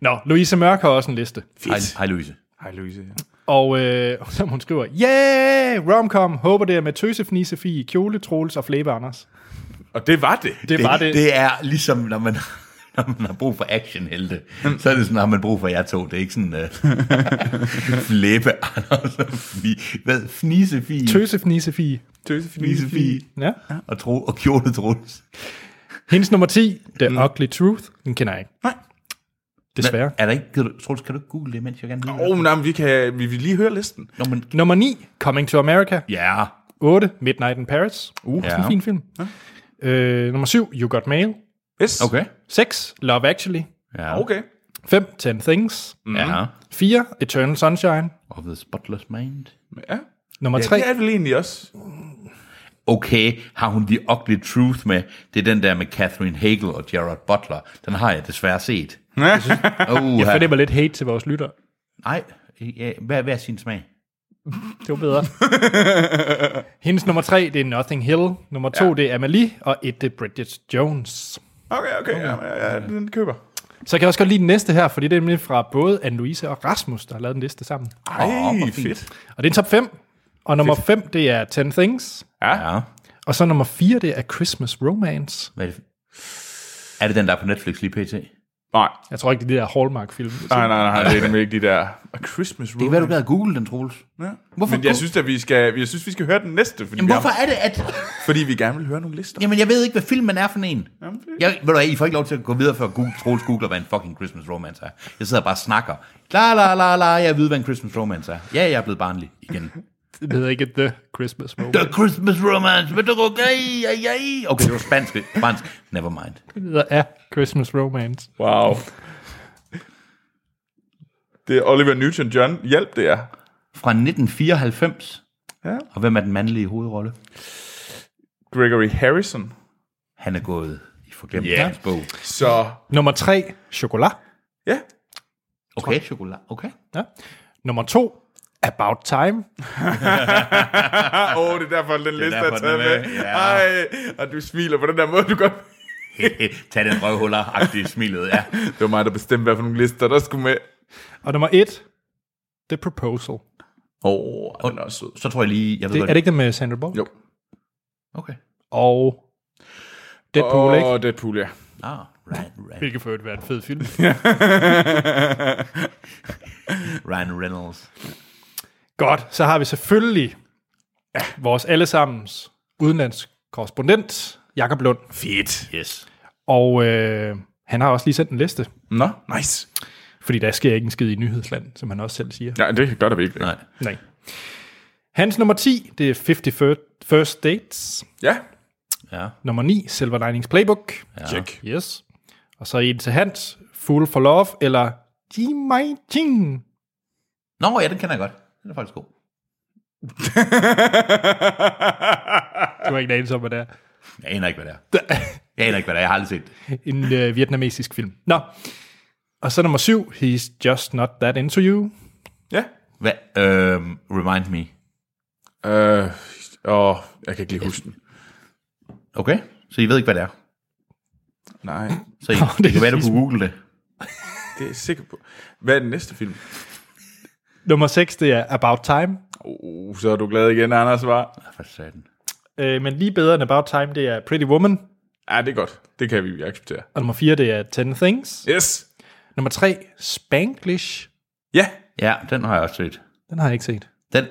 Speaker 1: Nå, Louise Mørk har også en liste.
Speaker 2: Hej, hej Louise.
Speaker 3: Hej, Louise.
Speaker 1: Og øh, som hun skriver, yeah, romcom, håber det er med tøsefnise, Fie, kjole, Troels og flæbe Anders.
Speaker 3: Og det var det.
Speaker 1: Det, var det.
Speaker 2: det er ligesom, når man, når man har brug for actionhelte, så er det sådan, har man brug for jer to. Det er ikke sådan, uh, flæbe, Anders, og fni- hvad, fnisefie,
Speaker 1: Tøsefnise, Fie.
Speaker 3: Tøse Finise
Speaker 2: fnisefie,
Speaker 1: Ja.
Speaker 2: og, tro, og kjole trus.
Speaker 1: Hendes nummer 10, The mm. Ugly Truth, den kender jeg ikke.
Speaker 3: Nej.
Speaker 1: Desværre.
Speaker 2: Er der ikke, kan du, Troels, kan du ikke google det, mens jeg gerne vil?
Speaker 3: Åh, oh, nej, men vi kan vi vil lige høre listen.
Speaker 2: Nå, men,
Speaker 1: Nummer 9, Coming to America.
Speaker 2: ja,
Speaker 1: 8, Midnight in Paris. Uh,
Speaker 2: Ja.
Speaker 1: ja. en fin film. Ja. Øh, nummer 7, You Got Mail.
Speaker 3: Yes.
Speaker 2: Okay.
Speaker 1: 6. Love Actually.
Speaker 2: Ja.
Speaker 3: Okay.
Speaker 1: 5. 10 Things.
Speaker 2: Ja.
Speaker 1: 4. Eternal Sunshine.
Speaker 2: Of the spotless mind.
Speaker 3: Ja.
Speaker 1: Nummer
Speaker 3: ja
Speaker 1: 3.
Speaker 3: det er vel egentlig også.
Speaker 2: Okay, har hun The Ugly Truth med? Det er den der med Catherine Hagel og Gerard Butler. Den har jeg desværre set. Oh,
Speaker 1: Jeg fornemmer lidt hate til vores lytter.
Speaker 2: Nej, ja, hvad, hvad er sin smag?
Speaker 1: Det var bedre. Hendes nummer 3, det er Nothing Hill. Nummer 2, ja. det er Amelie. Og 1, det er Bridget Jones.
Speaker 3: Okay, okay. Ja, ja, ja, den køber.
Speaker 1: Så kan jeg også godt lide den næste her, fordi det er nemlig fra både Anne-Louise og Rasmus, der har lavet en liste sammen.
Speaker 3: Ej,
Speaker 2: Åh, hvor
Speaker 3: oh,
Speaker 2: fint.
Speaker 3: fedt.
Speaker 1: Og det er en top 5. Og nummer 5, det er 10 Things.
Speaker 2: Ja.
Speaker 1: Og så nummer 4, det er Christmas Romance.
Speaker 2: Hvad er, det? er det den, der er på Netflix lige pt? Det
Speaker 3: Nej,
Speaker 1: Jeg tror ikke, det er de der Hallmark-film.
Speaker 3: nej, nej, nej, det er nemlig ikke de der A Christmas
Speaker 2: kan være, du
Speaker 3: Room.
Speaker 2: gad google den, Troels.
Speaker 3: Ja.
Speaker 2: Hvorfor
Speaker 3: Men jeg
Speaker 2: go-
Speaker 3: synes, at vi skal, jeg synes, vi skal høre den næste, fordi,
Speaker 2: Jamen,
Speaker 3: vi,
Speaker 2: hvorfor
Speaker 3: har,
Speaker 2: er det, at...
Speaker 3: fordi vi gerne vil høre nogle lister.
Speaker 2: Jamen, jeg ved ikke, hvad filmen er for en.
Speaker 3: Jamen, det-
Speaker 2: Jeg, ved du hvad, I får ikke lov til at gå videre, før Google, Troels googler, hvad en fucking Christmas romance er. Jeg sidder og bare og snakker. La la la la, jeg ved, hvad en Christmas romance er. Ja, jeg er blevet barnlig igen.
Speaker 1: Det hedder ikke The Christmas Romance.
Speaker 2: The Christmas romance, men det er okay, ja, ja. Okay, det var spansk. Spansk. Never mind.
Speaker 1: Det hedder A Christmas Romance.
Speaker 3: Wow. Det er Oliver Newton-John. Hjælp, det er.
Speaker 2: Fra 1994.
Speaker 3: Ja.
Speaker 2: Og hvem er den mandlige hovedrolle?
Speaker 3: Gregory Harrison.
Speaker 2: Han er gået i forglemt
Speaker 1: Ja.
Speaker 2: yeah. bog.
Speaker 3: Så,
Speaker 1: Nummer 3, Chocolat.
Speaker 3: ja.
Speaker 2: Okay, chokolade. Okay.
Speaker 1: Ja. Nummer 2, About Time.
Speaker 3: Åh, oh, det er derfor, den liste
Speaker 2: derfor,
Speaker 3: er taget
Speaker 2: den er
Speaker 3: med.
Speaker 2: med, ja.
Speaker 3: Ej, og du smiler på den der måde, du godt...
Speaker 2: Tag den røvhuller-agtige smilet, ja.
Speaker 3: Det var mig, der bestemte, hvad for nogle lister, der skulle med.
Speaker 1: Og nummer 1, The Proposal.
Speaker 3: Åh, oh, den er også sød.
Speaker 2: Så tror jeg lige, jeg ved
Speaker 1: Det, er
Speaker 2: godt.
Speaker 1: det ikke det med Sandra Bullock?
Speaker 3: Jo.
Speaker 2: Okay.
Speaker 1: Og Deadpool, oh. ikke?
Speaker 3: Og Deadpool, ja.
Speaker 2: Ah, Ryan, Ryan,
Speaker 1: Hvilket for øvrigt være en fed film.
Speaker 2: Ryan Reynolds.
Speaker 1: Godt, så har vi selvfølgelig ja, vores allesammens udenlandskorrespondent, Jakob Lund.
Speaker 3: Fedt.
Speaker 2: Yes.
Speaker 1: Og øh, han har også lige sendt en liste,
Speaker 3: Nå, nice.
Speaker 1: fordi der sker ikke en skid i nyhedsland, som han også selv siger.
Speaker 3: Ja, det gør der vi ikke.
Speaker 2: Nej.
Speaker 1: Nej. Hans nummer 10, det er 50 First Dates.
Speaker 3: Ja.
Speaker 2: Ja.
Speaker 1: Nummer 9, Silver Linings Playbook.
Speaker 2: ja.
Speaker 3: Check.
Speaker 1: Yes. Og så en til Hans, Fool for Love, eller Ji Mai Jing.
Speaker 2: Nå, ja, den kender jeg godt. Den er faktisk god.
Speaker 1: Du har ikke en anelse om, hvad det er.
Speaker 2: Jeg aner ikke, hvad det er. Jeg aner ikke, hvad det er. Jeg har aldrig set det.
Speaker 1: En øh, vietnamesisk film. Nå. Og så nummer 7, He's Just Not That Into You.
Speaker 3: Ja.
Speaker 2: Hvad? Øhm, remind me.
Speaker 3: Øh, åh, jeg kan ikke lige huske den.
Speaker 2: Okay, så I ved ikke, hvad det er.
Speaker 3: Nej,
Speaker 2: Så I,
Speaker 1: Nå,
Speaker 2: det,
Speaker 1: det
Speaker 2: det kan være, du
Speaker 1: er- ligesom-
Speaker 2: kunne google det.
Speaker 3: det er jeg sikker på. Hvad er den næste film?
Speaker 1: Nummer 6, det er About Time.
Speaker 3: Uh, så er du glad igen, Anders, var.
Speaker 2: Hvad sagde den?
Speaker 1: Øh, men lige bedre end About Time, det er Pretty Woman.
Speaker 3: Ja, det er godt. Det kan vi acceptere.
Speaker 1: Og nummer 4, det er 10 Things.
Speaker 3: Yes.
Speaker 1: Nummer 3, Spanglish.
Speaker 3: Ja.
Speaker 2: Ja, den har jeg også set.
Speaker 1: Den har jeg ikke set.
Speaker 2: Den,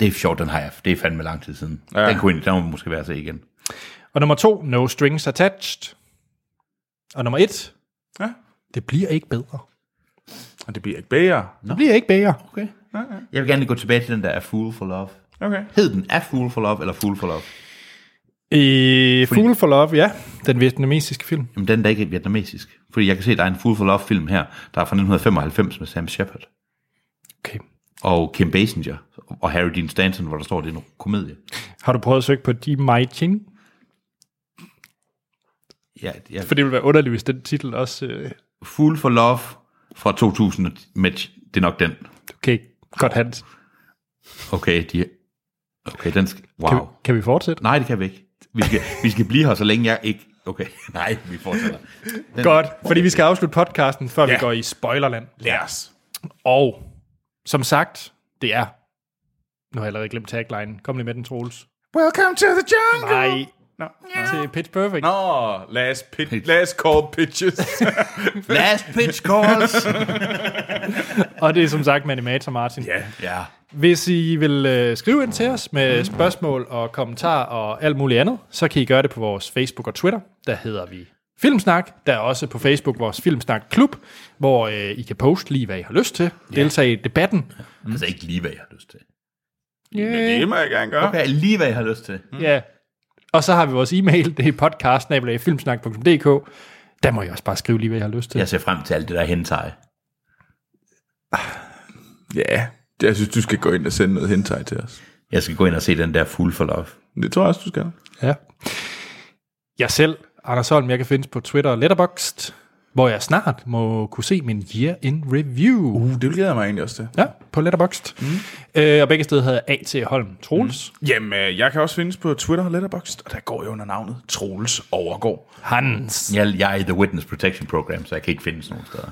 Speaker 2: det er sjovt, den har jeg. Det er fandme lang tid siden. Ja. Den kunne egentlig- den må måske være at se igen.
Speaker 1: Og nummer 2, No Strings Attached. Og nummer 1,
Speaker 3: ja.
Speaker 1: det bliver ikke bedre.
Speaker 3: Og det bliver ikke bedre.
Speaker 1: Det bliver ikke bedre.
Speaker 2: Okay. Jeg vil gerne lige gå tilbage til den der A Fool for Love.
Speaker 3: Okay.
Speaker 2: Hed den A Fool for Love eller Fool for Love?
Speaker 1: Øh, Fool for Love, ja. Den vietnamesiske film.
Speaker 2: Jamen, den er da ikke vietnamesisk. Fordi jeg kan se, at der er en Fool for Love-film her, der er fra 1995 med Sam Shepard
Speaker 1: Okay.
Speaker 2: og Kim Basinger og Harry Dean Stanton, hvor der står, at det er en komedie.
Speaker 1: Har du prøvet at søge på Ji Mai Ching?
Speaker 2: Ja, ja.
Speaker 1: For det ville være underligt, hvis den titel også... Øh,
Speaker 2: Fool for Love fra 2000, med, det er nok den.
Speaker 1: okay, godt Hans.
Speaker 2: Okay, de, okay den skal, wow.
Speaker 1: Kan, vi, kan vi fortsætte?
Speaker 2: Nej, det kan vi ikke. Vi skal, vi skal blive her, så længe jeg ikke... Okay, nej, vi fortsætter. Den,
Speaker 1: Godt, fordi vi skal afslutte podcasten, før ja. vi går i spoilerland.
Speaker 3: Lad os.
Speaker 1: Og som sagt, det er... Nu har jeg allerede glemt tagline. Kom lige med den, Troels.
Speaker 3: Welcome to the jungle.
Speaker 1: Nej,
Speaker 3: Nå,
Speaker 1: til Pitch Perfect.
Speaker 3: Nå last, pit, last call pitches.
Speaker 2: Last pitch calls!
Speaker 1: Og det er som sagt med Animator Martin. Ja.
Speaker 2: ja.
Speaker 1: Hvis I vil øh, skrive ind til os med spørgsmål og kommentarer og alt muligt andet, så kan I gøre det på vores Facebook og Twitter. Der hedder vi Filmsnak. Der er også på Facebook vores Filmsnak Klub, hvor øh, I kan poste lige, hvad I har lyst til. Deltage i debatten.
Speaker 2: Altså ikke lige, hvad jeg har lyst til.
Speaker 1: Yeah.
Speaker 3: Mm. det må jeg gerne gøre. Mm.
Speaker 2: Okay, lige hvad jeg har lyst til.
Speaker 1: Ja. Og så har vi vores e-mail, det er podcast-filmsnak.dk. Der må jeg også bare skrive lige, hvad jeg har lyst til.
Speaker 2: Jeg ser frem til alt det der hentai.
Speaker 3: Ja, det- jeg synes, du skal gå ind og sende noget hentai til os.
Speaker 2: Jeg skal gå ind og se den der Full for Love.
Speaker 3: Det tror jeg også, du skal.
Speaker 1: Ja. Jeg selv, Anders Holm, jeg kan findes på Twitter og Letterboxd, hvor jeg snart må kunne se min Year in Review. Uh.
Speaker 3: Uh, det glæder jeg mig egentlig også til.
Speaker 1: Ja, på Letterboxd. Mm. Øh, og begge steder hedder A.T. Holm Troels. Mm.
Speaker 3: Jamen, øh, jeg kan også findes på Twitter og Letterboxd, og der går jeg under navnet Troels Overgaard.
Speaker 1: Hans.
Speaker 2: Jeg, jeg er i The Witness Protection Program, så jeg kan ikke findes nogen steder.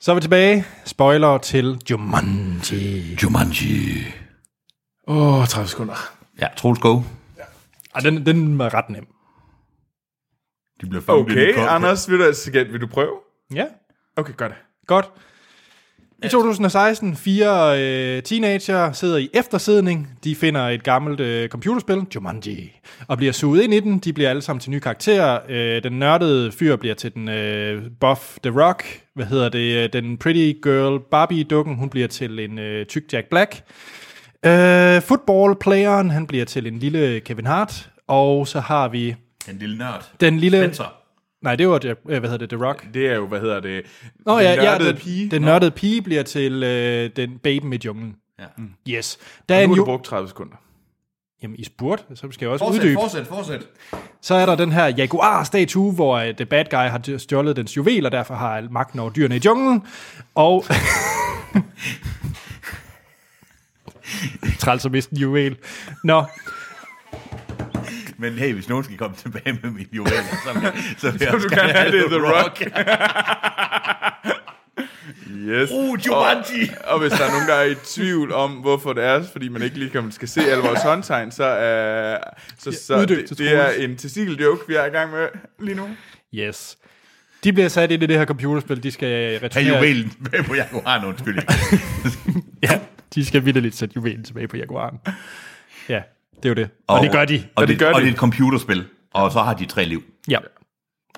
Speaker 1: Så er vi tilbage. Spoiler til Jumanji.
Speaker 2: Jumanji.
Speaker 3: Åh, oh, 30 sekunder.
Speaker 2: Ja, Troels Go.
Speaker 1: Ej, den, den var ret nem.
Speaker 2: De bliver fanget i
Speaker 3: Okay,
Speaker 2: en kok-
Speaker 3: Anders, vil du, altså, vil du prøve?
Speaker 1: Ja,
Speaker 3: Okay, gør det.
Speaker 1: godt. I 2016, fire øh, teenager sidder i eftersidning. De finder et gammelt øh, computerspil, Jumanji, og bliver suget ind i den. De bliver alle sammen til nye karakterer. Øh, den nørdede fyr bliver til den øh, buff The Rock. Hvad hedder det? Øh, Den pretty girl Barbie-dukken, hun bliver til en øh, tyk Jack Black. Øh, football-playeren, han bliver til en lille Kevin Hart. Og så har vi
Speaker 2: En lille nørd.
Speaker 1: den lille...
Speaker 2: Spencer.
Speaker 1: Nej, det var, Jack- øh, hvad hedder det, The Rock.
Speaker 3: Det er jo, hvad hedder det?
Speaker 1: Nå,
Speaker 3: den
Speaker 1: ja, ja,
Speaker 3: nørdede
Speaker 1: den,
Speaker 3: pige.
Speaker 1: den nørdede pige bliver til øh, den baben i junglen. Mm.
Speaker 2: Ja.
Speaker 1: Yes. Der er
Speaker 3: Nu
Speaker 1: en
Speaker 3: har du
Speaker 1: ju-
Speaker 3: brugt 30 sekunder.
Speaker 1: Jamen, I spurgte, så skal jeg også uddybe.
Speaker 2: fortsæt, fortsæt.
Speaker 1: Så er der den her jaguar-statue, hvor øh, The Bad Guy har d- stjålet dens juvel, og derfor har al magten over dyrene i junglen. Og... Træls at miste en juvel. Nå,
Speaker 2: Men hey, hvis nogen skal komme tilbage med min juvel, så, så, vil jeg
Speaker 3: Så du
Speaker 2: også
Speaker 3: kan
Speaker 2: gerne
Speaker 3: have det, The Rock.
Speaker 2: yes. Uh, Jumanji.
Speaker 3: Og hvis der er nogen, der er i tvivl om, hvorfor det er, fordi man ikke lige skal se alle vores håndtegn, så, uh, så, så
Speaker 1: uddyb
Speaker 3: det,
Speaker 1: til
Speaker 3: det er
Speaker 1: Troels.
Speaker 3: en testikel-joke, vi er i gang med lige nu.
Speaker 1: yes. De bliver sat ind i det her computerspil, de skal
Speaker 2: Tag
Speaker 1: returnere...
Speaker 2: juvelen med på Jaguar, undskyld.
Speaker 1: Ja, de skal vildt sætte juvelen tilbage på jaguaren. Ja, det er jo det. Og,
Speaker 2: Og-
Speaker 1: og det gør de.
Speaker 2: Og, det,
Speaker 3: det gør
Speaker 2: og
Speaker 3: de.
Speaker 2: det er et computerspil, og så har de tre liv.
Speaker 1: Ja.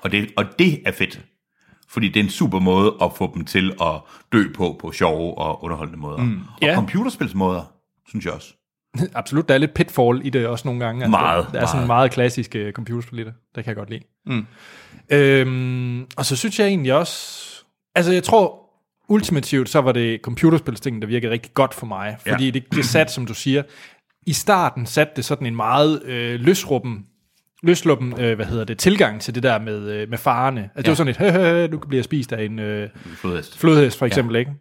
Speaker 2: Og det, og det er fedt. Fordi det er en super måde at få dem til at dø på, på sjove og underholdende måder. Mm. Og
Speaker 1: Ja.
Speaker 2: ja. computerspilsmåder, synes jeg også.
Speaker 1: Absolut, der er lidt pitfall i det også nogle gange. Altså,
Speaker 2: Meget,
Speaker 1: Der er sådan
Speaker 2: meget.
Speaker 1: meget klassisk uh, computerspil i det. Det kan jeg godt lide. Mm. Øhm, og så synes jeg egentlig også... Altså, jeg tror ultimativt, så var det computerspilstingen, der virkede rigtig godt for mig. Fordi
Speaker 2: Ja.
Speaker 1: det, det satte, som du siger, i starten satte det sådan en meget øh, løsruppen løsluppen, øh, hvad hedder det, tilgang til det der med, øh, med farerne. Altså, ja. det var sådan et, hø, hø, hø, nu bliver jeg spist af en øh,
Speaker 2: Flodhest.
Speaker 1: flodhest, for eksempel, ja. ikke?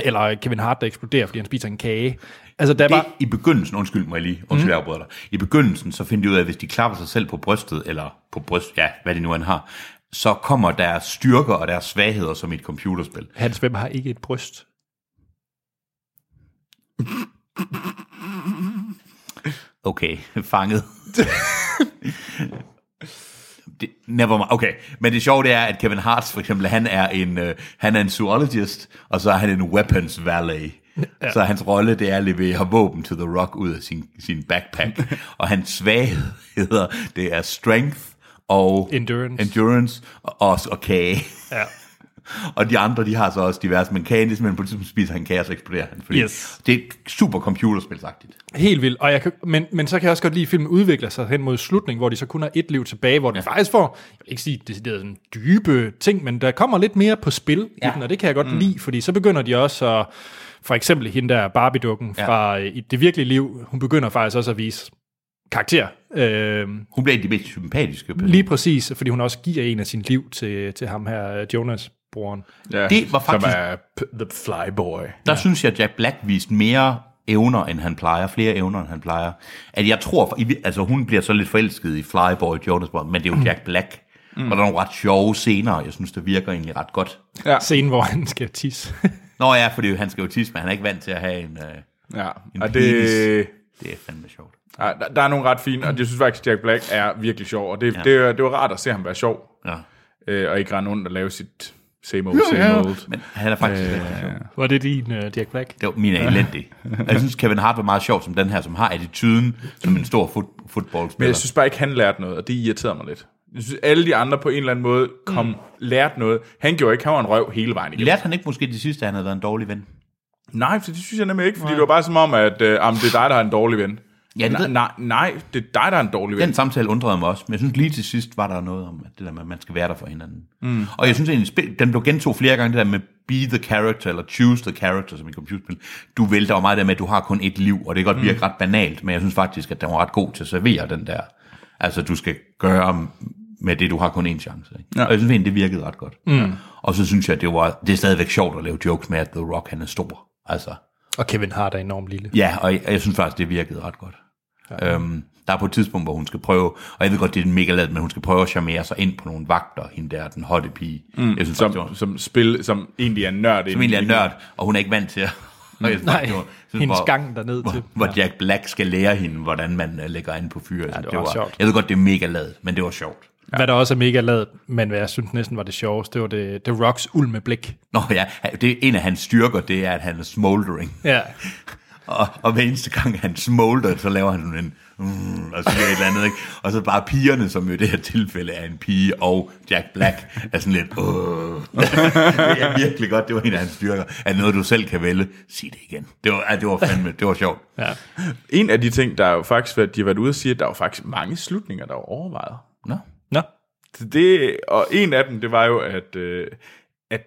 Speaker 1: Eller Kevin Hart, der eksploderer, fordi han spiser en kage. Altså, der
Speaker 2: Det,
Speaker 1: var...
Speaker 2: I begyndelsen, undskyld mig lige, undskyld mm. jeg afbryder dig. I begyndelsen, så finder de ud af, at hvis de klapper sig selv på brystet, eller på bryst, ja, hvad de nu end har, så kommer deres styrker og deres svagheder som i et computerspil.
Speaker 1: Hans Vemmer har ikke et bryst.
Speaker 2: Okay, fanget. det, never mind. Okay, men det sjove det er, at Kevin Hart for eksempel, han er en, øh, han er en zoologist, og så er han en weapons valet. Ja. Så hans rolle, det er at levere våben til The Rock ud af sin, sin backpack. og hans svagheder, det er strength og
Speaker 1: Endurance.
Speaker 2: endurance og, og, og kage.
Speaker 1: Ja.
Speaker 2: Og de andre, de har så også diverse, men kagen, det er simpelthen på et tidspunkt spiser han kage, og så eksploderer han. Fordi
Speaker 1: Yes.
Speaker 2: Det er super computerspilsagtigt.
Speaker 1: Helt vildt. Og jeg kan, men, men så kan jeg også godt lide, at filmen udvikler sig hen mod slutningen, hvor de så kun har et liv tilbage, hvor den ja. faktisk får, jeg vil ikke sige decideret sådan dybe ting, men der kommer lidt mere på spil ja. i den, og det kan jeg godt mm. lide, fordi så begynder de også at, for eksempel hende der Barbie-dukken ja. fra øh, i det virkelige liv, hun begynder faktisk også at vise karakter. Øh,
Speaker 2: Hun bliver en af de mest sympatiske personer.
Speaker 1: lige præcis, fordi hun også giver en af sin liv til, til ham her, øh, Jonas-broren.
Speaker 3: Ja.
Speaker 2: Det var faktisk-
Speaker 3: Som er p- The Flyboy.
Speaker 2: Der ja. synes jeg, at Jack Black viste mere evner, end han plejer. Flere evner, end han plejer. At jeg tror, for, altså hun bliver så lidt forelsket i Flyboy Jonas, Brown, men det er jo Jack Black. Mm. Og der er nogle ret sjove scener, og jeg synes, det virker egentlig ret godt.
Speaker 1: Ja. Scenen, hvor han skal tisse.
Speaker 2: Nå ja, fordi han skal jo tisse, men han er ikke vant til at have en... Øh,
Speaker 3: Ja,
Speaker 2: En
Speaker 3: og det,
Speaker 2: penis. det er fandme sjovt.
Speaker 3: ja, der, der er nogle ret fine, og jeg synes faktisk, Jack Black er virkelig sjov, og det, ja. det, det var rart at se ham være sjov,
Speaker 2: Ja.
Speaker 3: øh, og ikke rende rundt og lave sit Same old, same
Speaker 1: ja.
Speaker 3: old.
Speaker 2: Men han er faktisk... Øh,
Speaker 1: Var det din uh, Jack Black?
Speaker 2: det var min er elendig. Og Jeg synes, Kevin Hart er meget sjov som den her, som har attituden som en stor fut-
Speaker 3: Men
Speaker 2: fodboldspiller.
Speaker 3: jeg synes bare ikke, han lærte noget, og det irriterede mig lidt. Jeg synes, alle de andre på en eller anden måde kom, mm. lærte noget. Han gjorde ikke, han var en røv hele vejen igennem.
Speaker 2: Lærte han ikke måske det sidste, at han havde været en dårlig ven?
Speaker 3: Nej, for det synes jeg nemlig ikke, fordi det var bare som om, at øh, om det er dig, der er en dårlig ven.
Speaker 2: Ja, det
Speaker 3: nej,
Speaker 2: ved-
Speaker 3: nej, nej, det er dig, der er en dårlig ven.
Speaker 2: Den samtale undrede mig også, men jeg synes lige til sidst var der noget om at det der med, at man skal være der for hinanden. Mm. Og jeg synes egentlig, spil- den blev gentog flere gange, det der med be the character, eller choose the character, som i computerspil. Du vælter jo meget der med, at du har kun et liv, og det kan godt mm. virke ret banalt, men jeg synes faktisk, at den var ret god til at servere den der. Altså, du skal gøre med det, du har kun én chance. Ikke? Ja. Og jeg synes egentlig, det virkede ret godt. Mm. Og så synes jeg, at det, var, det er stadigvæk sjovt at lave jokes med, at The Rock han er stor. Altså,
Speaker 1: Og Kevin Hart er enormt lille.
Speaker 2: Ja, og jeg, og jeg synes faktisk, det virkede ret godt. Ja. Øhm, der er på et tidspunkt, hvor hun skal prøve, og jeg ved godt, det er mega lad, men hun skal prøve at charmere sig ind på nogle vagter, hende der, den hotte pige. Mm, jeg synes, som,
Speaker 3: som,
Speaker 2: faktisk,
Speaker 3: som, spil, som egentlig er nørd.
Speaker 2: som egentlig er nørd, og hun er ikke vant til at... og jeg synes
Speaker 1: Mm, Nej,
Speaker 2: faktisk, det var- synes,
Speaker 1: hendes
Speaker 2: hvor-
Speaker 1: gang derned
Speaker 2: hvor,
Speaker 1: til.
Speaker 2: Hvor Jack Black skal lære hende, hvordan man øh, lægger an på fyre. Ja,
Speaker 1: det var sjovt.
Speaker 2: Jeg ved godt, det er mega lad, men det var sjovt.
Speaker 1: Hvad der også er mega ladet, men hvad jeg synes næsten var det sjoveste, det var det, The Rocks ulme blik.
Speaker 2: Nå ja, det er en af hans styrker, det er, at han er smoldering.
Speaker 1: Ja.
Speaker 2: Og, og hver eneste gang han smolder, så laver han sådan en... Mm, og så et eller andet, ikke? Og så bare pigerne, som jo i det her tilfælde er en pige, og Jack Black er sådan lidt... Uh. det er virkelig godt, det var en af hans styrker. Er det noget, du selv kan vælge? Sig det igen. Det var, ja, det var fandme, det var sjovt.
Speaker 1: ja.
Speaker 3: En af de ting, der er jo faktisk, været, de har været ude og sige, at der er jo faktisk mange slutninger, der er overvejet.
Speaker 2: Nå.
Speaker 1: Nå,
Speaker 3: Så det, og en af dem, det var jo, at, øh, at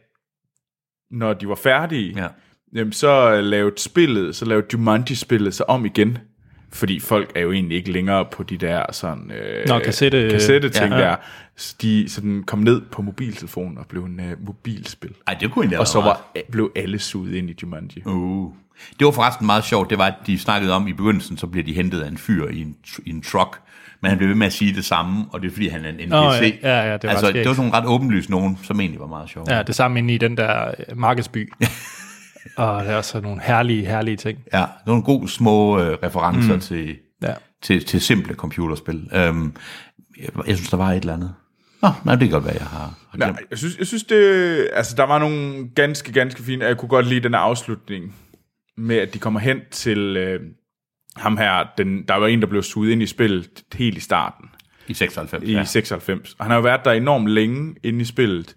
Speaker 3: når de var færdige,
Speaker 2: Ja.
Speaker 3: jamen, så øh, lavede spillet, så lavede Jumanji-spillet sig om igen. Fordi folk er jo egentlig ikke længere på de der sådan... Øh,
Speaker 1: Nå, kassette-
Speaker 3: kassette-ting
Speaker 1: ja.
Speaker 3: ja. der. Så de sådan kom ned på mobiltelefonen og blev en øh, mobilspil.
Speaker 2: Ej, det kunne egentlig
Speaker 3: Og
Speaker 2: have
Speaker 3: så
Speaker 2: været
Speaker 3: var, blev alle suget ind i Jumanji. Uh.
Speaker 2: Uh. Det var forresten meget sjovt, det var, at de snakkede om, i begyndelsen, så bliver de hentet af en fyr i en, tr- i en truck, men han blev ved med at sige det samme, og det er fordi, han er en NPC.
Speaker 1: ja, ja, ja, det var
Speaker 2: altså,
Speaker 1: skægt.
Speaker 2: det var sådan nogle ret åbenlyst nogen, som egentlig var meget sjovt.
Speaker 1: ja, det samme inde i den der øh, markedsby. og der er så nogle herlige, herlige ting.
Speaker 2: Ja, nogle gode små øh, referencer mm. til,
Speaker 1: Ja.
Speaker 2: til, til simple computerspil. Øhm, jeg, jeg synes, der var et eller andet. Nå, nej, det kan godt være, jeg har, har
Speaker 3: Nej,
Speaker 2: glemt.
Speaker 3: jeg synes, jeg synes det, altså, der var nogle ganske, ganske fine... Jeg kunne godt lide den her afslutning med, at de kommer hen til øh, ham her. Den, der var en, der blev suget ind i spillet helt i starten.
Speaker 2: I 96,
Speaker 3: i
Speaker 2: ja.
Speaker 3: ja. 96. Og han har jo været der enormt længe inde i spillet,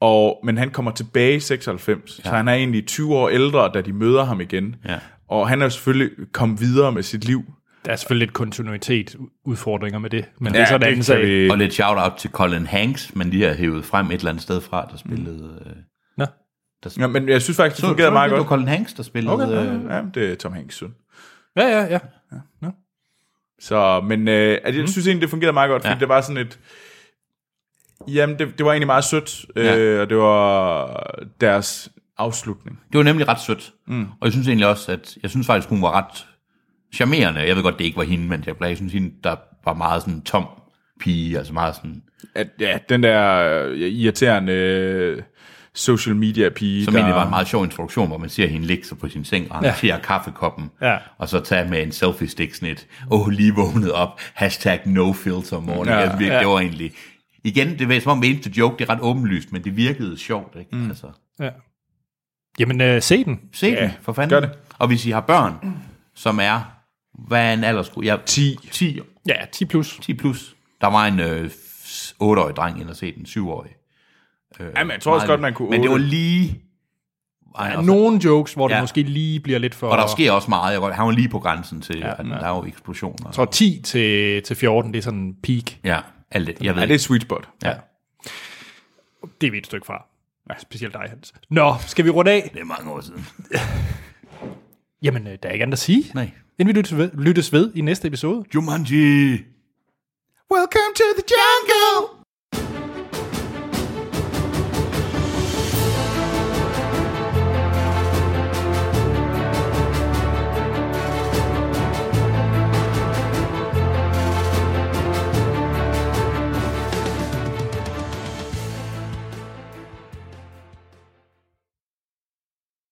Speaker 3: og, men han kommer tilbage i 96, ja. så han er egentlig 20 år ældre, da de møder ham igen.
Speaker 2: Ja.
Speaker 3: Og han er jo selvfølgelig kommet videre med sit liv.
Speaker 1: Der er selvfølgelig lidt kontinuitet udfordringer med det, men ja, det er sådan en anden
Speaker 3: kan
Speaker 1: sag.
Speaker 3: vi-
Speaker 2: Og lidt shout-out til Colin Hanks, men de har hævet frem et eller andet sted fra, der spillede... Øh,
Speaker 1: Nå.
Speaker 3: Ja, men jeg synes faktisk, det
Speaker 2: så,
Speaker 3: fungerede
Speaker 2: så
Speaker 3: meget
Speaker 2: det,
Speaker 3: godt.
Speaker 2: Det var Colin Hanks, der spillede...
Speaker 3: Okay, ja,
Speaker 2: øh,
Speaker 3: ja, ja, men det er Tom Hanks søn.
Speaker 1: Ja, ja, ja.
Speaker 3: Så, men øh, at jeg synes egentlig, det fungerede meget godt, fordi
Speaker 2: Ja.
Speaker 3: ja. det var sådan et... Jamen, det, det var egentlig meget sødt, øh, ja. og det var deres afslutning.
Speaker 2: Det var nemlig ret sødt. Mm. Og jeg synes egentlig også, at jeg synes faktisk, hun var ret charmerende. Jeg ved godt, det ikke var hende, men jeg, jeg synes, hende, der var meget sådan tom pige, altså meget sådan...
Speaker 3: At, ja, den der øh, irriterende øh, social media pige,
Speaker 2: Som
Speaker 3: der,
Speaker 2: egentlig var en meget sjov introduktion, hvor man ser hende ligge sig på sin seng, og han ja. kaffekoppen,
Speaker 1: Ja.
Speaker 2: og så tage med en selfie-stik sådan et, åh, oh, lige vågnet op, hashtag no filter morning. Ja.
Speaker 3: Ja.
Speaker 2: Altså, virkelig, ja. Det var egentlig... Igen, det var som om vi eneste joke, det er ret åbenlyst, men det virkede sjovt, ikke? Mm. Altså,
Speaker 1: ja. Jamen, øh, se den.
Speaker 2: se ja, den, for fanden.
Speaker 3: gør det.
Speaker 2: Og hvis I har børn, som er, hvad er en aldersgruppe? Ja,
Speaker 3: 10.
Speaker 2: 10,
Speaker 1: Ja, 10 plus.
Speaker 2: 10 plus. Der var en øh, 8-årig dreng ind og se den, 7-årig.
Speaker 3: Jamen, jeg tror også godt, man kunne...
Speaker 2: Men det var lige... Ej,
Speaker 1: Der er
Speaker 2: og så-
Speaker 1: nogle jokes, hvor ja.
Speaker 2: Ja.
Speaker 1: det måske lige bliver lidt for...
Speaker 2: Og der sker også meget. Jeg går- Han var lige på grænsen til, ja, at der er jo eksplosioner.
Speaker 1: Jeg tror, 10 til, til 14, det er sådan en peak.
Speaker 2: Ja, alt det. Jeg ved
Speaker 3: Ja, det er
Speaker 2: ikke.
Speaker 3: sweet spot.
Speaker 2: Ja.
Speaker 1: Det er vi et stykke fra. Ja, specielt dig, Hans. Nå, skal vi runde af?
Speaker 2: Det er mange år siden.
Speaker 1: Jamen, øh, der er ikke andet at sige.
Speaker 2: Nej.
Speaker 1: Inden vi lyttes ved, lyttes ved i næste episode.
Speaker 2: Jumanji! Welcome to the jungle!